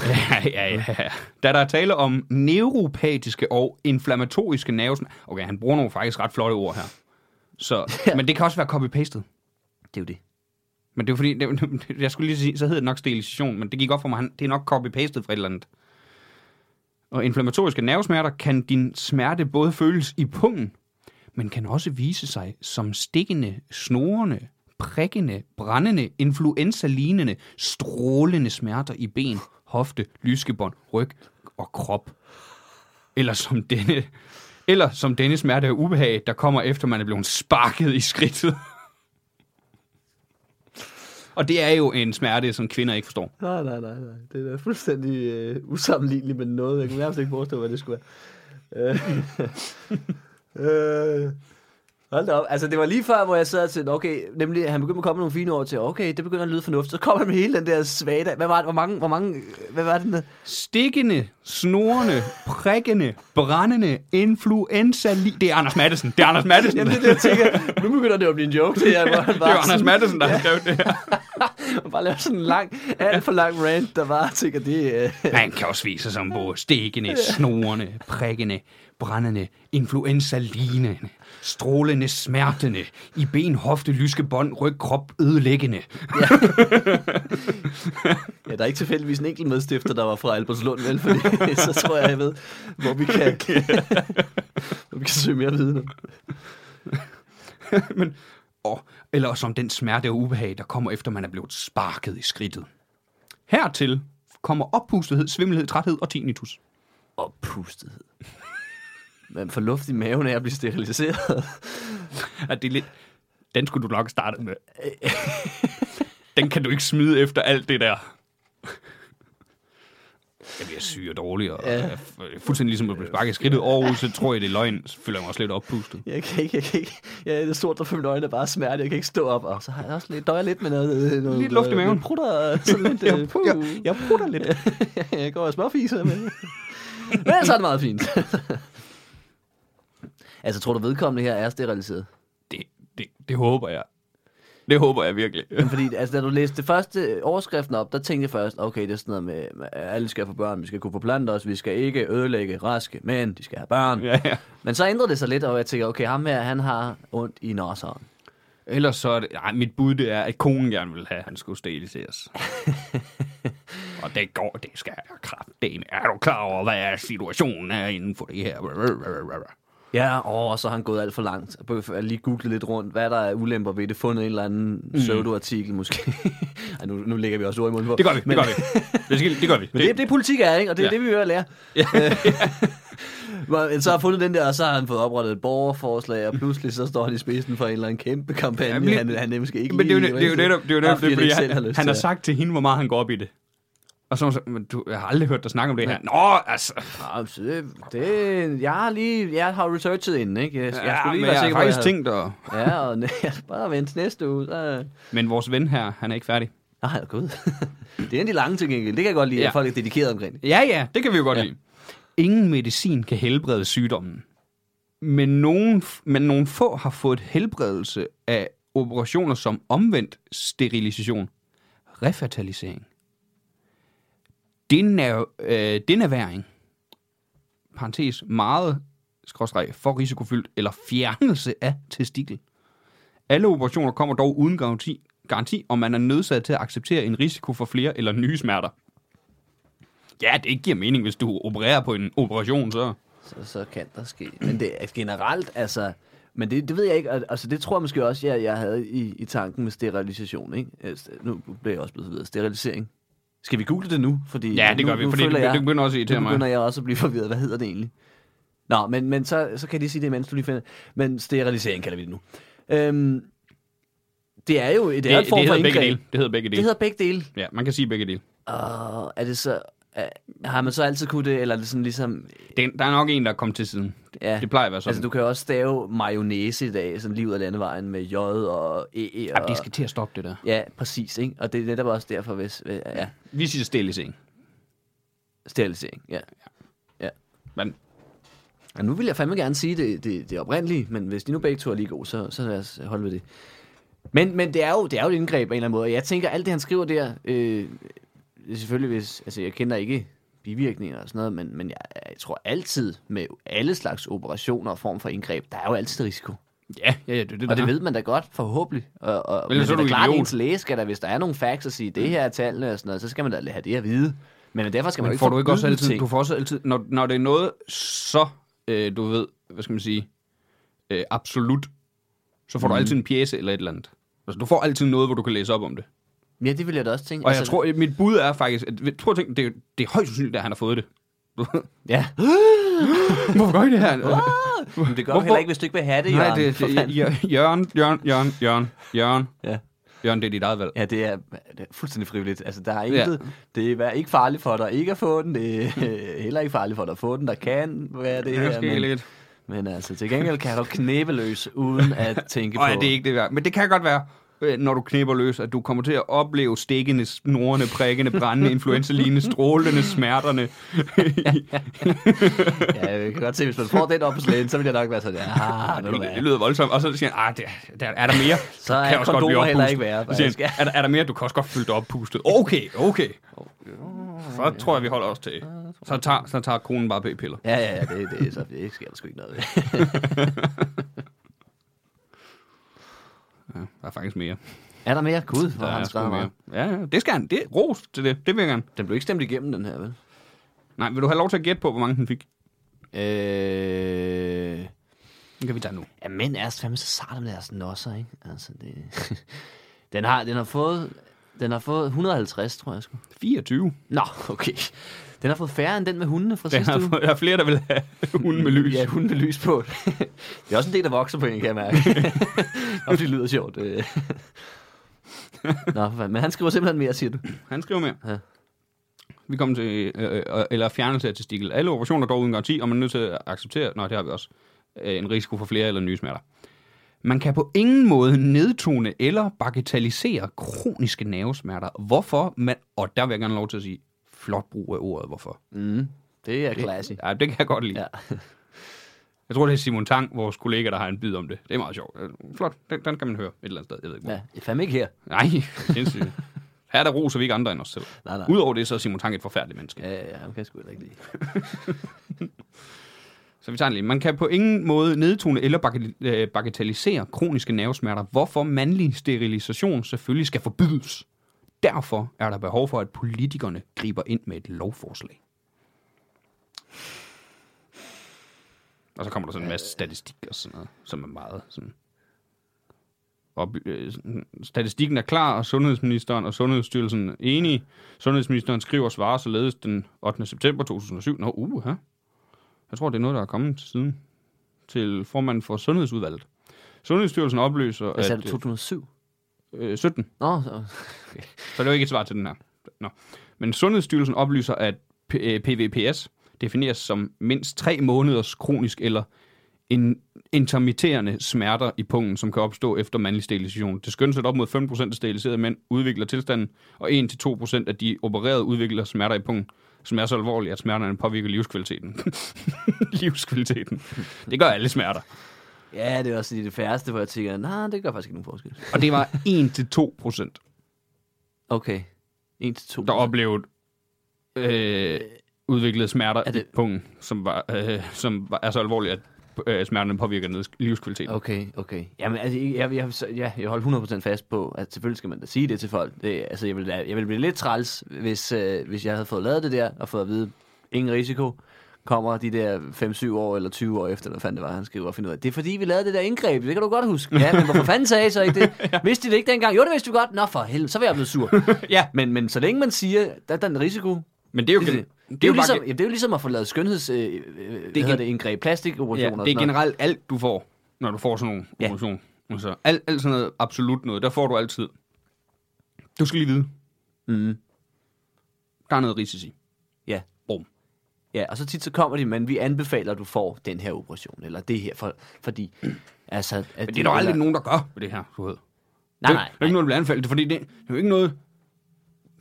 Speaker 1: Ja, ja, ja. Da der er tale om neuropatiske og inflammatoriske nervesmerter. Okay, han bruger nogle faktisk ret flotte ord her. Så,
Speaker 3: Ja.
Speaker 1: Men det kan også være copy-pastet.
Speaker 3: Det er jo det.
Speaker 1: Men det er fordi, det, jeg skulle lige sige, så hed det nok sterilisation, men det gik op for mig, han, det er nok copy-pastet fra et eller andet. Og inflammatoriske nervesmerter kan din smerte både føles i pungen, men kan også vise sig som stikkende, snorende, prikkende, brændende, influenza-lignende, strålende smerter i ben, hofte, lyskebånd, ryg og krop. Eller som denne, eller som denne smerte er ubehag, der kommer efter, man er blevet sparket i skridtet. Og det er jo en smerte, som kvinder ikke forstår.
Speaker 3: Nej, nej, nej, nej. Det er da fuldstændig øh, usammenligneligt med noget. Jeg kunne nærmest ikke forestille, hvad det skulle være. Øh, øh, hold da op. Altså, det var lige før, hvor jeg sad og tænkte, okay, nemlig, han begyndte at komme med nogle fine ord til, okay, det begynder at lyde fornuftigt. Så kom han med hele den der svada. Hvad var det? Hvor mange? Hvor mange øh, hvad var det? den hed?
Speaker 1: Stikkende, snorende, prikkende, brændende, influenza... Det er Anders Mattesen. Det er Anders Mattesen.
Speaker 3: Jamen, det er det, jeg tænker. Nu begynder det at blive en joke, det her. Hvor han
Speaker 1: det er
Speaker 3: bare,
Speaker 1: jo Anders
Speaker 3: sådan,
Speaker 1: Mattesen, der har skrevet det her.
Speaker 3: bare laver sådan en lang, alt for lang rant, der bare tænker, det øh,
Speaker 1: Han kan også vise sig som både stikkende, snorende, prikkende, brændende, influenza-lignende, strålende, smertende, i ben, hofte, lyske bånd, ryg, krop, ødelæggende.
Speaker 3: Ja, der er ikke tilfældigvis en enkelt medstifter, der var fra Albertslund, vel? Fordi så tror jeg, jeg ved, hvor vi kan, hvor vi kan søge mere viden om.
Speaker 1: Men, og, eller som den smerte og ubehag, der kommer efter, man er blevet sparket i skridtet. Hertil kommer oppustethed, svimmelhed, træthed og tinnitus.
Speaker 3: Og pustethed. Man får luft i maven af at blive steriliseret.
Speaker 1: Ja, det er lidt... Den skulle du nok starte med. Den kan du ikke smide efter alt det der. Jeg bliver syg og dårlig, og jeg er fu- fuldstændig ligesom at blive sparket i skridtet over, så tror jeg, det er løgn. Så føler jeg mig også lidt oppustet.
Speaker 3: Jeg kan ikke, jeg kan ikke. Jeg er det sort, der for mine øjne er bare smerte. Jeg kan ikke stå op. Og så har jeg også lidt, døjer lidt med noget. noget
Speaker 1: Lidt luft i maven.
Speaker 3: noget Prutter, og sådan lidt. jeg, puh. Jeg,
Speaker 1: jeg prutter lidt.
Speaker 3: jeg går og småfiser med. Men så er det meget fint. altså, tror du vedkommende her er steriliseret?
Speaker 1: Det, det, det håber jeg. Det håber jeg virkelig.
Speaker 3: Fordi altså, da du læste det første øh, overskriften op, der tænkte jeg først, okay, det er sådan noget med, med, alle skal få børn, vi skal kunne forplante os, vi skal ikke ødelægge raske mænd, de skal have børn.
Speaker 1: Ja, ja.
Speaker 3: Men så ændrede det sig lidt, og jeg tænkte, okay, ham her, han har ondt i nosseren.
Speaker 1: Ellers så er det... Nej, mit bud det er, at konen gerne vil have, at han skulle steriliseres. og det går, det skal jeg kraftedeme. Er du klar over, hvad er situationen er inden for det her?
Speaker 3: Ja, åh, og så har han gået alt for langt. Jeg begyndte lige googlet lidt rundt, hvad der er ulemper ved det, fundet en eller anden mm. pseudo-artikel måske. Ej, nu, nu lægger vi også ord i munden på.
Speaker 1: Det gør vi, det gør vi. Det, skal, det gør vi.
Speaker 3: Men det, det, det politik er, ikke? Og det er ja.
Speaker 1: Ja.
Speaker 3: det, vi hører lære. Ja. Men så har jeg fundet den der, og så har han fået oprettet et borgerforslag, og pludselig så står han i spidsen for en eller anden kæmpe kampagne,
Speaker 1: Jamen,
Speaker 3: han, han nemlig ikke
Speaker 1: Men det er jo
Speaker 3: lige-
Speaker 1: det, er jo netop, det, er jo netop,
Speaker 3: Bare
Speaker 1: det, fordi
Speaker 3: han, ikke selv
Speaker 1: han,
Speaker 3: lyst
Speaker 1: han har
Speaker 3: til at-
Speaker 1: sagt til hende, hvor meget han går op i det. Og så, er hun så men du, jeg har aldrig hørt dig snakke om det her. Nå, altså.
Speaker 3: Ah, så det, det, jeg har lige, jeg har researchet inden, ikke? Jeg, jeg skulle lige
Speaker 1: men
Speaker 3: være
Speaker 1: jeg
Speaker 3: sikker
Speaker 1: har
Speaker 3: på,
Speaker 1: faktisk
Speaker 3: jeg
Speaker 1: tænkt at...
Speaker 3: havde- Ja, og næ- jeg skal bare vente til næste uge, så...
Speaker 1: Men vores ven her, han er ikke færdig.
Speaker 3: Nej, gud. det er en af de lange ting, ikke? Det kan jeg godt lide, ja.
Speaker 1: Ja.
Speaker 3: at folk er dedikeret omkring det.
Speaker 1: Ja, ja, det kan vi jo godt ja. lide. Ingen medicin kan helbrede sygdommen. Men nogen, men nogen få har fået helbredelse af operationer som omvendt sterilisation, refertalisering, denav, øh, denaværing, parentes meget skråstreg, for risikofyldt, eller fjernelse af testikel. Alle operationer kommer dog uden garanti, garanti, og man er nødsaget til at acceptere en risiko for flere eller nye smerter. Ja, det giver mening, hvis du opererer på en operation, så...
Speaker 3: Så, så kan der ske. Men det er generelt, altså... Men det, det ved jeg ikke, og- altså det tror jeg måske også, jeg, jeg havde i, i tanken med sterilisation, ikke? Altså, Nu bliver jeg også blevet videre. Sterilisering. Skal vi google det nu? Fordi
Speaker 1: Ja, det
Speaker 3: nu,
Speaker 1: gør vi,
Speaker 3: nu
Speaker 1: fordi det,
Speaker 3: føler jeg-
Speaker 1: det begynder også at irritere
Speaker 3: Nu begynder
Speaker 1: mig.
Speaker 3: jeg også at blive forvirret. Hvad hedder det egentlig? Nå, men, men så, så kan jeg lige sige det, mens du lige finder Men sterilisering kalder vi det nu. Øhm, det er jo det, det er en
Speaker 1: det
Speaker 3: form for
Speaker 1: hedder begge
Speaker 3: indgreb.
Speaker 1: dele. Det hedder begge
Speaker 3: Det
Speaker 1: dele.
Speaker 3: hedder begge dele.
Speaker 1: Ja, man kan sige begge dele.
Speaker 3: Og er det så... Er, har man så altid kunne det, eller er det sådan ligesom...
Speaker 1: Det, der er nok en, der er kommet til siden.
Speaker 3: Ja,
Speaker 1: Det plejer at være sådan.
Speaker 3: altså du kan jo også stave mayonnaise i dag, sådan lige ud af landevejen med J og E og...
Speaker 1: Ja, det skal til at stoppe det der.
Speaker 3: Ja, præcis, ikke? Og det er netop også derfor, hvis... Ja,
Speaker 1: Vi siger sterilisering.
Speaker 3: sterilisering, ja.
Speaker 1: Men
Speaker 3: Og nu vil jeg fandme gerne sige det, det, det oprindelige, men hvis de nu begge to er lige gode, så, så lad os holde ved det. Men, men det, er jo, det er jo et indgreb på en eller anden måde, og jeg tænker, alt det, han skriver der, øh, det er selvfølgelig hvis, altså jeg kender ikke bivirkninger og sådan noget, men, men jeg, jeg tror altid med alle slags operationer og form for indgreb, der er jo altid risiko.
Speaker 1: ja, ja, ja det, er det,
Speaker 3: Og
Speaker 1: der.
Speaker 3: det ved man da godt, forhåbentlig. Og, og, men
Speaker 1: Ellers
Speaker 3: det
Speaker 1: er
Speaker 3: er
Speaker 1: du
Speaker 3: da klart, at
Speaker 1: idiot.
Speaker 3: ens læge skal der, hvis der er nogle facts at sige, det her er tallene og sådan noget, så skal man da have det at vide. Men derfor skal man jo
Speaker 1: Men
Speaker 3: ikke
Speaker 1: får du ikke også
Speaker 3: forbyde
Speaker 1: altid,
Speaker 3: ting.
Speaker 1: du får også altid, når, når det er noget så, øh, du
Speaker 3: Mhm.
Speaker 1: ved, hvad skal man sige, øh, absolut, så får du altid en pjæse eller et eller andet. Altså, du får altid noget, hvor du kan læse op om det.
Speaker 3: Ja, det vil jeg da også tænke. Altså,
Speaker 1: Og jeg tror, mit bud er faktisk, at jeg tror, tænk, det, er- det er højst sandsynligt, at han har fået det.
Speaker 3: Ja.
Speaker 1: Hvorfor gør I det her?
Speaker 3: Men det gør
Speaker 1: Hvorfor-
Speaker 3: Hvorfor? heller ikke, hvis du ikke vil have det,
Speaker 1: Nej,
Speaker 3: Jørgen.
Speaker 1: det,
Speaker 3: For
Speaker 1: det,
Speaker 3: fanden.
Speaker 1: Jør- Jørgen, Jørgen, Jørgen, Jørgen, Jørgen,
Speaker 3: Ja.
Speaker 1: Jørgen, det er dit eget valg.
Speaker 3: Ja, det er, det er fuldstændig frivilligt. Altså, der er
Speaker 1: Ja.
Speaker 3: intet, det er vær- ikke farligt for dig ikke at få den. Det er heller ikke farligt for dig at få den. Der kan være det
Speaker 1: Det
Speaker 3: her,
Speaker 1: er måske
Speaker 3: men,
Speaker 1: lidt.
Speaker 3: men altså, til gengæld kan du knæbe løs, uden at tænke på...
Speaker 1: Og ja, det er ikke det værd. Men det kan godt være, øh, når du knipper løs, at du kommer til at opleve stikkende, snorende, prikkende, brændende, influenzaline, strålende, smerterne.
Speaker 3: Ja, jeg kan godt se, hvis man får den op på slæden, så vil jeg nok være sådan, ja, ah, ved du
Speaker 1: Det, det
Speaker 3: hvad.
Speaker 1: lyder voldsomt. Og så siger han, ah, det, der, er der mere?
Speaker 3: Så
Speaker 1: Du
Speaker 3: er
Speaker 1: kan også godt blive
Speaker 3: kondomer heller
Speaker 1: oppustet.
Speaker 3: ikke værre,
Speaker 1: Så siger han,
Speaker 3: faktisk.
Speaker 1: er, der, er der mere? Du kan også godt fylde dig oppustet. Okay, okay. Så tror jeg, vi holder os til. Så tager, så tager konen bare p-piller.
Speaker 3: Ja, ja, ja, det, det, så, det sker der sgu ikke noget ved.
Speaker 1: Ja, der er faktisk mere.
Speaker 3: Er der mere? Gud, hvor
Speaker 1: Der
Speaker 3: har
Speaker 1: er
Speaker 3: han
Speaker 1: sgu
Speaker 3: skrevet
Speaker 1: mere.
Speaker 3: meget.
Speaker 1: Ja, ja, det skal han. Det, ros til det. Det vil jeg gerne.
Speaker 3: Den blev ikke stemt igennem, den her, vel?
Speaker 1: Nej, vil du have lov til at gætte på, hvor mange den fik?
Speaker 3: Øh...
Speaker 1: Den kan vi tage nu.
Speaker 3: Ja, mænd er fandme så sarte med deres nosser, ikke? Altså, det... den, har, den, har fået, den har fået 150, tror jeg sgu.
Speaker 1: 24.
Speaker 3: Nå, okay. Den har fået færre end den med hundene fra
Speaker 1: Den
Speaker 3: sidste
Speaker 1: har,
Speaker 3: uge.
Speaker 1: fået- der er flere, der vil have hunden med lys.
Speaker 3: Ja, hunden med lys på. det er også en del, der vokser på en, kan jeg mærke. Nå, det lyder sjovt. øh. Nå, for fanden. men han skriver simpelthen mere, siger du.
Speaker 1: Han skriver mere.
Speaker 3: Ja.
Speaker 1: Ja. Vi kommer til, øh, øh, eller fjernelse af testikel. Alle operationer går uden garanti, og man er nødt til at acceptere, nej, det har vi også, øh, en risiko for flere eller nye smerter. Man kan på ingen måde nedtone eller bagatellisere kroniske nervesmerter. Hvorfor? Man, og der vil jeg gerne have lov til at sige, flot brug af ordet, hvorfor.
Speaker 3: Mm, det er classy.
Speaker 1: Ja, det kan jeg godt lide. Ja.
Speaker 3: Ja.
Speaker 1: Jeg tror, det er Simon Tang, vores kollega, der har en bid om det. Det er meget sjovt. Øh, Flot. Den, den kan man høre et eller andet sted. Jeg ved ikke, hvor.
Speaker 3: ja. Jeg fandme ikke her.
Speaker 1: Nej, sindssygt. Her der roser vi ikke andre end os selv.
Speaker 3: Nej, nej.
Speaker 1: Udover det, så er Simon Tang et forfærdeligt menneske.
Speaker 3: Ja, ja, ja, han kan sgu heller ikke lide.
Speaker 1: Så vi tager den lige. Man kan på ingen måde nedtone eller bagat- øh, bagatellisere kroniske nervesmerter, hvorfor mandlig sterilisation selvfølgelig skal forbydes. Derfor er der behov for, at politikerne griber ind med et lovforslag. Og så kommer der sådan en masse statistik og sådan noget, som er meget sådan... Og, øh, sådan- statistikken er klar, og Sundhedsministeren og Sundhedsstyrelsen er enige. Sundhedsministeren skriver og svarer således den 8. september 2007. Nå, uh, her. Jeg tror, det er noget, der er kommet siden til formanden for Sundhedsudvalget. Sundhedsstyrelsen opløser,
Speaker 3: Hvad sagde
Speaker 1: at
Speaker 3: du, 2007?
Speaker 1: øh, 17
Speaker 3: Nå, så-
Speaker 1: så det var ikke et svar til den her. Nå. Men Sundhedsstyrelsen oplyser, at P- øh, PVPS defineres som mindst tre måneders kronisk eller en intermitterende smerter i pungen, som kan opstå efter mandlig sterilisation. Det skønnes, at op mod 5% af steriliserede mænd udvikler tilstanden, og 1-2% af de opererede udvikler smerter i pungen, som er så alvorlige, at smerterne påvirker livskvaliteten. livskvaliteten. Det gør alle smerter.
Speaker 3: ja, det er også lige det færreste, hvor jeg tænker, nej, det gør faktisk ikke nogen forskel.
Speaker 1: Og det var 1-2%.
Speaker 3: Okay. 1 til 2.
Speaker 1: der oplevede øh, udviklede smerter
Speaker 3: Er
Speaker 1: det...
Speaker 3: det-
Speaker 1: i pungen, som, var, øh, som var, er så alvorlige, at øh, smerterne påvirker neds- livskvaliteten. Okay.
Speaker 3: Okay, okay. Jamen, altså, jeg, jeg, jeg, ja, jeg holder 100% fast på, at selvfølgelig skal man da sige det til folk. Det, altså, jeg ville, da- jeg ville blive lidt træls, hvis, øh, hvis jeg havde fået lavet det der, og fået at vide, ingen risiko, kommer de der 5-7 år eller 20 år efter, hvad fanden det var, han skriver og finder ud af. Det er fordi, vi lavede det der indgreb, det kan du godt huske. Ja, men hvorfor fanden sagde I så ikke det? Vidste de det ikke dengang? Jo, det vidste du godt. Nå for helvede, så var jeg blevet sur.
Speaker 1: Ja.
Speaker 3: Men, men så længe man siger, der er der en risiko,
Speaker 1: Men det er jo,
Speaker 3: det,
Speaker 1: gen-
Speaker 3: det, det, er jo ligesom, jamen, det er jo ligesom at få lavet skønheds... Øh, øh, det,
Speaker 1: gen-
Speaker 3: hedder det indgreb, plastikoperationer
Speaker 1: ja,
Speaker 3: og
Speaker 1: det
Speaker 3: sådan
Speaker 1: er
Speaker 3: noget.
Speaker 1: generelt alt, du får, når du får sådan nogle
Speaker 3: Ja.
Speaker 1: ja. emotion. Altså, alt, alt sådan noget, absolut noget, der får du altid. Du skal lige vide,
Speaker 3: Mhm.
Speaker 1: der er noget risici.
Speaker 3: Ja.
Speaker 1: Brum.
Speaker 3: Ja, og så tit så kommer de, men vi anbefaler, at du får den her operation, eller det her, for, fordi... Altså, at
Speaker 1: Men det er der jo aldrig nogen, der gør ved det her, du ved.
Speaker 3: Nej,
Speaker 1: det, er-
Speaker 3: nej,
Speaker 1: Det er
Speaker 3: nej.
Speaker 1: ikke noget, du bliver anfaldet, fordi det, det er jo ikke noget...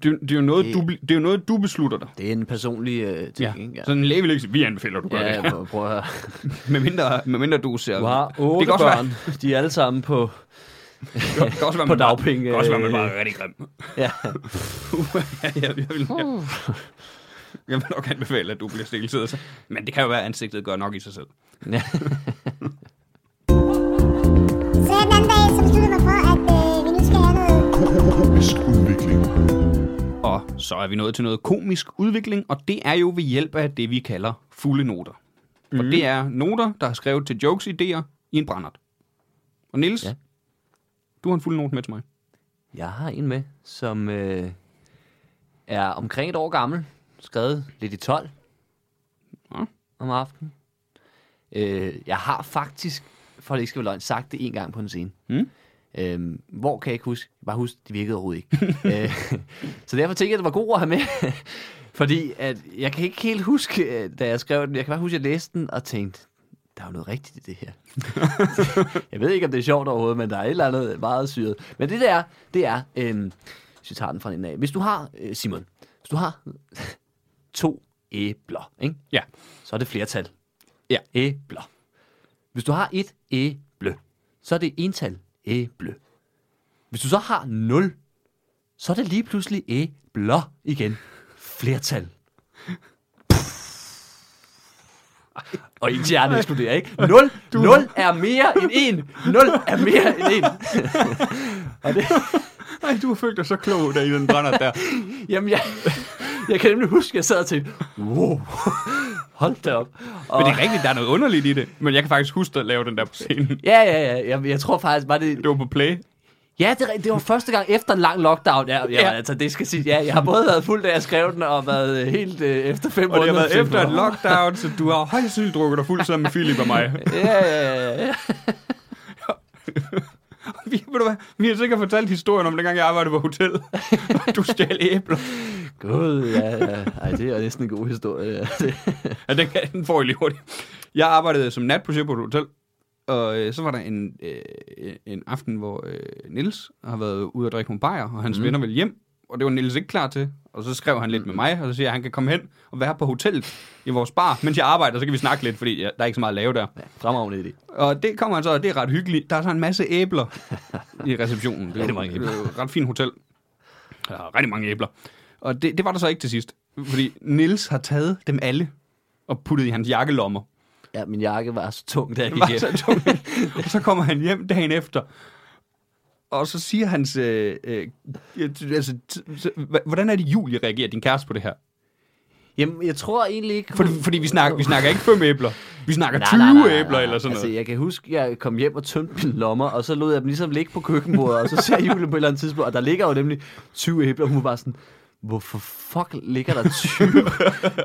Speaker 1: Det, er- det, er jo noget,
Speaker 3: Det-
Speaker 1: du, bl- det er jo noget, du beslutter dig.
Speaker 3: Det er en personlig øh, ting,
Speaker 1: Ja.
Speaker 3: ikke? Ja.
Speaker 1: Sådan en læge vil ikke sige, vi anbefaler, du gør
Speaker 3: Ja,
Speaker 1: det.
Speaker 3: ja, prøv, prøv at høre.
Speaker 1: Med mindre, med mindre du ser...
Speaker 3: Du har
Speaker 1: det
Speaker 3: otte
Speaker 1: kan også
Speaker 3: børn.
Speaker 1: Være,
Speaker 3: De er alle sammen på...
Speaker 1: det kan også være,
Speaker 3: På
Speaker 1: man bare-
Speaker 3: dagpenge,
Speaker 1: Det kan også være, man
Speaker 3: øh.
Speaker 1: bare er rigtig grim.
Speaker 3: Ja.
Speaker 1: ja, jeg, jeg, vil, jeg, jeg vil nok anbefale, at du bliver stillet. Så. Men det kan jo være, at ansigtet gør nok i sig selv.
Speaker 3: ja.
Speaker 2: Så den anden dag, så besluttede jeg mig for, at øh, vi nu skal have noget
Speaker 4: Komisk udvikling.
Speaker 1: Og så er vi nået til noget komisk udvikling, og det er jo ved hjælp af det, vi kalder fulde noter. Mm. Og det er noter, der er skrevet til jokes, idéer i en brændert. Og Nils,
Speaker 3: Ja.
Speaker 1: ja. Du har en fuld note med til mig.
Speaker 3: Jeg har en med, som øh, er omkring et år gammel, skrevet lidt i 12
Speaker 1: Ja.
Speaker 3: om aftenen. Øh, jeg har faktisk, for at det ikke skal være løgn, sagt det en gang på en scene.
Speaker 1: Mm.
Speaker 3: Øhm, hvor kan jeg ikke huske? Jeg kan Bare husk, det virkede overhovedet ikke. øh, så derfor tænkte jeg, at det var god at have med. Fordi at jeg kan ikke helt huske, øh, da jeg skrev den. Jeg kan bare huske, at jeg læste den og tænkte, der er jo noget rigtigt i det her. jeg ved ikke, om det er sjovt overhovedet, men der er et eller andet meget syret. Men det der er, det er, øhm, hvis vi tager den fra den af. Hvis du har, øh, Simon, hvis du har to æbler, ikke?
Speaker 1: Ja.
Speaker 3: så er det flertal.
Speaker 1: Ja.
Speaker 3: Æbler. Hvis du har et æble, så er det ental æble. Hvis du så har nul, så er det lige pludselig æbler igen. Flertal. Og en stjerne eksploderer, ikke? 0, 0 er mere end 1. 0 er mere end 1.
Speaker 1: Nej, du har følt dig så klog, da i den brænder der.
Speaker 3: Jamen, jeg, jeg kan nemlig huske, at jeg sad og tænkte, wow, hold da op. Og,
Speaker 1: Men det er rigtigt, der er noget underligt i det. Men jeg kan faktisk huske at lave den der på scenen.
Speaker 3: ja, ja, ja. Jeg, jeg tror faktisk, var det,
Speaker 1: Det var på play.
Speaker 3: Ja, det, er rigtigt. det var første gang efter en lang lockdown. Ja, ja,
Speaker 1: Ja.
Speaker 3: ja. altså det skal sige. Ja, jeg har både været fuld, da jeg skrev den, og været øh, helt øh, efter fem
Speaker 1: Og det
Speaker 3: måneder.
Speaker 1: har været
Speaker 3: tænkt,
Speaker 1: efter en
Speaker 3: "Åh."
Speaker 1: lockdown, så du har højst sandsynligt drukket dig fuld sammen med Philip og mig.
Speaker 3: Ja, ja, ja, ja.
Speaker 1: Vi, ved du hvad, vi har sikkert fortalt historien om dengang, jeg arbejdede på hotel. Du stjal æbler.
Speaker 3: God, ja, ja. Ej, det er næsten en god historie. Ja.
Speaker 1: Ja, den, kan- den får I lige hurtigt. Jeg arbejdede som natprojekt på et hotel, og øh, så var der en, øh, en aften, hvor øh, Nils har været ude at drikke nogle bajer, og hans mm. venner ville hjem, og det var Nils ikke klar til. Og så skrev han lidt med mig, og så siger jeg, at han kan komme hen og være på hotellet i vores bar, mens jeg arbejder, så kan vi snakke lidt, fordi ja, der er ikke så meget at lave der.
Speaker 3: Fremragende idé.
Speaker 1: Og det kommer han så, og det er ret hyggeligt. Der er så en masse æbler i receptionen. Det er,
Speaker 3: Rigtig
Speaker 1: jo-
Speaker 3: mange
Speaker 1: det er jo et ret fint hotel. Der er rigtig mange æbler. Og det, det var der så ikke til sidst. Fordi Nils har taget dem alle og puttet i hans jakkelommer.
Speaker 3: Ja, min jakke var så tung, da jeg
Speaker 1: Det
Speaker 3: gik
Speaker 1: var
Speaker 3: hjem.
Speaker 1: så tungt. Og så kommer han hjem dagen efter. Og så siger hans... Øh, øh, altså, t- t- hvordan er det, Julie reagerer, din kæreste, på det her?
Speaker 3: Jamen, jeg tror egentlig ikke...
Speaker 1: Fordi, fordi vi, snakker, vi snakker ikke fem æbler. Vi snakker 20 æbler eller sådan
Speaker 3: Altså,
Speaker 1: noget.
Speaker 3: jeg kan huske, jeg kom hjem og tømte mine lommer, og så lod jeg dem ligesom ligge på køkkenbordet, og så ser Julie på et eller andet tidspunkt, og der ligger jo nemlig 20 æbler, og hun var bare sådan, hvorfor fuck ligger der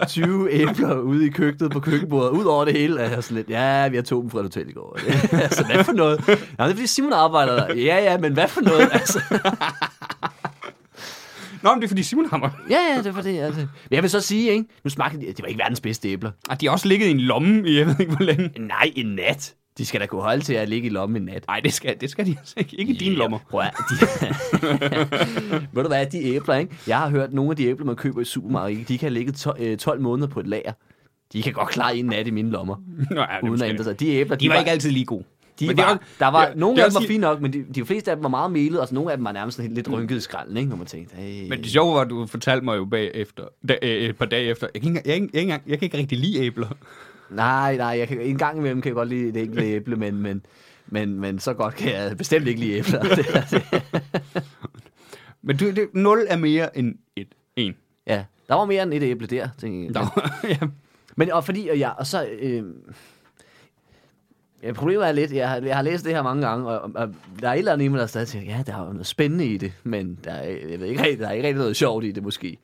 Speaker 3: 20, 20 æbler ude i køkkenet på køkkenbordet, ud over det hele? Og jeg er sådan lidt, ja, vi har tog dem fra et hotel i går. altså, hvad for noget? Jamen, det er fordi Simon arbejder der. Ja, ja, men hvad for noget? Altså,
Speaker 1: Nå, men det er fordi Simon har mig.
Speaker 3: ja, ja, det var det. Altså. Men jeg vil så sige, ikke? nu smagte de, det var ikke verdens bedste æbler.
Speaker 1: Ah, de har også ligget i en lomme i, jeg ved ikke hvor længe.
Speaker 3: Nej, en nat. De skal da kunne holde til at ligge i lommen en nat.
Speaker 1: Nej, det skal, det skal de altså ikke. Ikke i dine
Speaker 3: Ja,
Speaker 1: lommer.
Speaker 3: Prøv at, de... Ved du hvad, de æbler, ikke? Jeg har hørt, at nogle af de æbler, man køber i supermarkedet, de kan ligge to- øh, 12 måneder på et lager. De kan godt klare en nat i mine lommer,
Speaker 1: Nå, ja, det er
Speaker 3: uden at
Speaker 1: måske-
Speaker 3: ændre sig. De æbler, de,
Speaker 1: de var ikke altid lige gode.
Speaker 3: de
Speaker 1: Men det
Speaker 3: var,
Speaker 1: er
Speaker 3: var,
Speaker 1: også-
Speaker 3: der var,
Speaker 1: det-
Speaker 3: nogle
Speaker 1: det er
Speaker 3: af dem
Speaker 1: også
Speaker 3: var
Speaker 1: i-
Speaker 3: fine nok, men de, de fleste af dem var meget melede, og så nogle af dem var nærmest sådan lidt rynket i skralden, ikke? Når man tænkte, hey.
Speaker 1: Mm. Men det sjove var, at du fortalte mig jo bagefter, da, øh, et par dage efter, jeg kan, ikke, engang- jeg, kan ikke engang- jeg kan ikke rigtig lide æbler.
Speaker 3: Nej, nej, jeg kan, en gang imellem kan jeg godt lide et enkelt æble, men, men, men, men så godt kan jeg bestemt ikke lide æbler. Det er det.
Speaker 1: Men det, det, 0 er mere end 1. 1.
Speaker 3: ja, der var mere end et æble der, tænker jeg.
Speaker 1: Nå, ja.
Speaker 3: Men og fordi, og jeg, og så, øh, ja, problemet er lidt, jeg har, jeg har læst det her mange gange, og, og, og der er et eller andet i mig, der stadig tænker, ja, der er jo noget spændende i det, men der er, jeg ved ikke, rigtig- der er ikke rigtig noget sjovt i det måske.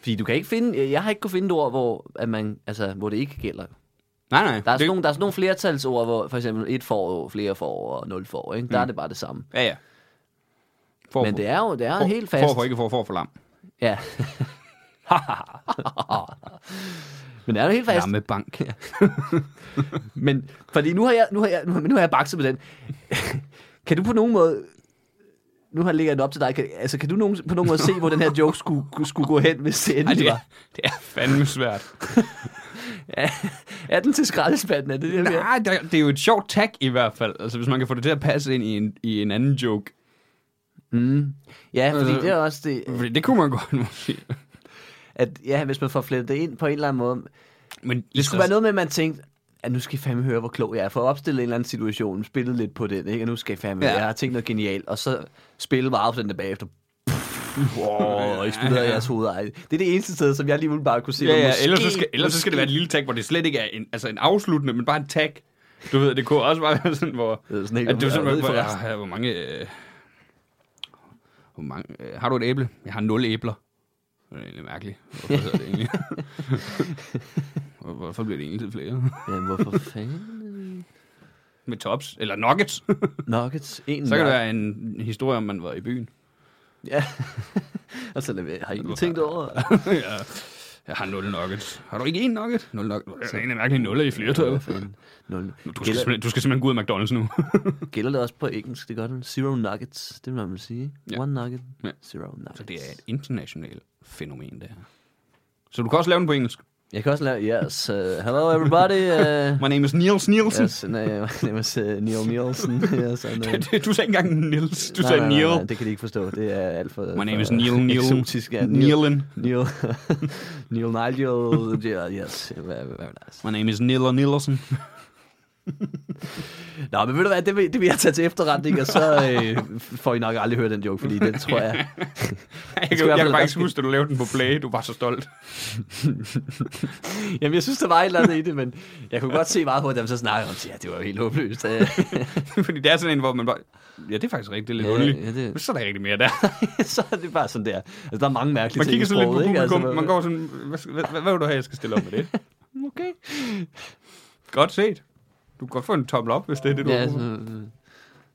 Speaker 3: Fordi du kan ikke finde, jeg har ikke kunne finde et ord, hvor, at man, altså, hvor det ikke gælder.
Speaker 1: Nej, nej.
Speaker 3: Der er, sådan
Speaker 1: det,
Speaker 3: nogle, der er sådan nogle flertalsord, hvor for eksempel et forår, flere forår og nul forår, ikke? Der
Speaker 1: Mm.
Speaker 3: er det bare det samme.
Speaker 1: Ja, ja. For,
Speaker 3: Men det er jo det er
Speaker 1: for,
Speaker 3: en helt
Speaker 1: For,
Speaker 3: fast.
Speaker 1: for, ikke for, for, for lam.
Speaker 3: Ja. men det er jo helt fast.
Speaker 1: Lammebank. Ja.
Speaker 3: Men fordi nu har jeg, nu har jeg, nu har, nu har jeg bakset med den. kan du på nogen måde... Nu har jeg ligget den op til dig. Kan, altså, kan du nogen, på nogen måde se, hvor den her joke skulle, skulle gå hen, hvis det
Speaker 1: Ej,
Speaker 3: endelig
Speaker 1: det, er,
Speaker 3: var?
Speaker 1: det er fandme svært.
Speaker 3: Er den til skraldespanden? Er det det, jeg mener?
Speaker 1: Nej, det, det er jo et sjovt tag i hvert fald. Altså, hvis man kan få det til at passe ind i en, i en anden joke.
Speaker 3: Ja, fordi
Speaker 1: Altså,
Speaker 3: det er også det,
Speaker 1: Fordi det kunne man godt måske.
Speaker 3: at ja, hvis man får flettet det ind på en eller anden måde.
Speaker 1: Men
Speaker 3: Det skulle være noget med, at man tænkte, at nu skal I fandme høre, hvor klog jeg er. For at opstille en eller anden situation, spille lidt på den, ikke? Og nu skal I fandme
Speaker 1: Ja.
Speaker 3: ja. Jeg har tænkt noget genialt. Og så spille bare op den der bagefter. Wow, eksploderer
Speaker 1: Ja, ja.
Speaker 3: jeres hoveder. Ej, Det er det eneste sted, som jeg lige bare kunne se,
Speaker 1: Ja,
Speaker 3: hvor
Speaker 1: ja,
Speaker 3: måske-
Speaker 1: ellers så, skal, ellers så skal det
Speaker 3: måske-
Speaker 1: være et lille tag, hvor det slet ikke er en, altså en afsluttende, men bare en tag. Du ved, det kunne også bare være sådan, hvor...
Speaker 3: Jeg ved sådan ikke,
Speaker 1: At du
Speaker 3: om jeg
Speaker 1: simpelthen
Speaker 3: ved
Speaker 1: bare,
Speaker 3: forresten.
Speaker 1: jeg, jeg, hvor mange... Øh, hvor mange øh, har du et æble? Jeg har nul æbler. Det er egentlig mærkeligt. Hvorfor hedder det egentlig? Hvor- Hvorfor bliver det egentlig til flere?
Speaker 3: Ja, hvorfor fanden?
Speaker 1: Med tops? Eller nuggets?
Speaker 3: Nuggets, en
Speaker 1: Så kan det
Speaker 3: nugget.
Speaker 1: være en historie, om man var i byen.
Speaker 3: Ja. altså, jeg har ikke tænkt over.
Speaker 1: ja. Jeg har nul nuggets. Har du ikke én nugget? Nul nugget. Det er egentlig mærkeligt nuller i flertal.
Speaker 3: Hvad fanden? Nul.
Speaker 1: Du skal,
Speaker 3: Gælder,
Speaker 1: simpelthen, du skal simpelthen gå ud af McDonald's nu.
Speaker 3: gælder det også på engelsk, det gør det. Zero nuggets, det vil man vel sige.
Speaker 1: Ja.
Speaker 3: One nugget,
Speaker 1: Ja.
Speaker 3: zero nuggets.
Speaker 1: Så det er et internationalt fænomen, det her. Så du kan også lave den på engelsk.
Speaker 3: Jeg kan også lave, yes, uh, hello everybody. Uh,
Speaker 1: My name is Niels Nielsen.
Speaker 3: yes, nej, my name is uh, Neil Nielsen. Yes, and, uh,
Speaker 1: du sagde ikke engang Niels, du
Speaker 3: nej,
Speaker 1: sagde
Speaker 3: nej, nej,
Speaker 1: Neil.
Speaker 3: Nej, det kan de ikke forstå, det er alt for...
Speaker 1: My name is
Speaker 3: for
Speaker 1: Neil Neil.
Speaker 3: Eksotisk, ja. Neil,
Speaker 1: Nielen.
Speaker 3: Neil, Neil Nigel, yeah, yes, very, very nice.
Speaker 1: My name is Niller Nielsen.
Speaker 3: Nå, men ved du hvad, det vil, det vil jeg tage til efterretning, og så øh, får I nok aldrig hørt den joke, fordi den tror jeg...
Speaker 1: Jeg
Speaker 3: tror
Speaker 1: kan,
Speaker 3: i hvert
Speaker 1: jeg
Speaker 3: fald,
Speaker 1: kan
Speaker 3: der
Speaker 1: bare ikke
Speaker 3: skal-
Speaker 1: huske, at du lavede den på Play. Du var så stolt.
Speaker 3: Jamen, jeg synes, der var et eller andet i det, men jeg kunne godt se meget hurtigt, at dem så snakkede om, ja, det var jo helt håbløst. Øh,
Speaker 1: Fordi det er sådan en, hvor man bare... Ja, det er faktisk rigtigt. Det er lidt
Speaker 3: Ja,
Speaker 1: underligt.
Speaker 3: ja, det-
Speaker 1: Men Så er der ikke rigtig mere der.
Speaker 3: så er det bare sådan der. Altså, der er mange mærkelige
Speaker 1: Man
Speaker 3: ting
Speaker 1: kigger
Speaker 3: i
Speaker 1: sådan lidt på
Speaker 3: sproget, ikke?
Speaker 1: publikum.
Speaker 3: Altså,
Speaker 1: Man går sådan... Hvad, skal- hvad, hvad, hvad vil du have, jeg skal stille op med det?
Speaker 3: Okay.
Speaker 1: Godt set. Du kan godt få en tommel op, hvis det er det, du
Speaker 3: Ja,
Speaker 1: ja,
Speaker 3: altså, øh, der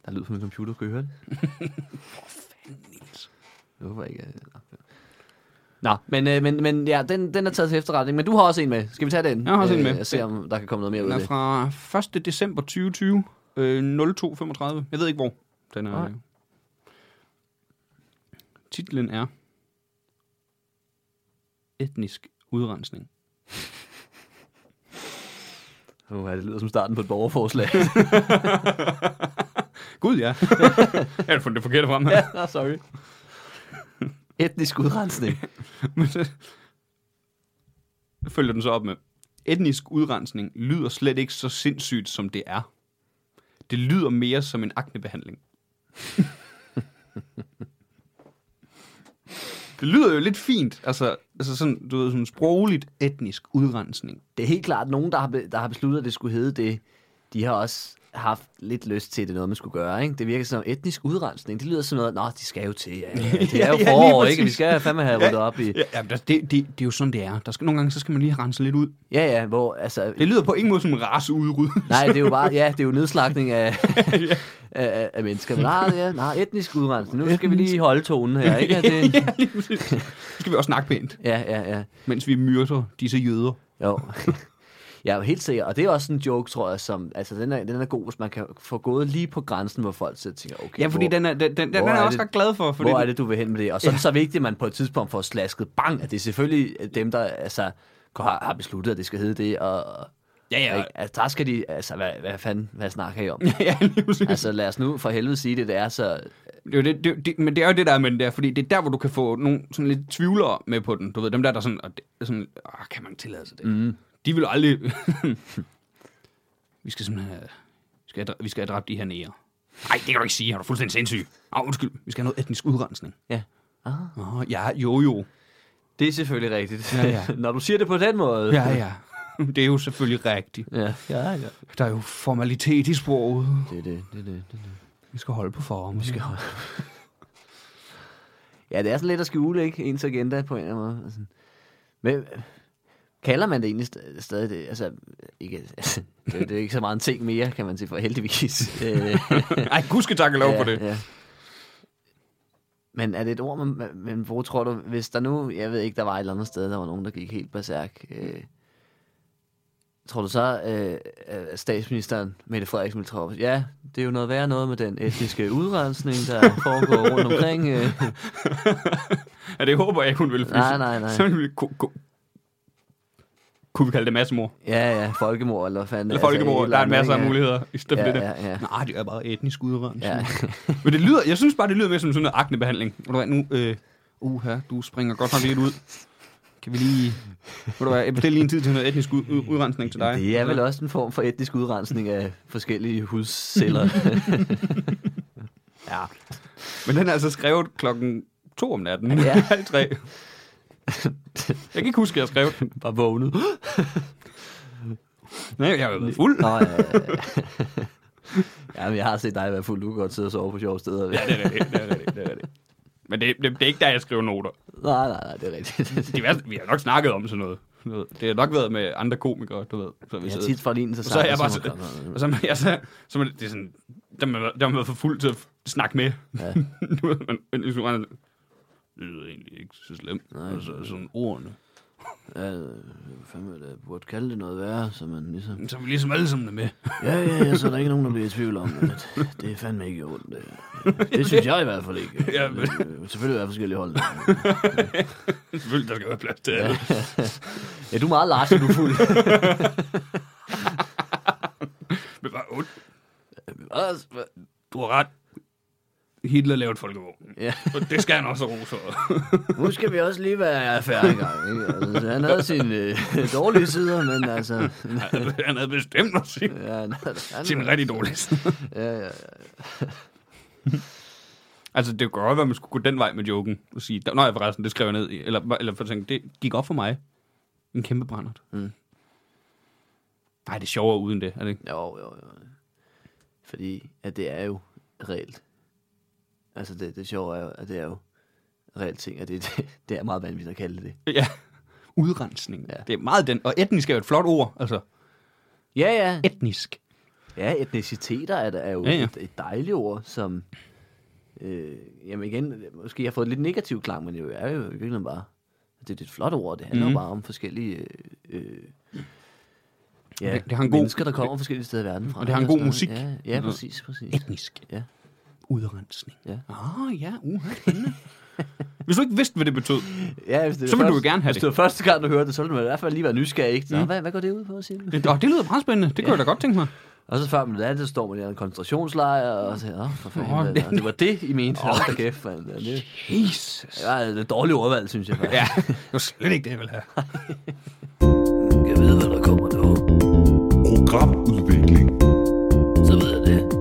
Speaker 3: er lyd på min computer, kan I høre det? Hvor fanden, Niels? Jeg håber ikke, at... Nå, men, øh, men, men ja, den, den er taget til efterretning, men du har også en med. Skal vi tage den?
Speaker 1: Jeg har også en med.
Speaker 3: Jeg ser, om der kan komme noget mere ud
Speaker 1: Den
Speaker 3: af
Speaker 1: er
Speaker 3: det.
Speaker 1: fra 1. december 2020. Øh, 0235. Jeg ved ikke, hvor den er.
Speaker 3: Nej.
Speaker 1: Titlen er... Etnisk udrensning.
Speaker 3: Uh, det lyder som starten på et borgerforslag.
Speaker 1: Gud, ja. jeg har fundet det forkerte frem her.
Speaker 3: ja, sorry. Etnisk udrensning.
Speaker 1: Men så følger den så op med, etnisk udrensning lyder slet ikke så sindssygt, som det er. Det lyder mere som en aknebehandling. det lyder jo lidt fint, altså, altså sådan, du ved, sådan sprogligt etnisk udrensning.
Speaker 3: Det er helt klart nogen, der har, be- der har besluttet, at det skulle hedde det. De har også haft lidt lyst til, at det er noget, man skulle gøre. Ikke? Det virker som etnisk udrensning. Det lyder som noget, nå, de skal jo til. Ja, ja, det er jo
Speaker 1: Ja, lige
Speaker 3: forår,
Speaker 1: præcis.
Speaker 3: ikke? Vi skal fandme have ryddet op i...
Speaker 1: Ja, ja men det, det, det, er jo sådan, det er. Der skal, nogle gange så skal man lige rense lidt ud.
Speaker 3: Ja, ja, hvor altså...
Speaker 1: Det lyder på ingen måde som en raceudrydde.
Speaker 3: Nej, det er jo bare, ja, det er jo nedslagning af, af, af, af mennesker. Men nej, ja, nej, etnisk udrensning. Nu skal vi lige holde tonen her, ikke? Ja, Det,
Speaker 1: ja, lige præcis. Nu skal vi også snakke pænt,
Speaker 3: ja, ja, ja.
Speaker 1: mens vi myrder disse jøder.
Speaker 3: Jo. Jeg er jo helt sikker, og det er også en joke, tror jeg, som, altså den er, den er god, hvis man kan få gået lige på grænsen, hvor folk sidder og tænker, okay,
Speaker 1: Ja, fordi
Speaker 3: hvor,
Speaker 1: den er, den, den, den er,
Speaker 3: hvor
Speaker 1: jeg
Speaker 3: er
Speaker 1: også
Speaker 3: det-
Speaker 1: ret glad for. Fordi
Speaker 3: hvor er
Speaker 1: den-
Speaker 3: det, du vil hen med det? Og så er det så vigtigt, at man på et tidspunkt får slasket bang, at det er selvfølgelig dem, der altså, har, har besluttet, at det skal hedde det, og
Speaker 1: Ja, ja.
Speaker 3: ikke? Altså, der skal de, altså, hvad, hvad fanden, hvad snakker I om?
Speaker 1: ja, lige præcis.
Speaker 3: altså, lad os nu for helvede sige det, det er så...
Speaker 1: Det er jo det, det, det, men det er jo det der, men det er, fordi det er der, hvor du kan få nogle sådan lidt tvivlere med på den. Du ved, dem der, der sådan, og det, sådan åh, kan man tillade sig det? Mm. De vil jo aldrig... vi skal simpelthen have, vi skal have, dræ- vi skal have dræbt de her nære. Nej, det kan du ikke sige. Har du fuldstændig sindssyg? Åh, undskyld. Vi skal have noget etnisk udrensning.
Speaker 3: Ja.
Speaker 1: Åh, ja, jo, jo.
Speaker 3: Det er selvfølgelig rigtigt.
Speaker 1: Ja, ja.
Speaker 3: Når du siger det på den måde.
Speaker 1: Ja, ja. Det er jo selvfølgelig rigtigt.
Speaker 3: Ja, ja, ja.
Speaker 1: Der er jo formalitet i sproget.
Speaker 3: Det er det, det er det, det er det.
Speaker 1: Vi skal holde på formen. Vi skal holde.
Speaker 3: Ja, det er sådan lidt at skjule, ikke? Ens agenda på en eller anden måde. Altså, Men kalder man det egentlig st- stadig det? Altså, ikke, altså, det, er- det er ikke så meget en ting mere, kan man sige, for heldigvis. Øh,
Speaker 1: Ej, gud skal takke lov for det.
Speaker 3: Ja. Men er det et ord, man, man- men hvor tror du, hvis der nu, jeg ved ikke, der var et eller andet sted, der var nogen, der gik helt berserk, øh, tror du så, øh, at statsministeren, Mette Frederiksen, ville tro, ja, det er jo noget værre noget med den etniske udrensning, der foregår rundt omkring. Øh,
Speaker 1: Ja, det håber jeg ikke, hun ville. fordi
Speaker 3: Nej,
Speaker 1: så-
Speaker 3: nej, nej.
Speaker 1: Så ville vi, ku, ku, kunne vi kalde det massemord.
Speaker 3: ja, ja, folkemord, eller hvad fanden.
Speaker 1: Eller folkemord.
Speaker 3: et
Speaker 1: Der er en
Speaker 3: eller andet,
Speaker 1: masse af
Speaker 3: ikke?
Speaker 1: muligheder i stedet for
Speaker 3: Ja,
Speaker 1: det der.
Speaker 3: ja, ja.
Speaker 1: Nej, det er bare etnisk udrørelse.
Speaker 3: Ja.
Speaker 1: Ja. Men det lyder, jeg synes bare, det lyder mere som sådan en aknebehandling. Ved du hvad, nu, øh, uha, du springer godt nok lidt ud. Kan vi lige... Ved du hvad, jeg bestiller lige en tid til noget etnisk ud, ud, udrensning til dig.
Speaker 3: Det er vel også en form for etnisk udrensning af forskellige hudceller. ja.
Speaker 1: Men den er altså skrevet klokken to om natten.
Speaker 3: Ja.
Speaker 1: Ja. Halv tre. Jeg kan ikke huske, at jeg skrev den.
Speaker 3: Bare vågnet.
Speaker 1: Nej, jeg har jo været fuld.
Speaker 3: Nå, ja, ja, ja. ja, men jeg har set dig være fuld. Du kan godt sidde og sove på sjove steder.
Speaker 1: Ja, det er rigtigt, det er rigtigt, det er rigtigt. Men det, det, det er ikke der, jeg skriver noter.
Speaker 3: Nej, nej, nej, det er rigtigt.
Speaker 1: Det værste, vi har nok snakket om sådan noget. Du ved, Det har nok været med andre komikere, du ved. Så vi
Speaker 3: Jeg har
Speaker 1: sidder-
Speaker 3: tit fra din, så,
Speaker 1: Og så er jeg bare
Speaker 3: så-
Speaker 1: sådan, og så, er man- jeg, så, så er man, det er sådan, der har man, været- der har man været for fuld til at f- snakke med.
Speaker 3: Ja.
Speaker 1: du ved, man, men hvis man, det lyder egentlig ikke så slemt. Nej, altså, sådan ordene.
Speaker 3: Ja, hvad fanden er det? Jeg burde kalde det noget værre, så man ligesom...
Speaker 1: Så er vi ligesom alle sammen med.
Speaker 3: Ja, ja, ja, så er der ikke nogen, der bliver i tvivl om, at det er fandme ikke ondt. Det, det synes jeg i hvert fald ikke.
Speaker 1: Ja, men-
Speaker 3: Det, selvfølgelig er forskellige hold.
Speaker 1: Selvfølgelig, der skal være plads til alle.
Speaker 3: Ja, du er meget Lars, og du er fuld.
Speaker 1: Men bare, ondt. du har ret. Hitler lavede folkevognen.
Speaker 3: Ja.
Speaker 1: Og det skal han også rose for.
Speaker 3: Nu skal vi også lige være færdige en gang. Ikke? Altså, han havde sine øh, dårlige sider, men altså...
Speaker 1: han havde bestemt at sige.
Speaker 3: Ja, han, han,
Speaker 1: Til en rigtig dårlig
Speaker 3: Ja, ja, ja.
Speaker 1: Altså, det kunne godt være, at man skulle gå den vej med joken og sige, nå ja, forresten, det skrev jeg ned. i." Eller, eller for at tænke, det gik op for mig. En kæmpe brændert.
Speaker 3: Mm.
Speaker 1: Nej, det er sjovere uden det, er det ikke?
Speaker 3: Jo, jo, jo. Fordi at det er jo reelt. Altså det, det sjove er jo, at det er jo reelt ting, og det, det, det er meget vanvittigt at kalde det det.
Speaker 1: Ja. Udrensning.
Speaker 3: Ja.
Speaker 1: Ja. Det er meget den. Og etnisk er jo et flot ord, altså.
Speaker 3: Ja, ja.
Speaker 1: Etnisk.
Speaker 3: Ja, etniciteter er, der- er jo ja,
Speaker 1: Ja,
Speaker 3: ja.
Speaker 1: ja.
Speaker 3: Et, et dejligt ord, som... Øh, jamen igen, måske jeg har fået lidt negativ klang, men det er jo i virkeligheden bare... Det, det er et flot ord, det handler mm.
Speaker 1: Mhm.
Speaker 3: bare om forskellige... Øh, øh, ja,
Speaker 1: Det- det har en god- Mm.
Speaker 3: mennesker, der kommer forskellige steder i verden fra.
Speaker 1: og det har en god
Speaker 3: og sådan noget.
Speaker 1: musik. Mm.
Speaker 3: Ja, ja præcis, præcis.
Speaker 1: Etnisk.
Speaker 3: Ja.
Speaker 1: Udrensning.
Speaker 3: Ja.
Speaker 1: Åh, oh, ja. Uh, Hvis du ikke vidste, hvad det betød,
Speaker 3: Ja, hvis det
Speaker 1: Så
Speaker 3: var
Speaker 1: vil du jo
Speaker 3: først-
Speaker 1: gerne have det.
Speaker 3: Hvis det var første gang, du hørte det, så ville man i hvert fald lige være nysgerrig. Ikke? Nå, hvad, hvad går det ud på, siger du?
Speaker 1: det, oh, det lyder meget spændende. Det kunne jeg da godt tænke mig.
Speaker 3: Og så før man lærte, det, står man i en koncentrationslejr, og så, åh, for fanden,
Speaker 1: Åh,
Speaker 3: oh, det,
Speaker 1: det-
Speaker 3: det, var det, I mente. Åh, oh, kæft, man. Det, det,
Speaker 1: Jesus.
Speaker 3: det var et dårligt ordvalg, synes jeg. faktisk.
Speaker 1: Ja, det var slet ikke det, jeg ville have.
Speaker 3: Jeg ved, hvad der kommer nu.
Speaker 4: Programudvikling.
Speaker 3: Så ved jeg det.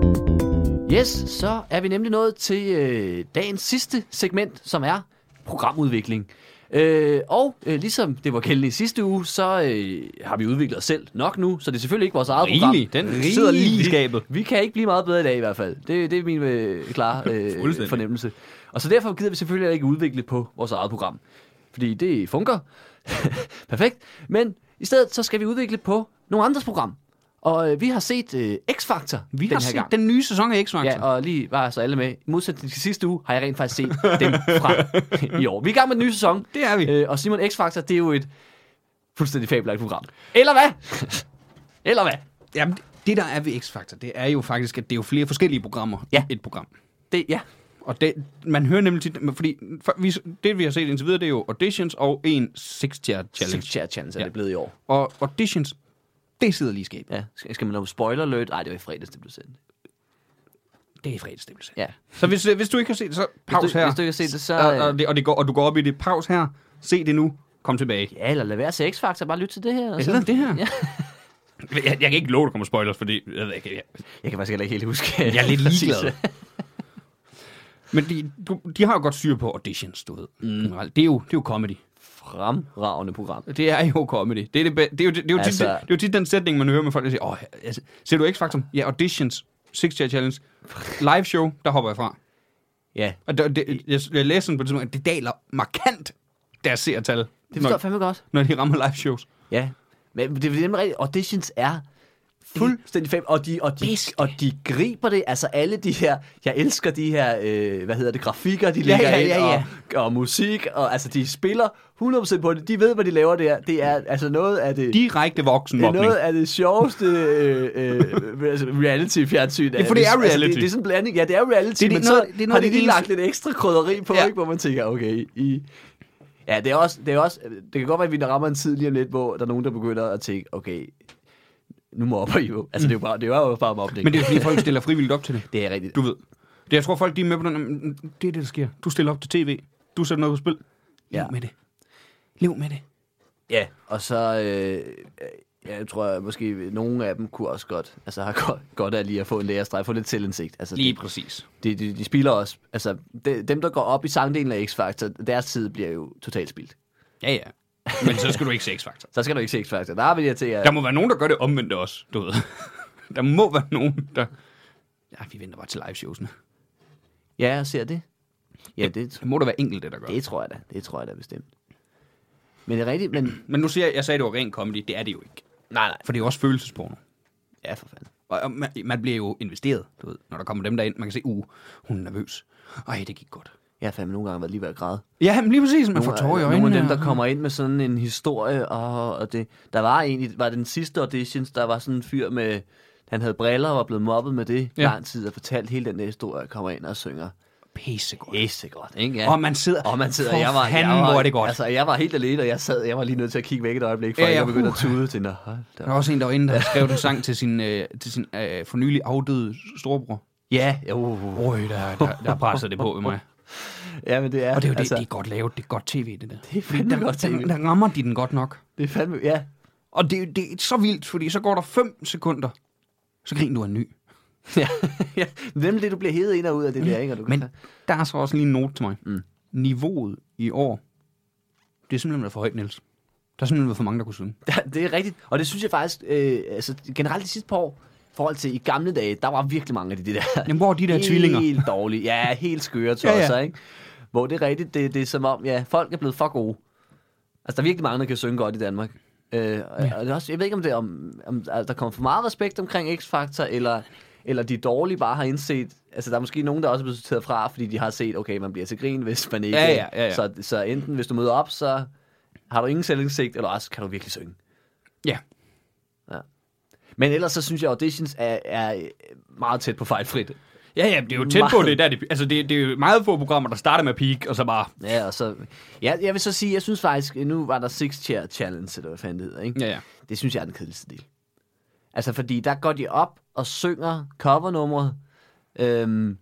Speaker 3: Yes, så er vi nemlig nået til øh, dagens sidste segment, som er programudvikling. Øh, og øh, ligesom det var kældende i sidste uge, så øh, har vi udviklet os selv nok nu, så det er selvfølgelig ikke vores eget
Speaker 1: Rigeligt.
Speaker 3: program.
Speaker 1: Den
Speaker 3: Det sidder lige i
Speaker 1: rigeligt.
Speaker 3: skabet. Vi kan ikke blive meget bedre i dag i hvert fald. Det, det er min øh, klare øh,
Speaker 1: Fuldstændig.
Speaker 3: fornemmelse. Og så derfor gider vi selvfølgelig ikke udvikle på vores eget program. Fordi det fungerer. Perfekt. Men i stedet så skal vi udvikle på nogle andres program. Og øh, vi har set øh, X-Factor
Speaker 1: Vi har
Speaker 3: den her
Speaker 1: set
Speaker 3: gang.
Speaker 1: den nye sæson af X-Factor.
Speaker 3: Ja, og lige var så alle med. I modsætning til sidste uge har jeg rent faktisk set dem fra i år. Vi er i gang med den nye sæson.
Speaker 1: Det er vi.
Speaker 3: Øh, og Simon X-Factor, det er jo et fuldstændig fabelagt program. Eller hvad? Eller hvad?
Speaker 1: Jamen, det- det der er ved X-Factor, det er jo faktisk, at det er jo flere forskellige programmer
Speaker 3: Ja.
Speaker 1: i et program.
Speaker 3: Det, ja.
Speaker 1: Og det, man hører nemlig tit, men fordi for, vi, det vi har set indtil videre, det er jo auditions og en 6 tier challenge.
Speaker 3: Six Chair Chance er
Speaker 1: Ja.
Speaker 3: det blevet i år.
Speaker 1: Og auditions, det sidder lige i skabet.
Speaker 3: Ja. Skal, skal man lave spoiler alert? Nej, det var i fredags, det blev sendt.
Speaker 1: Det er i fredagsstemmelse.
Speaker 3: Ja.
Speaker 1: Så hvis, øh, hvis du ikke har set det, så pause
Speaker 3: du-
Speaker 1: her.
Speaker 3: hvis du ikke har set det, så,
Speaker 1: Og,
Speaker 3: øh,
Speaker 1: og, det, og, det går, og du går op i det, pause her, se det nu, kom tilbage.
Speaker 3: Ja, eller lad være at se X-Factor, bare lyt til det her. Og
Speaker 1: Eller det her.
Speaker 3: Ja.
Speaker 1: Jeg, jeg kan ikke love, at der kommer spoilers, fordi jeg, ved ikke, jeg,
Speaker 3: Jeg kan faktisk heller ikke helt huske.
Speaker 1: jeg er lidt
Speaker 3: præcis. øh,
Speaker 1: ligeglad. Men de, du, de har jo godt styr på auditions, du ved. Mm. Det, er jo, det er jo comedy.
Speaker 3: Fremragende program.
Speaker 1: Det er jo comedy. Det er, det, be- det er, jo, det, er jo
Speaker 3: Altså-
Speaker 1: tit, det, det er jo tit den sætning, man hører med folk, der siger, åh, altså, ser du X-Factor? Ja, auditions, Six Chair Challenge, live show, der hopper jeg fra.
Speaker 3: Ja.
Speaker 1: Og det, det, jeg, jeg læser sådan på det tidspunkt, at det daler markant deres seertal,
Speaker 3: Det forstår jeg
Speaker 1: når,
Speaker 3: fandme godt.
Speaker 1: når de rammer live shows.
Speaker 3: Ja, men det er nemlig rigtigt. Auditions er fuldstændig fem, og de, og, de, og de griber det, altså alle de her, jeg elsker de her, øh, hvad hedder det, grafikker, de lægger
Speaker 1: ja, ja, ja.
Speaker 3: ind, og, og musik, og altså de spiller 100% på det, de ved, hvad de laver der, det er altså noget af det,
Speaker 1: Direkte
Speaker 3: det er
Speaker 1: voksenmobning.
Speaker 3: noget af det sjoveste øh, øh, altså reality-fjernsyn.
Speaker 1: Ja, for det er
Speaker 3: Altså, det,
Speaker 1: reality.
Speaker 3: det er sådan en blanding, ja, det er reality,
Speaker 1: Det er
Speaker 3: men
Speaker 1: det-
Speaker 3: så
Speaker 1: noget- det er noget
Speaker 3: har
Speaker 1: af
Speaker 3: de
Speaker 1: det
Speaker 3: lige
Speaker 1: eneste-
Speaker 3: lagt lidt ekstra krydderi på,
Speaker 1: Ja.
Speaker 3: ikke, hvor man tænker, okay, i, Ja, det er også, det er også, det kan godt være, at vi rammer en tid lige om lidt, hvor der er nogen, der begynder at tænke, okay, nu mobber I jo. Altså, det er jo bare, det er jo bare mobning.
Speaker 1: Men det er jo fordi, folk stiller frivilligt op til det.
Speaker 3: det er rigtigt.
Speaker 1: Du ved. Det, jeg tror, folk de er med på den. "Mm, Det er det, der sker. Du stiller op til tv. Du sætter noget på spil. Lev
Speaker 3: Ja.
Speaker 1: med det. Lev med det.
Speaker 3: Ja, og så, øh, jeg tror jeg, måske nogle af dem kunne også godt, altså har godt, godt af lige at få en lærestreg, få lidt selvindsigt. Altså, det-
Speaker 1: præcis.
Speaker 3: de, de, de spiller også. Altså, de, dem, der går op i sangdelen af X-Factor, deres tid bliver jo totalt spildt.
Speaker 1: Ja, ja. Men så skal du ikke se X-Factor.
Speaker 3: Så skal du ikke se X-Factor. Der vil jeg til at...
Speaker 1: Der må være nogen, der gør det omvendt også, du ved. Der må være nogen, der... Ja, vi venter bare til liveshowsene.
Speaker 3: Ja, jeg ser det. Ja, det,
Speaker 1: Der må der være enkelte, der gør det.
Speaker 3: det tror jeg da. Det tror jeg da bestemt. Men det er rigtigt, men...
Speaker 1: Men nu siger jeg, jeg sagde, det var ren comedy. Det er det jo ikke.
Speaker 3: Nej, nej.
Speaker 1: For det er jo også følelsesporno.
Speaker 3: Ja, for fanden.
Speaker 1: Og, og man, man, bliver jo investeret, du ved, når der kommer dem der ind. Man kan se, uh, hun er nervøs. Ej, det gik godt.
Speaker 3: Jeg har fandme nogle gange været lige ved at græde.
Speaker 1: Ja, men lige præcis, man får
Speaker 3: Nogle af-
Speaker 1: tårer i øjnene.
Speaker 3: Nogle af dem, der kommer ind med sådan en historie, og, og det, der var egentlig, var den sidste auditions, der var sådan en fyr med, han havde briller og var blevet mobbet med det
Speaker 1: Ja.
Speaker 3: ja. lang tid, og fortalt hele den der historie, og kommer ind og synger.
Speaker 1: Pisse godt.
Speaker 3: Pisse godt, ikke?
Speaker 1: Og man sidder-
Speaker 3: og man sidder,
Speaker 1: For
Speaker 3: jeg var,
Speaker 1: fanden,
Speaker 3: jeg var,
Speaker 1: hvor er det godt.
Speaker 3: Altså, jeg var helt alene, og jeg sad, jeg var lige nødt til at kigge væk et øjeblik, for
Speaker 1: Ja,
Speaker 3: ja,
Speaker 1: ja,
Speaker 3: jeg begyndte
Speaker 1: uh.
Speaker 3: at tude til, nå, hold da.
Speaker 1: Der
Speaker 3: op."
Speaker 1: var også en, der var inde, der skrev en sang til sin, øh, til sin øh, for nylig afdøde storebror.
Speaker 3: Ja, jo, uh,
Speaker 1: Røg, der, der, der pressede det på ved mig.
Speaker 3: ja, men det er,
Speaker 1: Og det er jo det, altså,
Speaker 3: altså,
Speaker 1: det er godt lavet. Det er godt tv, det der. Det
Speaker 3: er fandme
Speaker 1: der,
Speaker 3: godt
Speaker 1: Der,
Speaker 3: TV.
Speaker 1: der rammer de den godt nok.
Speaker 3: det er fandme, ja,
Speaker 1: Og det, det er så vildt, fordi så går der 5 sekunder, så griner du af en ny.
Speaker 3: ja, ja, nemlig det, du bliver hævet ind og ud af det der, ikke? Og du
Speaker 1: Men der er så også lige en note til mig. Mm. Niveauet i år, det er simpelthen været for højt, Niels. Der er simpelthen været for mange, der kunne synge.
Speaker 3: Ja, Det er rigtigt, og det synes jeg faktisk, øh, altså generelt de sidste par år, i forhold til i gamle dage, der var virkelig mange af de, de der...
Speaker 1: Jamen, hvor er de der
Speaker 3: helt
Speaker 1: tvillinger?
Speaker 3: Helt dårlige, ja, helt skøre
Speaker 1: Ja, ja.
Speaker 3: tosser, ja, ja. ikke? Hvor det er rigtigt, det, det er som om, ja, folk er blevet for gode. Altså, der er virkelig mange, der kan synge godt i Danmark. Øh, ja. og det er også, jeg ved ikke, om, det er, om, om altså, der kommer for meget respekt omkring X-Factor, eller, eller de dårlige bare har indset... Altså, der er måske nogen, der også er blevet sorteret fra, fordi de har set, okay, man bliver til grin, hvis man ikke...
Speaker 1: Ja, ja, ja, ja.
Speaker 3: Så, så enten, hvis du møder op, så har du ingen selvindsigt, eller også kan du virkelig synge.
Speaker 1: Ja.
Speaker 3: Men ellers så synes jeg, auditions er, er øh, meget tæt på fejlfrit.
Speaker 1: Ja, ja, det er jo tæt på
Speaker 3: Meget.
Speaker 1: det. Der, det, altså, det, det er jo meget få programmer, der starter med peak, og så bare...
Speaker 3: Ja, og så, ja, jeg vil så sige, jeg synes faktisk, nu var der Six Chair Challenge, eller hvad fanden det hedder, ikke?
Speaker 1: Ja, ja.
Speaker 3: Det synes jeg er den kedeligste del. Altså, fordi der går de op og synger covernumre, øhm,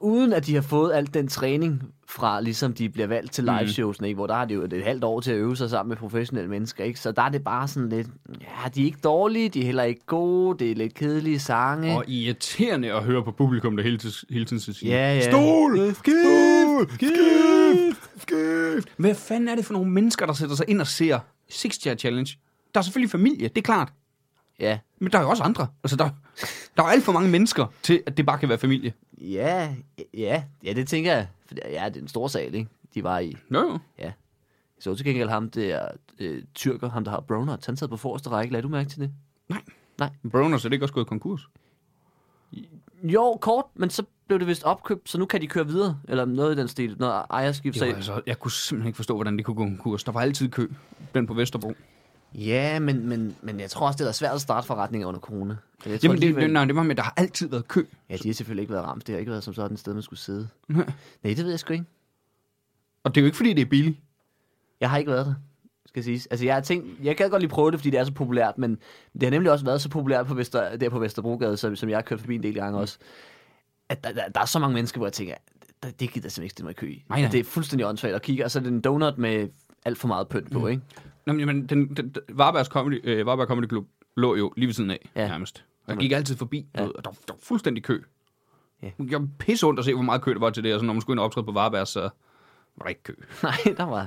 Speaker 3: uden at de har fået alt den træning fra, ligesom de bliver valgt
Speaker 1: Mhm.
Speaker 3: til liveshowsene, ikke? hvor der har de jo et halvt år til at øve sig sammen med professionelle mennesker, ikke? så der er det bare sådan lidt, ja, de er ikke dårlige, de er heller ikke gode, det er lidt kedelige sange.
Speaker 1: Og irriterende at høre på publikum, der hele, tids- hele tiden skal sige,
Speaker 3: Ja, ja.
Speaker 1: Stol! Skift! Skift! Skift! Hvad fanden er det for nogle mennesker, der sætter sig ind og ser Six Chair Challenge? Der er selvfølgelig familie, det er klart.
Speaker 3: Ja,
Speaker 1: Men der er jo også andre. Altså, der, der er jo alt for mange mennesker til, at det bare kan være familie.
Speaker 3: Ja, ja, ja, det tænker jeg. For det- ja, det er en stor sal, ikke? De var i.
Speaker 1: Jo, jo.
Speaker 3: Ja. Jeg så til gengæld ham der øh, tyrker, ham der har Bronert. Han sad på forreste række. Lad du mærke til det?
Speaker 1: Nej.
Speaker 3: Nej.
Speaker 1: Broners er det ikke også gået konkurs?
Speaker 3: Jo, kort, men så blev det vist opkøbt, så nu kan de køre videre. Eller noget i den stil, når ejerskib
Speaker 1: Jo,
Speaker 3: sagde.
Speaker 1: altså, jeg kunne simpelthen ikke forstå, hvordan det kunne gå konkurs. Der var altid kø. Den på Vesterbro.
Speaker 3: Ja, men, men, men jeg tror også, det har været svært at starte forretninger under corona. Jeg tror
Speaker 1: Jamen, det,
Speaker 3: alligevel-
Speaker 1: det, nej, det var med, at der har altid været kø.
Speaker 3: Ja, de har selvfølgelig ikke været ramt. Det har ikke været som sådan et sted, man skulle sidde.
Speaker 1: Nej.
Speaker 3: Nej, det ved jeg sgu ikke.
Speaker 1: Og det er jo ikke, fordi det er billigt.
Speaker 3: Jeg har ikke været der, skal siges. Altså, jeg har tænkt, jeg kan godt lige prøve det, fordi det er så populært, men det har nemlig også været så populært på Vester, der på Vesterbrogade, som, som jeg har kørt forbi en del gange også, at der, der, der er så mange mennesker, hvor jeg tænker, der, det gider jeg simpelthen ikke stille mig i kø i.
Speaker 1: Nej, nej.
Speaker 3: Det er fuldstændig åndssvagt at kigge, og så er det en donut med alt for meget pynt på, mm. ikke?
Speaker 1: Nå, men jamen, den, den, den Varbergs Comedy, øh, Varberg Comedy Club lå jo lige ved siden af, ja.
Speaker 3: Ja.
Speaker 1: nærmest. Og jeg gik altid forbi, ja.
Speaker 3: Ja.
Speaker 1: og der, var- der var fuldstændig kø. Ja.
Speaker 3: Ja.
Speaker 1: Det gjorde pisse ondt at se, hvor meget kø der var til det. Og så når man skulle ind og optræde på Varbergs, så var der ikke kø. Det
Speaker 3: Nej, der var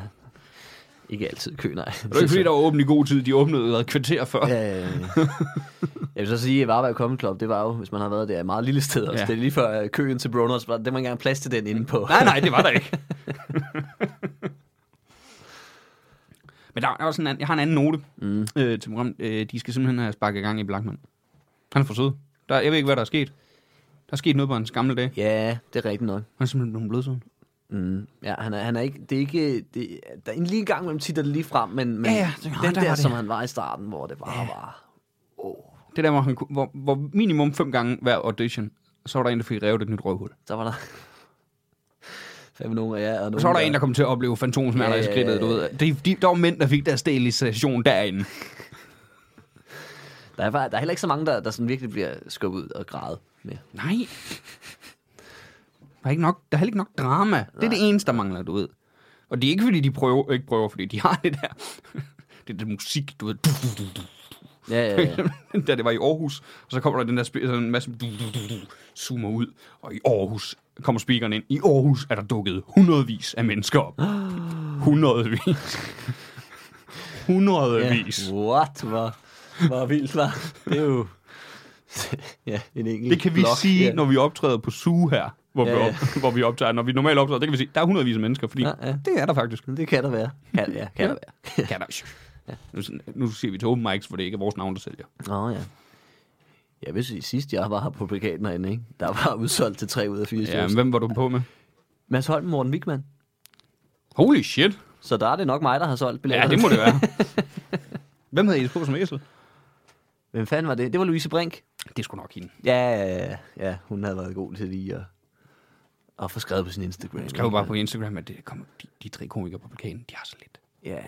Speaker 3: ikke altid kø, nej.
Speaker 1: var ikke, fordi der var åbent i god tid. De åbnede jo et kvarter før. Ja.
Speaker 3: Øh, jeg vil så sige, at Varberg Comedy Club, det var jo, hvis man har været der, et meget lille sted også.
Speaker 1: Ja. Mm.
Speaker 3: Ja. Det er lige før øh, køen til Broners, var- der var ikke engang plads til den inde på.
Speaker 1: Nej, nej, det var der ikke. men der, der er også en anden, jeg har en anden note mm. øh, til programmet. Øh, de skal simpelthen have sparket i gang i Blackman. Han er for sød. Der, jeg ved ikke, hvad der er sket. Der er sket noget på hans gamle dag.
Speaker 3: Ja, det er rigtigt nok.
Speaker 1: Han er simpelthen blevet blødsød.
Speaker 3: Mm. Ja, han er, han er ikke, det er ikke, det, der er en lige gang mellem tit og lige frem, men, men
Speaker 1: Ja, ja, det-
Speaker 3: den
Speaker 1: der
Speaker 3: der,
Speaker 1: var det.
Speaker 3: som han var i starten, hvor det bare ja. var,
Speaker 1: Det der, hvor, han, ku- hvor, hvor minimum fem gange hver audition, så var der en, der fik revet et nyt røvhul.
Speaker 3: så var der fem nogen af jer. Og nogen,
Speaker 1: Så var der en, der kom til at opleve fantomsmerter ja,
Speaker 3: Ja,
Speaker 1: i
Speaker 3: ja,
Speaker 1: skridtet, du
Speaker 3: ja,
Speaker 1: ved. De, de, der var mænd, der fik deres sterilisation derinde.
Speaker 3: der, er, bare- der er heller ikke så mange, der, der sådan virkelig bliver skubbet ud og græde mere.
Speaker 1: Nej. Der er, ikke nok, der er heller ikke nok drama. Det er det eneste, der mangler, du ved. Og det er ikke, fordi de prøver, ikke prøver, fordi de har det der... det er det musik, du ved.
Speaker 3: Ja, ja, ja.
Speaker 1: da det var i Aarhus, og så kommer der den der spe- sådan en masse du, du, du, du, zoomer ud, og i Aarhus kommer speakeren ind. I Aarhus er der dukket hundredvis af mennesker op. Hundredvis. Hundredvis. Yeah.
Speaker 3: What? Hvor, hvor vildt, var. Det er jo... ja, en enkelt
Speaker 1: Det kan vi
Speaker 3: blok,
Speaker 1: sige,
Speaker 3: ja.
Speaker 1: når vi optræder på Zoo her, hvor,
Speaker 3: Ja,
Speaker 1: vi, op, hvor vi optager. Når vi normalt optræder, det kan vi sige, der er hundredvis af mennesker, fordi
Speaker 3: Ja, ja.
Speaker 1: det er der faktisk.
Speaker 3: Det kan der være. Kan, ja, kan der være.
Speaker 1: Kan der. Nu, nu siger vi til open mics, for det ikke er vores navn, der sælger.
Speaker 3: Nå ja. Jeg vil sige, sidst jeg var her på plakaten herinde, ikke? der var udsolgt til 3 ud af 4
Speaker 1: Ja,
Speaker 3: ja,
Speaker 1: men
Speaker 3: men...
Speaker 1: hvem var du på med?
Speaker 3: Mads Holm, Morten Wigman.
Speaker 1: Holy shit.
Speaker 3: Så der er det nok mig, der har solgt billetter.
Speaker 1: Ja, det må det være. Hvem havde I på som æsel?
Speaker 3: Hvem fanden var det? Det var Louise Brink.
Speaker 1: Det skulle nok hende.
Speaker 3: Ja, ja, ja, ja, hun havde været god til lige at, at få skrevet på sin Instagram. Hun
Speaker 1: Jeg skrev bare på Instagram, at det kom, de, de tre komikere på plakaten, de har så lidt.
Speaker 3: Ja, ja.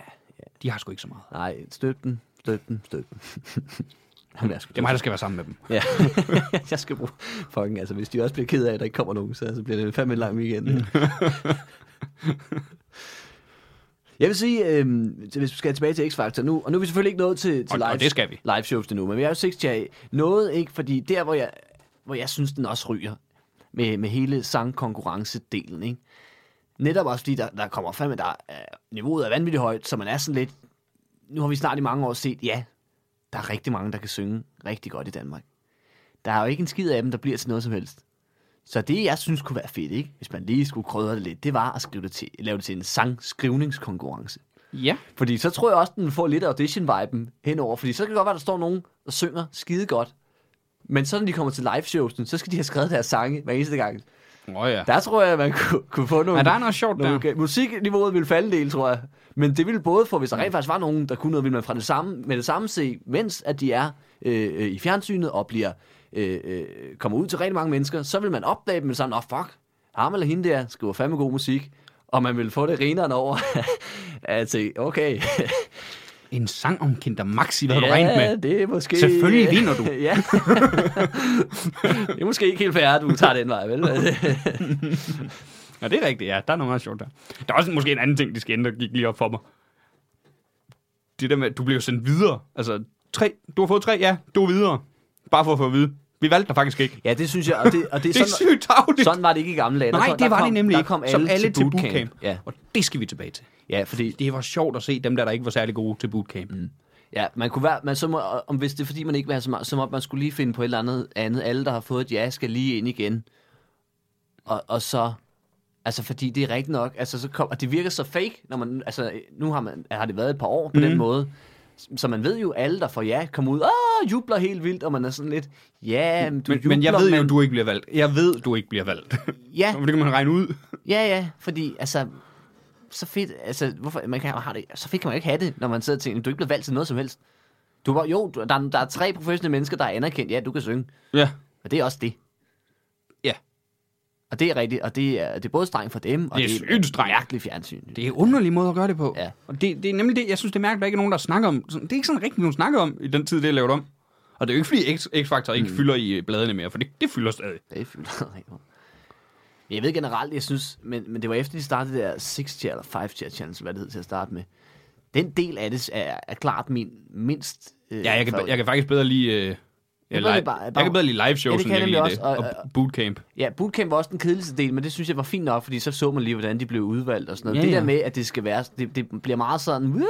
Speaker 1: De har sgu ikke så meget.
Speaker 3: Nej, støt den, støt den, støt den. Jamen, jeg skal
Speaker 1: Det er mig, der skal være sammen med dem.
Speaker 3: Ja, jeg skal bruge... Fucking, altså, hvis de også bliver ked af, at der ikke kommer nogen, så, så bliver det fandme en lang weekend. jeg vil sige, øhm, så hvis vi skal tilbage til X-Factor nu, og nu er vi selvfølgelig ikke nået til, til
Speaker 1: Og- og
Speaker 3: live,
Speaker 1: det skal vi.
Speaker 3: live shows endnu, men vi er jo 6 Noget ikke, fordi der, hvor jeg, hvor jeg synes, den også ryger, med, med hele sangkonkurrencedelen, ikke? Netop også fordi, der, der kommer fandme, der er, niveauet er vanvittigt højt, så man er sådan lidt, nu har vi snart i mange år set, ja, der er rigtig mange, der kan synge rigtig godt i Danmark. Der er jo ikke en skid af dem, der bliver til noget som helst. Så det, jeg synes kunne være fedt, ikke? hvis man lige skulle krydre det lidt, det var at skrive det til, lave det til en sangskrivningskonkurrence.
Speaker 1: Ja.
Speaker 3: Fordi så tror jeg også, den får lidt audition-viben henover. Fordi så kan det godt være, der står nogen og synger skide godt. Men så når de kommer til liveshowsen, så skal de have skrevet deres sange hver eneste gang.
Speaker 1: Åh oh, ja.
Speaker 3: Der tror jeg, man kunne, kunne få nogle...
Speaker 1: Ja, der er noget sjovt
Speaker 3: nogle,
Speaker 1: der.
Speaker 3: Musikniveauet ville falde en del, tror jeg. Men det ville både få, hvis der rent faktisk var nogen, der kunne noget, ville man fra det samme, med det samme se, mens at de er øh, øh, i fjernsynet og bliver, øh, øh, kommer ud til rigtig mange mennesker, så vil man opdage dem med sådan, åh oh, fuck, ham eller hende der skriver fandme god musik. Og man vil få det reneren over at tænke, okay,
Speaker 1: En sang om Kinder Maxi, hvad havde du regnet med?
Speaker 3: det er måske...
Speaker 1: Selvfølgelig vinder du.
Speaker 3: ja. det er måske ikke helt fair, at du tager den vej, vel?
Speaker 1: Ja, det er rigtigt, ja. Der er noget meget sjovt der. Der er også måske en anden ting, de skal ændre, gik lige op for mig. Det der med, at du blev sendt videre. Altså, tre. Du har fået tre, ja. Du er videre. Bare for at få at vide. Vi valgte dig faktisk ikke.
Speaker 3: ja, det synes jeg, og det, og det er
Speaker 1: Det er
Speaker 3: sådan,
Speaker 1: sygt tavligt.
Speaker 3: Sådan var det ikke i gamle dage. Der
Speaker 1: Nej,
Speaker 3: kom-
Speaker 1: det
Speaker 3: der
Speaker 1: var
Speaker 3: kom,
Speaker 1: det nemlig
Speaker 3: der
Speaker 1: ikke.
Speaker 3: kom alle,
Speaker 1: Som
Speaker 3: til bootcamp. Ja,
Speaker 1: Og det skal vi tilbage til.
Speaker 3: ja fordi
Speaker 1: Det var sjovt at se dem der, der ikke var særlig gode til bootcamp. Mm.
Speaker 3: ja, man kunne være, man, så må, om hvis det er fordi, man ikke vil have så meget, så må man skulle lige finde på et eller andet andet. Alle, der har fået et ja, skal lige ind igen. Og, og så, altså fordi det er rigtigt nok, altså så kom, og det virker så fake, når man, altså nu har, man, har det været et par år på mm.
Speaker 1: Mhm.
Speaker 3: den måde. Så man ved jo, alle, der får ja, kommer ud og jubler helt vildt, og man er sådan lidt, ja, men du
Speaker 1: Men,
Speaker 3: jubler,
Speaker 1: men jeg ved jo,
Speaker 3: men-
Speaker 1: du ikke bliver valgt. Jeg ved, du ikke bliver valgt.
Speaker 3: ja,
Speaker 1: det kan man regne ud.
Speaker 3: Ja, ja, fordi altså, så fedt, altså, hvorfor, man kan, har det, så fedt kan man jo ikke have det, når man sidder og tænker, du er ikke blevet valgt til noget som helst. Du var, jo, du- der, er- der er tre professionelle mennesker, der er anerkendt, ja, du kan synge,
Speaker 1: Ja.
Speaker 3: og det er også det.
Speaker 1: Ja.
Speaker 3: Og det er rigtigt, og det er, det er både strengt for dem, og
Speaker 1: Det er sygt strengt.
Speaker 3: mærkeligt fjernsyn. Det.
Speaker 1: Det er en underlig måde at gøre det på.
Speaker 3: Ja.
Speaker 1: Og det, det er nemlig det, jeg synes, det er mærkeligt, at der ikke er nogen, der snakker om. sådan- Det er ikke sådan rigtig nogen snakker om i den tid, det er lavet om. Og det er jo ikke, fordi X- X-Factor ikke fylder i øh, bladene mere, for det, det fylder stadig.
Speaker 3: Mm. Det er fyldt. Men Jeg ved generelt, jeg synes, men, men det var efter, de startede det der 6 tier eller 5 tier challenge, hvad det hed til at starte med. Den del af det er, er klart min mindst... Øh,
Speaker 1: Ja, jeg kan,
Speaker 3: favorit.
Speaker 1: jeg kan faktisk bedre lide... Øh, jeg,
Speaker 3: bedre
Speaker 1: li-
Speaker 3: lide bare-
Speaker 1: jeg
Speaker 3: bare-
Speaker 1: kan bedre lide live shows,
Speaker 3: Ja, det
Speaker 1: end
Speaker 3: kan
Speaker 1: jeg kan
Speaker 3: jeg
Speaker 1: lide
Speaker 3: nemlig
Speaker 1: det.
Speaker 3: også, og-
Speaker 1: Og, bootcamp.
Speaker 3: Ja, bootcamp var også den kedeligste del, men det synes jeg var fint nok, fordi så så man lige, hvordan de blev udvalgt og sådan noget.
Speaker 1: Ja,
Speaker 3: Ja, det
Speaker 1: ja.
Speaker 3: der med, at det skal være, det, det bliver meget sådan, woohoo,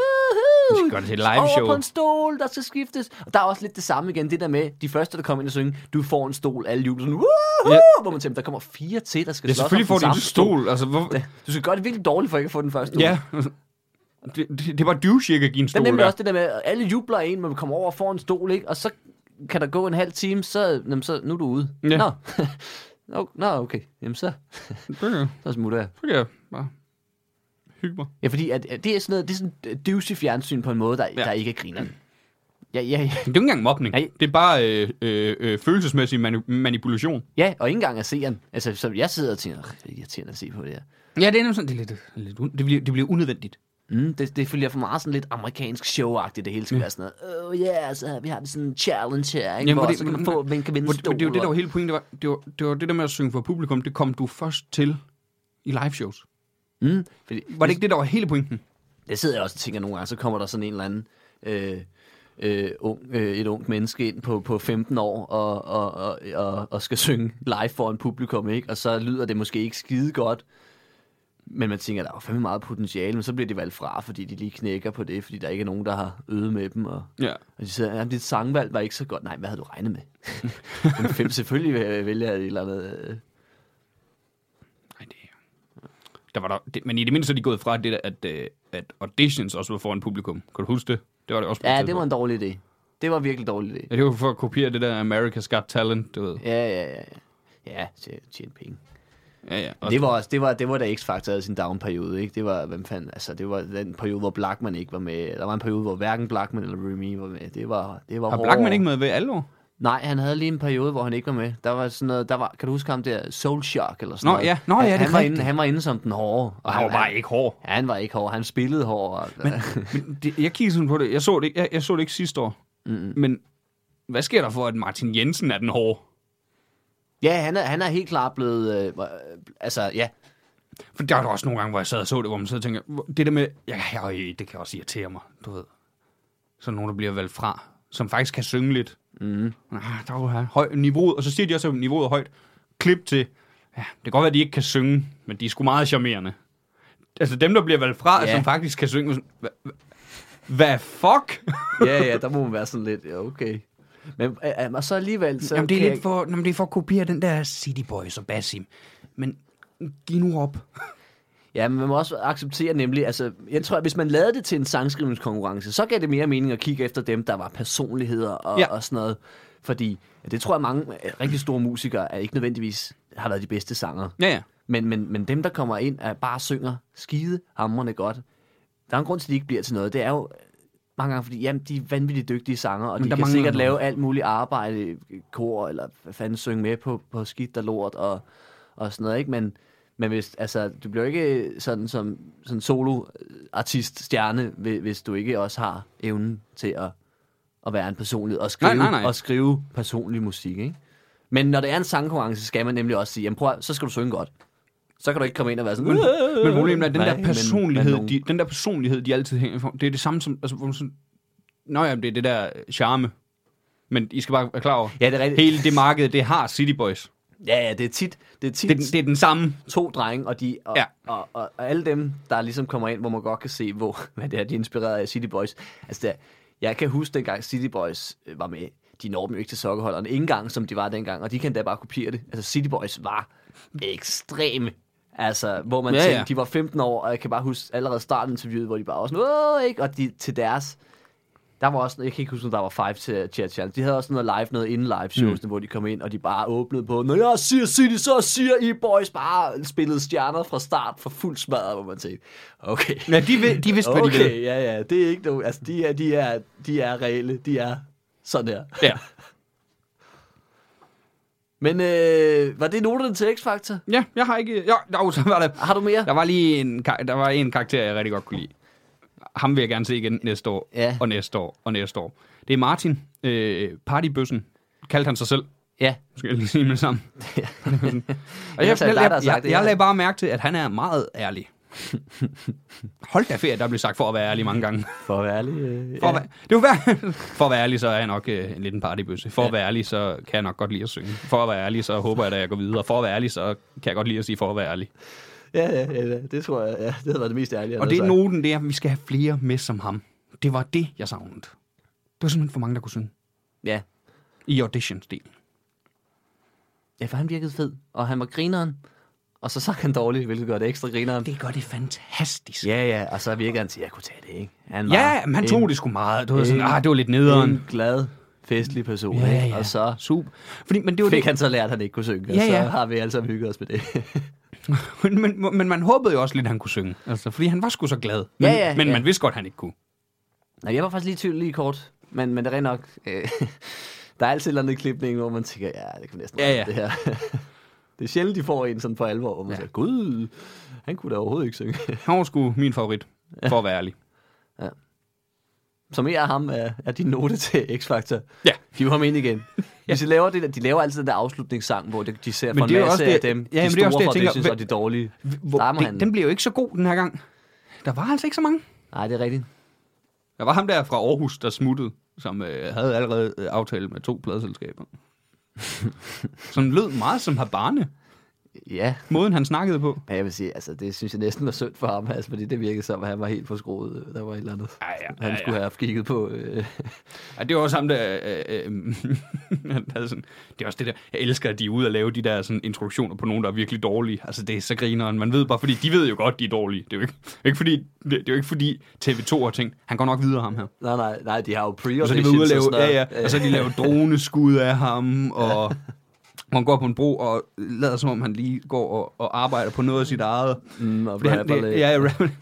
Speaker 1: Vi skal gøre det til et live
Speaker 3: over
Speaker 1: show."
Speaker 3: på en stol, der skal skiftes. Og der er også lidt det samme igen, det der med, de første, der kommer ind og synge, du får en stol, alle jubler sådan, woohoo,
Speaker 1: Ja.
Speaker 3: hvor man tænker, der kommer fire til, der skal
Speaker 1: Ja,
Speaker 3: slås om
Speaker 1: selvfølgelig
Speaker 3: den
Speaker 1: får de en
Speaker 3: samme
Speaker 1: stol. Altså, hvor,
Speaker 3: Du skal gøre det virkelig dårligt, for ikke at få den første stol.
Speaker 1: ja. Det, det, det var douche, at give en
Speaker 3: Det er
Speaker 1: stol
Speaker 3: nemlig
Speaker 1: der.
Speaker 3: også det der med, at alle jubler af en, man kommer over og får en stol, ikke? Og så kan der gå en halv time, så, jamen, så nu er du ude.
Speaker 1: Ja.
Speaker 3: Nå. Nå, Nå, okay. Jamen så,
Speaker 1: Det kan jeg-
Speaker 3: så smutter jeg.
Speaker 1: så kan jeg bare hygge mig.
Speaker 3: Ja, fordi at, at det er sådan noget, det er sådan douche fjernsyn på en måde, der, ja. der ikke er grineren. Ja, ja, ja,
Speaker 1: Det er jo ikke engang mobning.
Speaker 3: Nej.
Speaker 1: Det er bare øh, øh, øh, følelsesmæssig mani- manipulation.
Speaker 3: ja, og ikke engang at se den. Altså, så jeg sidder og tænker, "Åh, det er irriterende at se på det her.
Speaker 1: Ja, det er nemlig sådan, det, er lidt, lidt un- det, bliver, det bliver unødvendigt.
Speaker 3: Mm, det, det føler jeg for meget sådan lidt amerikansk showagtigt, det hele skal være sådan noget. Oh yeah, så vi har det sådan en challenge her, ikke?
Speaker 1: Mm. Jamen,
Speaker 3: Jamen, hvor
Speaker 1: hvor det-
Speaker 3: så kan man få, hvem kan vinde
Speaker 1: Hvor, det,
Speaker 3: stol.
Speaker 1: det, var det, der var
Speaker 3: og-
Speaker 1: hele pointen. Det var, det var, det var det der med at synge for publikum, det kom du først til i live shows.
Speaker 3: mm, fordi,
Speaker 1: Var det ikke det, der var hele pointen?
Speaker 3: Det sidder jeg også og tænker nogle gange, så kommer der sådan en eller anden... Øh, Øh, ung, øh, et ungt menneske ind på, på 15 år og, og, og, og, og skal synge live for en publikum, ikke? og så lyder det måske ikke skide godt, Men man tænker, der er jo fandme meget potentiale, men så bliver de valgt fra, fordi de lige knækker på det, fordi der ikke er nogen, der har øget med dem. Og,
Speaker 1: Ja.
Speaker 3: og de siger, at dit sangvalg var ikke så godt. Nej, hvad havde du regnet med? Men fem selvfølgelig vil- vælger jeg et eller andet. øh,
Speaker 1: Nej, det er... Der var der, det, men i det mindste er de gået fra det, der, at, øh, at auditions også var foran publikum. Kan du huske det? Det var det også. på et
Speaker 3: Ja, det
Speaker 1: tidspunkt.
Speaker 3: var en dårlig idé. altså, Det var virkelig en dårlig idé.
Speaker 1: Ja, det var for at kopiere det der America's Got Talent, du ved.
Speaker 3: Ja, ja, ja. Ja, ja tj- tjene penge.
Speaker 1: Ja, ja. Og
Speaker 3: Det var, også, det var, det var da X-Factor havde sin down-periode, ikke? Det var, hvem fanden, altså, det var den periode, hvor Blackman ikke var med. Der var en periode, hvor hverken Blackman eller Remy var med. Det var, det var
Speaker 1: har
Speaker 3: hårdt.
Speaker 1: Blackman ikke med ved alle år?
Speaker 3: Nej, han havde lige en periode, hvor han ikke var med. Der var sådan noget, der var, kan du huske ham der, Soul Shock eller sådan
Speaker 1: Nå,
Speaker 3: noget?
Speaker 1: ja. Nå, ja, det er
Speaker 3: han, han var
Speaker 1: rigtigt.
Speaker 3: inde, han var inde som den hårde.
Speaker 1: Og han var bare ikke hård.
Speaker 3: Ja, han var ikke hård. Han spillede hård. Og, men,
Speaker 1: Men det, jeg kiggede sådan på det. Jeg så det, ikke- jeg, jeg så det ikke sidste år. Mm-hmm. Men hvad sker der for, at Martin Jensen er den hårde?
Speaker 3: ja, han er, han er helt klart blevet... Øh, øh, altså, ja.
Speaker 1: For der var der også nogle gange, hvor jeg sad og så det, hvor man sad og tænkte, "Hvor- det der med, ja, ja, det kan også irritere mig, du ved. Så nogen, der bliver valgt fra, som faktisk kan synge lidt. Mm. Ah, der var her. høj, niveauet, og så siger de også, at niveauet er højt. Klip til, ja, det kan godt være, at de ikke kan synge, men de er sgu meget charmerende. Altså dem, der bliver valgt fra,
Speaker 3: Ja.
Speaker 1: ja. som faktisk kan synge, sådan, "Hva- hva- hvad fuck?
Speaker 3: ja, ja, der må man være sådan lidt, ja, okay. Men øh, øh, og så alligevel, så
Speaker 1: Så jamen, det er
Speaker 3: kan
Speaker 1: lidt
Speaker 3: jeg-
Speaker 1: for, jamen, det er for at kopiere den der City Boys og Basim. Men giv nu op.
Speaker 3: Ja, men man må også acceptere nemlig, altså, jeg tror, at hvis man lavede det til en sangskrivningskonkurrence, så gav det mere mening at kigge efter dem, der var personligheder og, ja.
Speaker 1: Ja.
Speaker 3: og sådan noget. Fordi ja, det tror jeg, mange øh, rigtig store musikere er ikke nødvendigvis har været de bedste sanger.
Speaker 1: Ja, ja.
Speaker 3: Men, men, men dem, der kommer ind, er bare synger skide hammerne godt. Der er en grund til, at de ikke bliver til noget. Det er jo mange gange, fordi jamen, de er vanvittigt dygtige sanger, og
Speaker 1: Men
Speaker 3: men de
Speaker 1: der
Speaker 3: kan
Speaker 1: mangler
Speaker 3: sikkert
Speaker 1: noget.
Speaker 3: lave alt muligt arbejde, i kor eller hvad fanden synge med på, på skidt og lort og, og sådan noget, ikke? Men, men hvis, altså, du bliver jo ikke sådan som sådan solo-artist, stjerne, hvi- hvis du ikke også har evnen til at, at være en personlighed og skrive,
Speaker 1: nej, nej.
Speaker 3: Og skrive personlig musik, ikke? Men når det er en sangkonkurrence, skal man nemlig også sige, jamen prøv, at- så skal du synge godt. Så kan du ikke komme ind og være sådan...
Speaker 1: Men, men problemet er, at den
Speaker 3: Nej,
Speaker 1: der
Speaker 3: men-
Speaker 1: personlighed,
Speaker 3: men nogen-
Speaker 1: de, den der personlighed, de altid hænger for, det er det samme som, altså, hvor man sådan, nå ja, det er det der øh, charme. Men I skal bare være klar over,
Speaker 3: Ja, det er rigtigt.
Speaker 1: hele det marked, det har City Boys.
Speaker 3: Ja, ja, det er tit, det er tit
Speaker 1: Det, er den- det er den samme.
Speaker 3: to drenge, og, de, og, ja.
Speaker 1: Ja.
Speaker 3: og, og, og, alle dem, der ligesom kommer ind, hvor man godt kan se, hvor, hvad det er, de er inspireret af City Boys. Altså, der, jeg kan huske, dengang City Boys øh, var med, de når dem jo ikke til sokkeholderne, ikke engang som de var dengang, og de kan da bare kopiere det. Altså, City Boys var ekstreme. Altså, hvor man ja,
Speaker 1: Ja, ja.
Speaker 3: tænkte, ja. de var 15 år, og jeg kan bare huske allerede starten af interviewet, hvor de bare var sådan, åh, ikke? Og de, til deres der var også, jeg kan ikke huske, om der var five til Chat Challenge. De havde også noget live, noget inden live shows, mm. hvor de kom ind, og de bare åbnede på, når jeg siger City, så siger I boys bare spillede stjerner fra start for fuld smadret, hvor man tænkte, okay.
Speaker 1: Ja, de, ved, de vidste, hvad de ville.
Speaker 3: Okay, ja, ja, det er ikke nogen, altså de er, de er, de er reelle, de er sådan her.
Speaker 1: Ja.
Speaker 3: Men øh, var det noterne til X-Factor?
Speaker 1: ja, jeg har ikke... Jo, der, så var der,
Speaker 3: Har du mere?
Speaker 1: der var lige en, kar- der var en karakter, jeg rigtig godt kunne lide. Ham vil jeg gerne se igen næste år,
Speaker 3: Ja.
Speaker 1: og næste år, og næste år. Det er Martin, øh, partybøssen, kaldte han sig selv.
Speaker 3: Ja.
Speaker 1: Skal jeg lige sige med det samme. og jeg,
Speaker 3: Ellers er
Speaker 1: jeg,
Speaker 3: det dig, der har
Speaker 1: jeg,
Speaker 3: sagt
Speaker 1: jeg,
Speaker 3: det her.
Speaker 1: jeg lagde bare mærke til, at han er meget ærlig. Hold da ferie, der blev sagt for at være ærlig mange gange.
Speaker 3: For at være ærlig. Øh,
Speaker 1: For, ja. at, være- det er jo hver- for at være ærlig, så er jeg nok øh, en liten partybøsse. For at være ærlig, så kan jeg nok godt lide at synge. For at være ærlig, så håber jeg, at jeg går videre. For at være ærlig, så kan jeg godt lide at sige for at være ærlig.
Speaker 3: ja, ja, ja, ja, det tror jeg, ja, det havde været det mest ærlige. jeg
Speaker 1: Og
Speaker 3: havde
Speaker 1: det er
Speaker 3: sagt.
Speaker 1: noten, det er, at vi skal have flere med som ham. Det var det, jeg savnede. Det var simpelthen for mange, der kunne synge.
Speaker 3: Ja.
Speaker 1: I audition-delen.
Speaker 3: ja, for han virkede fed, og han var grineren, og så sang han dårligt, hvilket gør det ekstra grineren.
Speaker 1: Det gør det fantastisk.
Speaker 3: Ja, ja, og så virker han til, at jeg kunne tage det, ikke? Han
Speaker 1: Ja, men han
Speaker 3: en-
Speaker 1: tog det sgu meget. Det var sådan,
Speaker 3: en-
Speaker 1: ah, det var lidt nederen.
Speaker 3: En glad, festlig person,
Speaker 1: Ja,
Speaker 3: ikke?
Speaker 1: ja.
Speaker 3: Og så
Speaker 1: Super. Fordi, men det var
Speaker 3: fik
Speaker 1: det.
Speaker 3: han så lært, at han ikke kunne synge,
Speaker 1: Ja,
Speaker 3: og så
Speaker 1: ja.
Speaker 3: har vi alle sammen hygget os med det.
Speaker 1: Men, men, men man håbede jo også lidt, at han kunne synge. Altså, fordi han var sgu så glad. Men,
Speaker 3: Ja, ja,
Speaker 1: men
Speaker 3: ja.
Speaker 1: man vidste godt, at han ikke kunne.
Speaker 3: Nå, jeg var faktisk lige i tvivl lige kort, men, men det er rent nok... Øh, der er altid et eller andet i klipningen, hvor man tænker, ja, det kan næsten
Speaker 1: Ja,
Speaker 3: være
Speaker 1: ja.
Speaker 3: det her. det er sjældent, de får en sådan for alvor, hvor man ja.
Speaker 1: Ja.
Speaker 3: siger, gud, han kunne da overhovedet ikke synge.
Speaker 1: Han var sgu min favorit, for at være ærlig.
Speaker 3: Som mere af ham er, er din note til X-Factor.
Speaker 1: Ja.
Speaker 3: Hiv ham ind igen. Hvis de laver det der, de laver altid den der afslutningssang, hvor de, de ser
Speaker 1: Men
Speaker 3: for en
Speaker 1: det er jo
Speaker 3: masse
Speaker 1: også
Speaker 3: af
Speaker 1: det-
Speaker 3: dem,
Speaker 1: ja,
Speaker 3: de
Speaker 1: men det er
Speaker 3: store
Speaker 1: også det, jeg tænker,
Speaker 3: fra auditions
Speaker 1: hvad-
Speaker 3: og de dårlige. Der må
Speaker 1: Hvor,
Speaker 3: han-
Speaker 1: det, den blev jo ikke så god den her gang. Der var altså ikke så mange.
Speaker 3: Nej, det er rigtigt.
Speaker 1: Der var ham der fra Aarhus, der smuttede, som øh, havde allerede øh, aftale med to pladselskaber. som lød meget som Habane.
Speaker 3: Ja,
Speaker 1: Måden, han snakkede på.
Speaker 3: men jeg vil sige, altså, det synes jeg næsten var synd for ham, altså, fordi det virkede som, at han var helt forskroet. Der var et eller andet,
Speaker 1: Ej, ja,
Speaker 3: han
Speaker 1: ej,
Speaker 3: skulle
Speaker 1: ja.
Speaker 3: have haft kigget på. Øh,
Speaker 1: Ja, det var også ham, der... Øh, øh, han havde sådan, det er også det der, jeg elsker, at de er ude og lave de der sådan, introduktioner på nogen, der er virkelig dårlige. Altså, det er så grineren. Man ved bare, fordi de ved jo godt, de er dårlige. Det er jo ikke, ikke, fordi, det, det er jo ikke fordi TV2 har tænkt, han går nok videre ham her.
Speaker 3: nej, nej, nej, Altså, de har jo pre
Speaker 1: Og så er de været ude og lave, ja, ja,
Speaker 3: Altså,
Speaker 1: og så har de lavet droneskud af ham, og man går på en bro og lader som om, han lige går og, og arbejder på noget af sit eget.
Speaker 3: Mm, og
Speaker 1: Fordi han,
Speaker 3: rapper
Speaker 1: det,
Speaker 3: lidt.
Speaker 1: ja, jeg rapper lidt.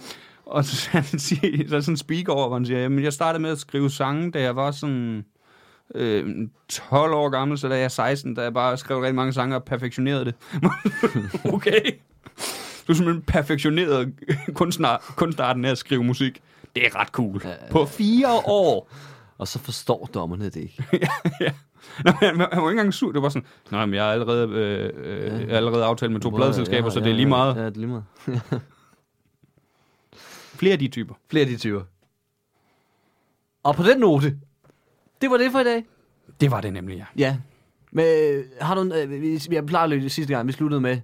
Speaker 1: Og så, han siger, så er sådan en speak over, hvor han siger, jamen jeg startede med at skrive sange, da jeg var sådan øh, 12 år gammel, så da jeg er 16, da jeg bare skrev rigtig mange sange og perfektionerede det. okay. Du er simpelthen perfektioneret kunstner, kunstarten af at skrive musik. Det er ret cool. På fire år.
Speaker 3: Og så forstår dommerne det ikke.
Speaker 1: ja. Nå, men han, han var ikke engang sur. Det var sådan, nej, men jeg har allerede, øh, øh, jeg har allerede aftalt med to pladselskaber, så det er lige meget.
Speaker 3: Ja, det er lige meget.
Speaker 1: Flere af de typer.
Speaker 3: Flere af de 20. Og på den note, det var det for i dag.
Speaker 1: Det var det nemlig, ja.
Speaker 3: Ja. Men øh, har du, en- øh, vi, jeg plejer at løbe sidste gang, vi sluttede med,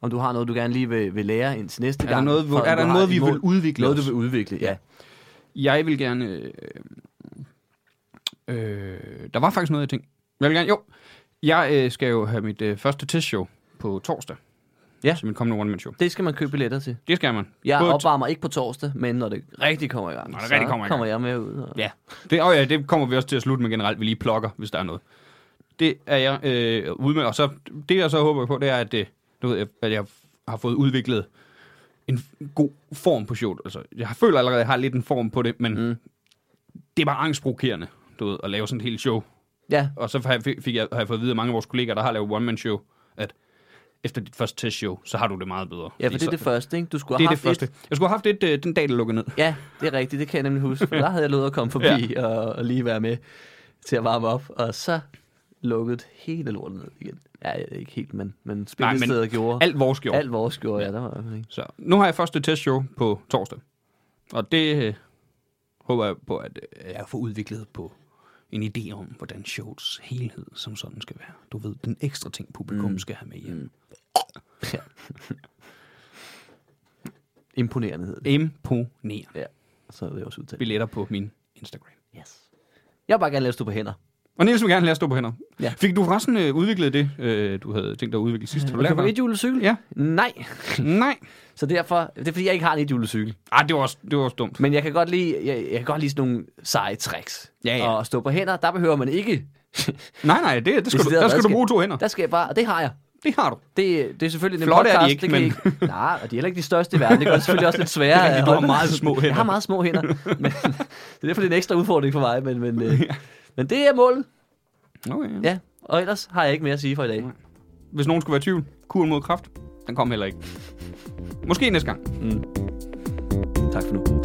Speaker 3: om du har noget, du gerne lige vil, vil lære indtil næste
Speaker 1: Er der
Speaker 3: gang.
Speaker 1: noget, hvor-
Speaker 3: for, om
Speaker 1: er der
Speaker 3: du har
Speaker 1: noget,
Speaker 3: et
Speaker 1: vi
Speaker 3: mål.
Speaker 1: vil udvikle
Speaker 3: Noget,
Speaker 1: os?
Speaker 3: du vil udvikle, ja.
Speaker 1: Jeg vil gerne... Øh, øh, der var faktisk noget, jeg tænkte. Jeg vil gerne... Jo, jeg øh, skal jo have mit øh, første testshow på torsdag.
Speaker 3: Ja.
Speaker 1: Til min kommende one-man-show.
Speaker 3: Det skal man købe billetter til.
Speaker 1: Det skal man.
Speaker 3: Jeg
Speaker 1: Både-
Speaker 3: opvarmer ikke på torsdag, men når det rigtig kommer i gang,
Speaker 1: Når det rigtig kommer i gang.
Speaker 3: så kommer jeg med ud. Og...
Speaker 1: Ja, det, og ja, det kommer vi også til at slutte med generelt. Vi lige plukker, hvis der er noget. Det er jeg øh, ude med. Og så, det jeg så håber på, det er, at, øh, du ved, jeg- at jeg har fået udviklet en f- god form på showet. Altså, jeg føler allerede, at jeg har lidt en form på det, men mm. det er bare angstprovokerende, du ved, at lave sådan et helt show.
Speaker 3: ja.
Speaker 1: Og så har jeg, fik- fik jeg, har jeg fået at vide af mange af vores kollegaer, der har lavet one-man-show, at efter dit første testshow, så har du det meget bedre.
Speaker 3: Ja, for
Speaker 1: Fordi
Speaker 3: det er
Speaker 1: så,
Speaker 3: det første, ikke? Du skulle
Speaker 1: det,
Speaker 3: have
Speaker 1: er det
Speaker 3: haft
Speaker 1: første.
Speaker 3: Et...
Speaker 1: Jeg skulle have haft et, øh, den dag, der lukkede ned.
Speaker 3: Ja, det er rigtigt. Det kan jeg nemlig huske. For der havde jeg lovet at komme forbi ja. og, og lige være med til at varme op. Og så lukkede det hele lortet ned igen. Ja, ikke helt, men, men spillestedet gjorde.
Speaker 1: alt vores gjorde.
Speaker 3: Alt vores gjorde, ja. Der var, ikke?
Speaker 1: Så nu har jeg første testshow på torsdag. Og det øh, håber jeg på, at øh, jeg får udviklet på en idé om, hvordan shows helhed som sådan skal være. Du ved, den ekstra ting, publikum mm. skal have med hjem. Mm.
Speaker 3: Ja. Imponerende hedder det.
Speaker 1: Imponerende.
Speaker 3: Ja, så er det også udtalt.
Speaker 1: Billetter på min Instagram.
Speaker 3: Yes. Jeg vil bare gerne lave at stå på hænder.
Speaker 1: Og Niels vil gerne lade os stå på hænder.
Speaker 3: Ja.
Speaker 1: Ja. Øh, Fik du forresten øh, udviklet det, øh, du havde tænkt dig at udvikle sidst? Har du lært
Speaker 3: Kan du
Speaker 1: det?
Speaker 3: et cykel?
Speaker 1: Ja.
Speaker 3: Nej.
Speaker 1: Nej.
Speaker 3: Så derfor, det er fordi, jeg ikke har en et cykel.
Speaker 1: Ah, det var også, det var også dumt.
Speaker 3: Men jeg kan godt lide, jeg, jeg kan godt lide sådan nogle seje tricks.
Speaker 1: Ja, ja.
Speaker 3: Og at stå på hænder, der behøver man ikke.
Speaker 1: Nej, nej, det, det skal du,
Speaker 3: decideret
Speaker 1: der skal du
Speaker 3: redskab.
Speaker 1: bruge to hænder.
Speaker 3: Der skal jeg bare, og det har jeg.
Speaker 1: Det har du.
Speaker 3: Det, det er selvfølgelig en
Speaker 1: Flotte er de
Speaker 3: podcast,
Speaker 1: ikke,
Speaker 3: det kan
Speaker 1: men-
Speaker 3: I ikke. Nej, og de er heller ikke de største i verden. Det gør det selvfølgelig også lidt sværere.
Speaker 1: Det er rigtigt, du har
Speaker 3: at holde.
Speaker 1: meget små hænder.
Speaker 3: Jeg har meget små hænder. Men, det er derfor, det er en ekstra udfordring for mig. Men, men, øh, men det er målet.
Speaker 1: Okay, ja.
Speaker 3: Ja, og ellers har jeg ikke mere at sige for i dag.
Speaker 1: Hvis nogen skulle være i tvivl, kuren mod kraft, den kom heller ikke. Måske næste gang.
Speaker 3: Tak for nu.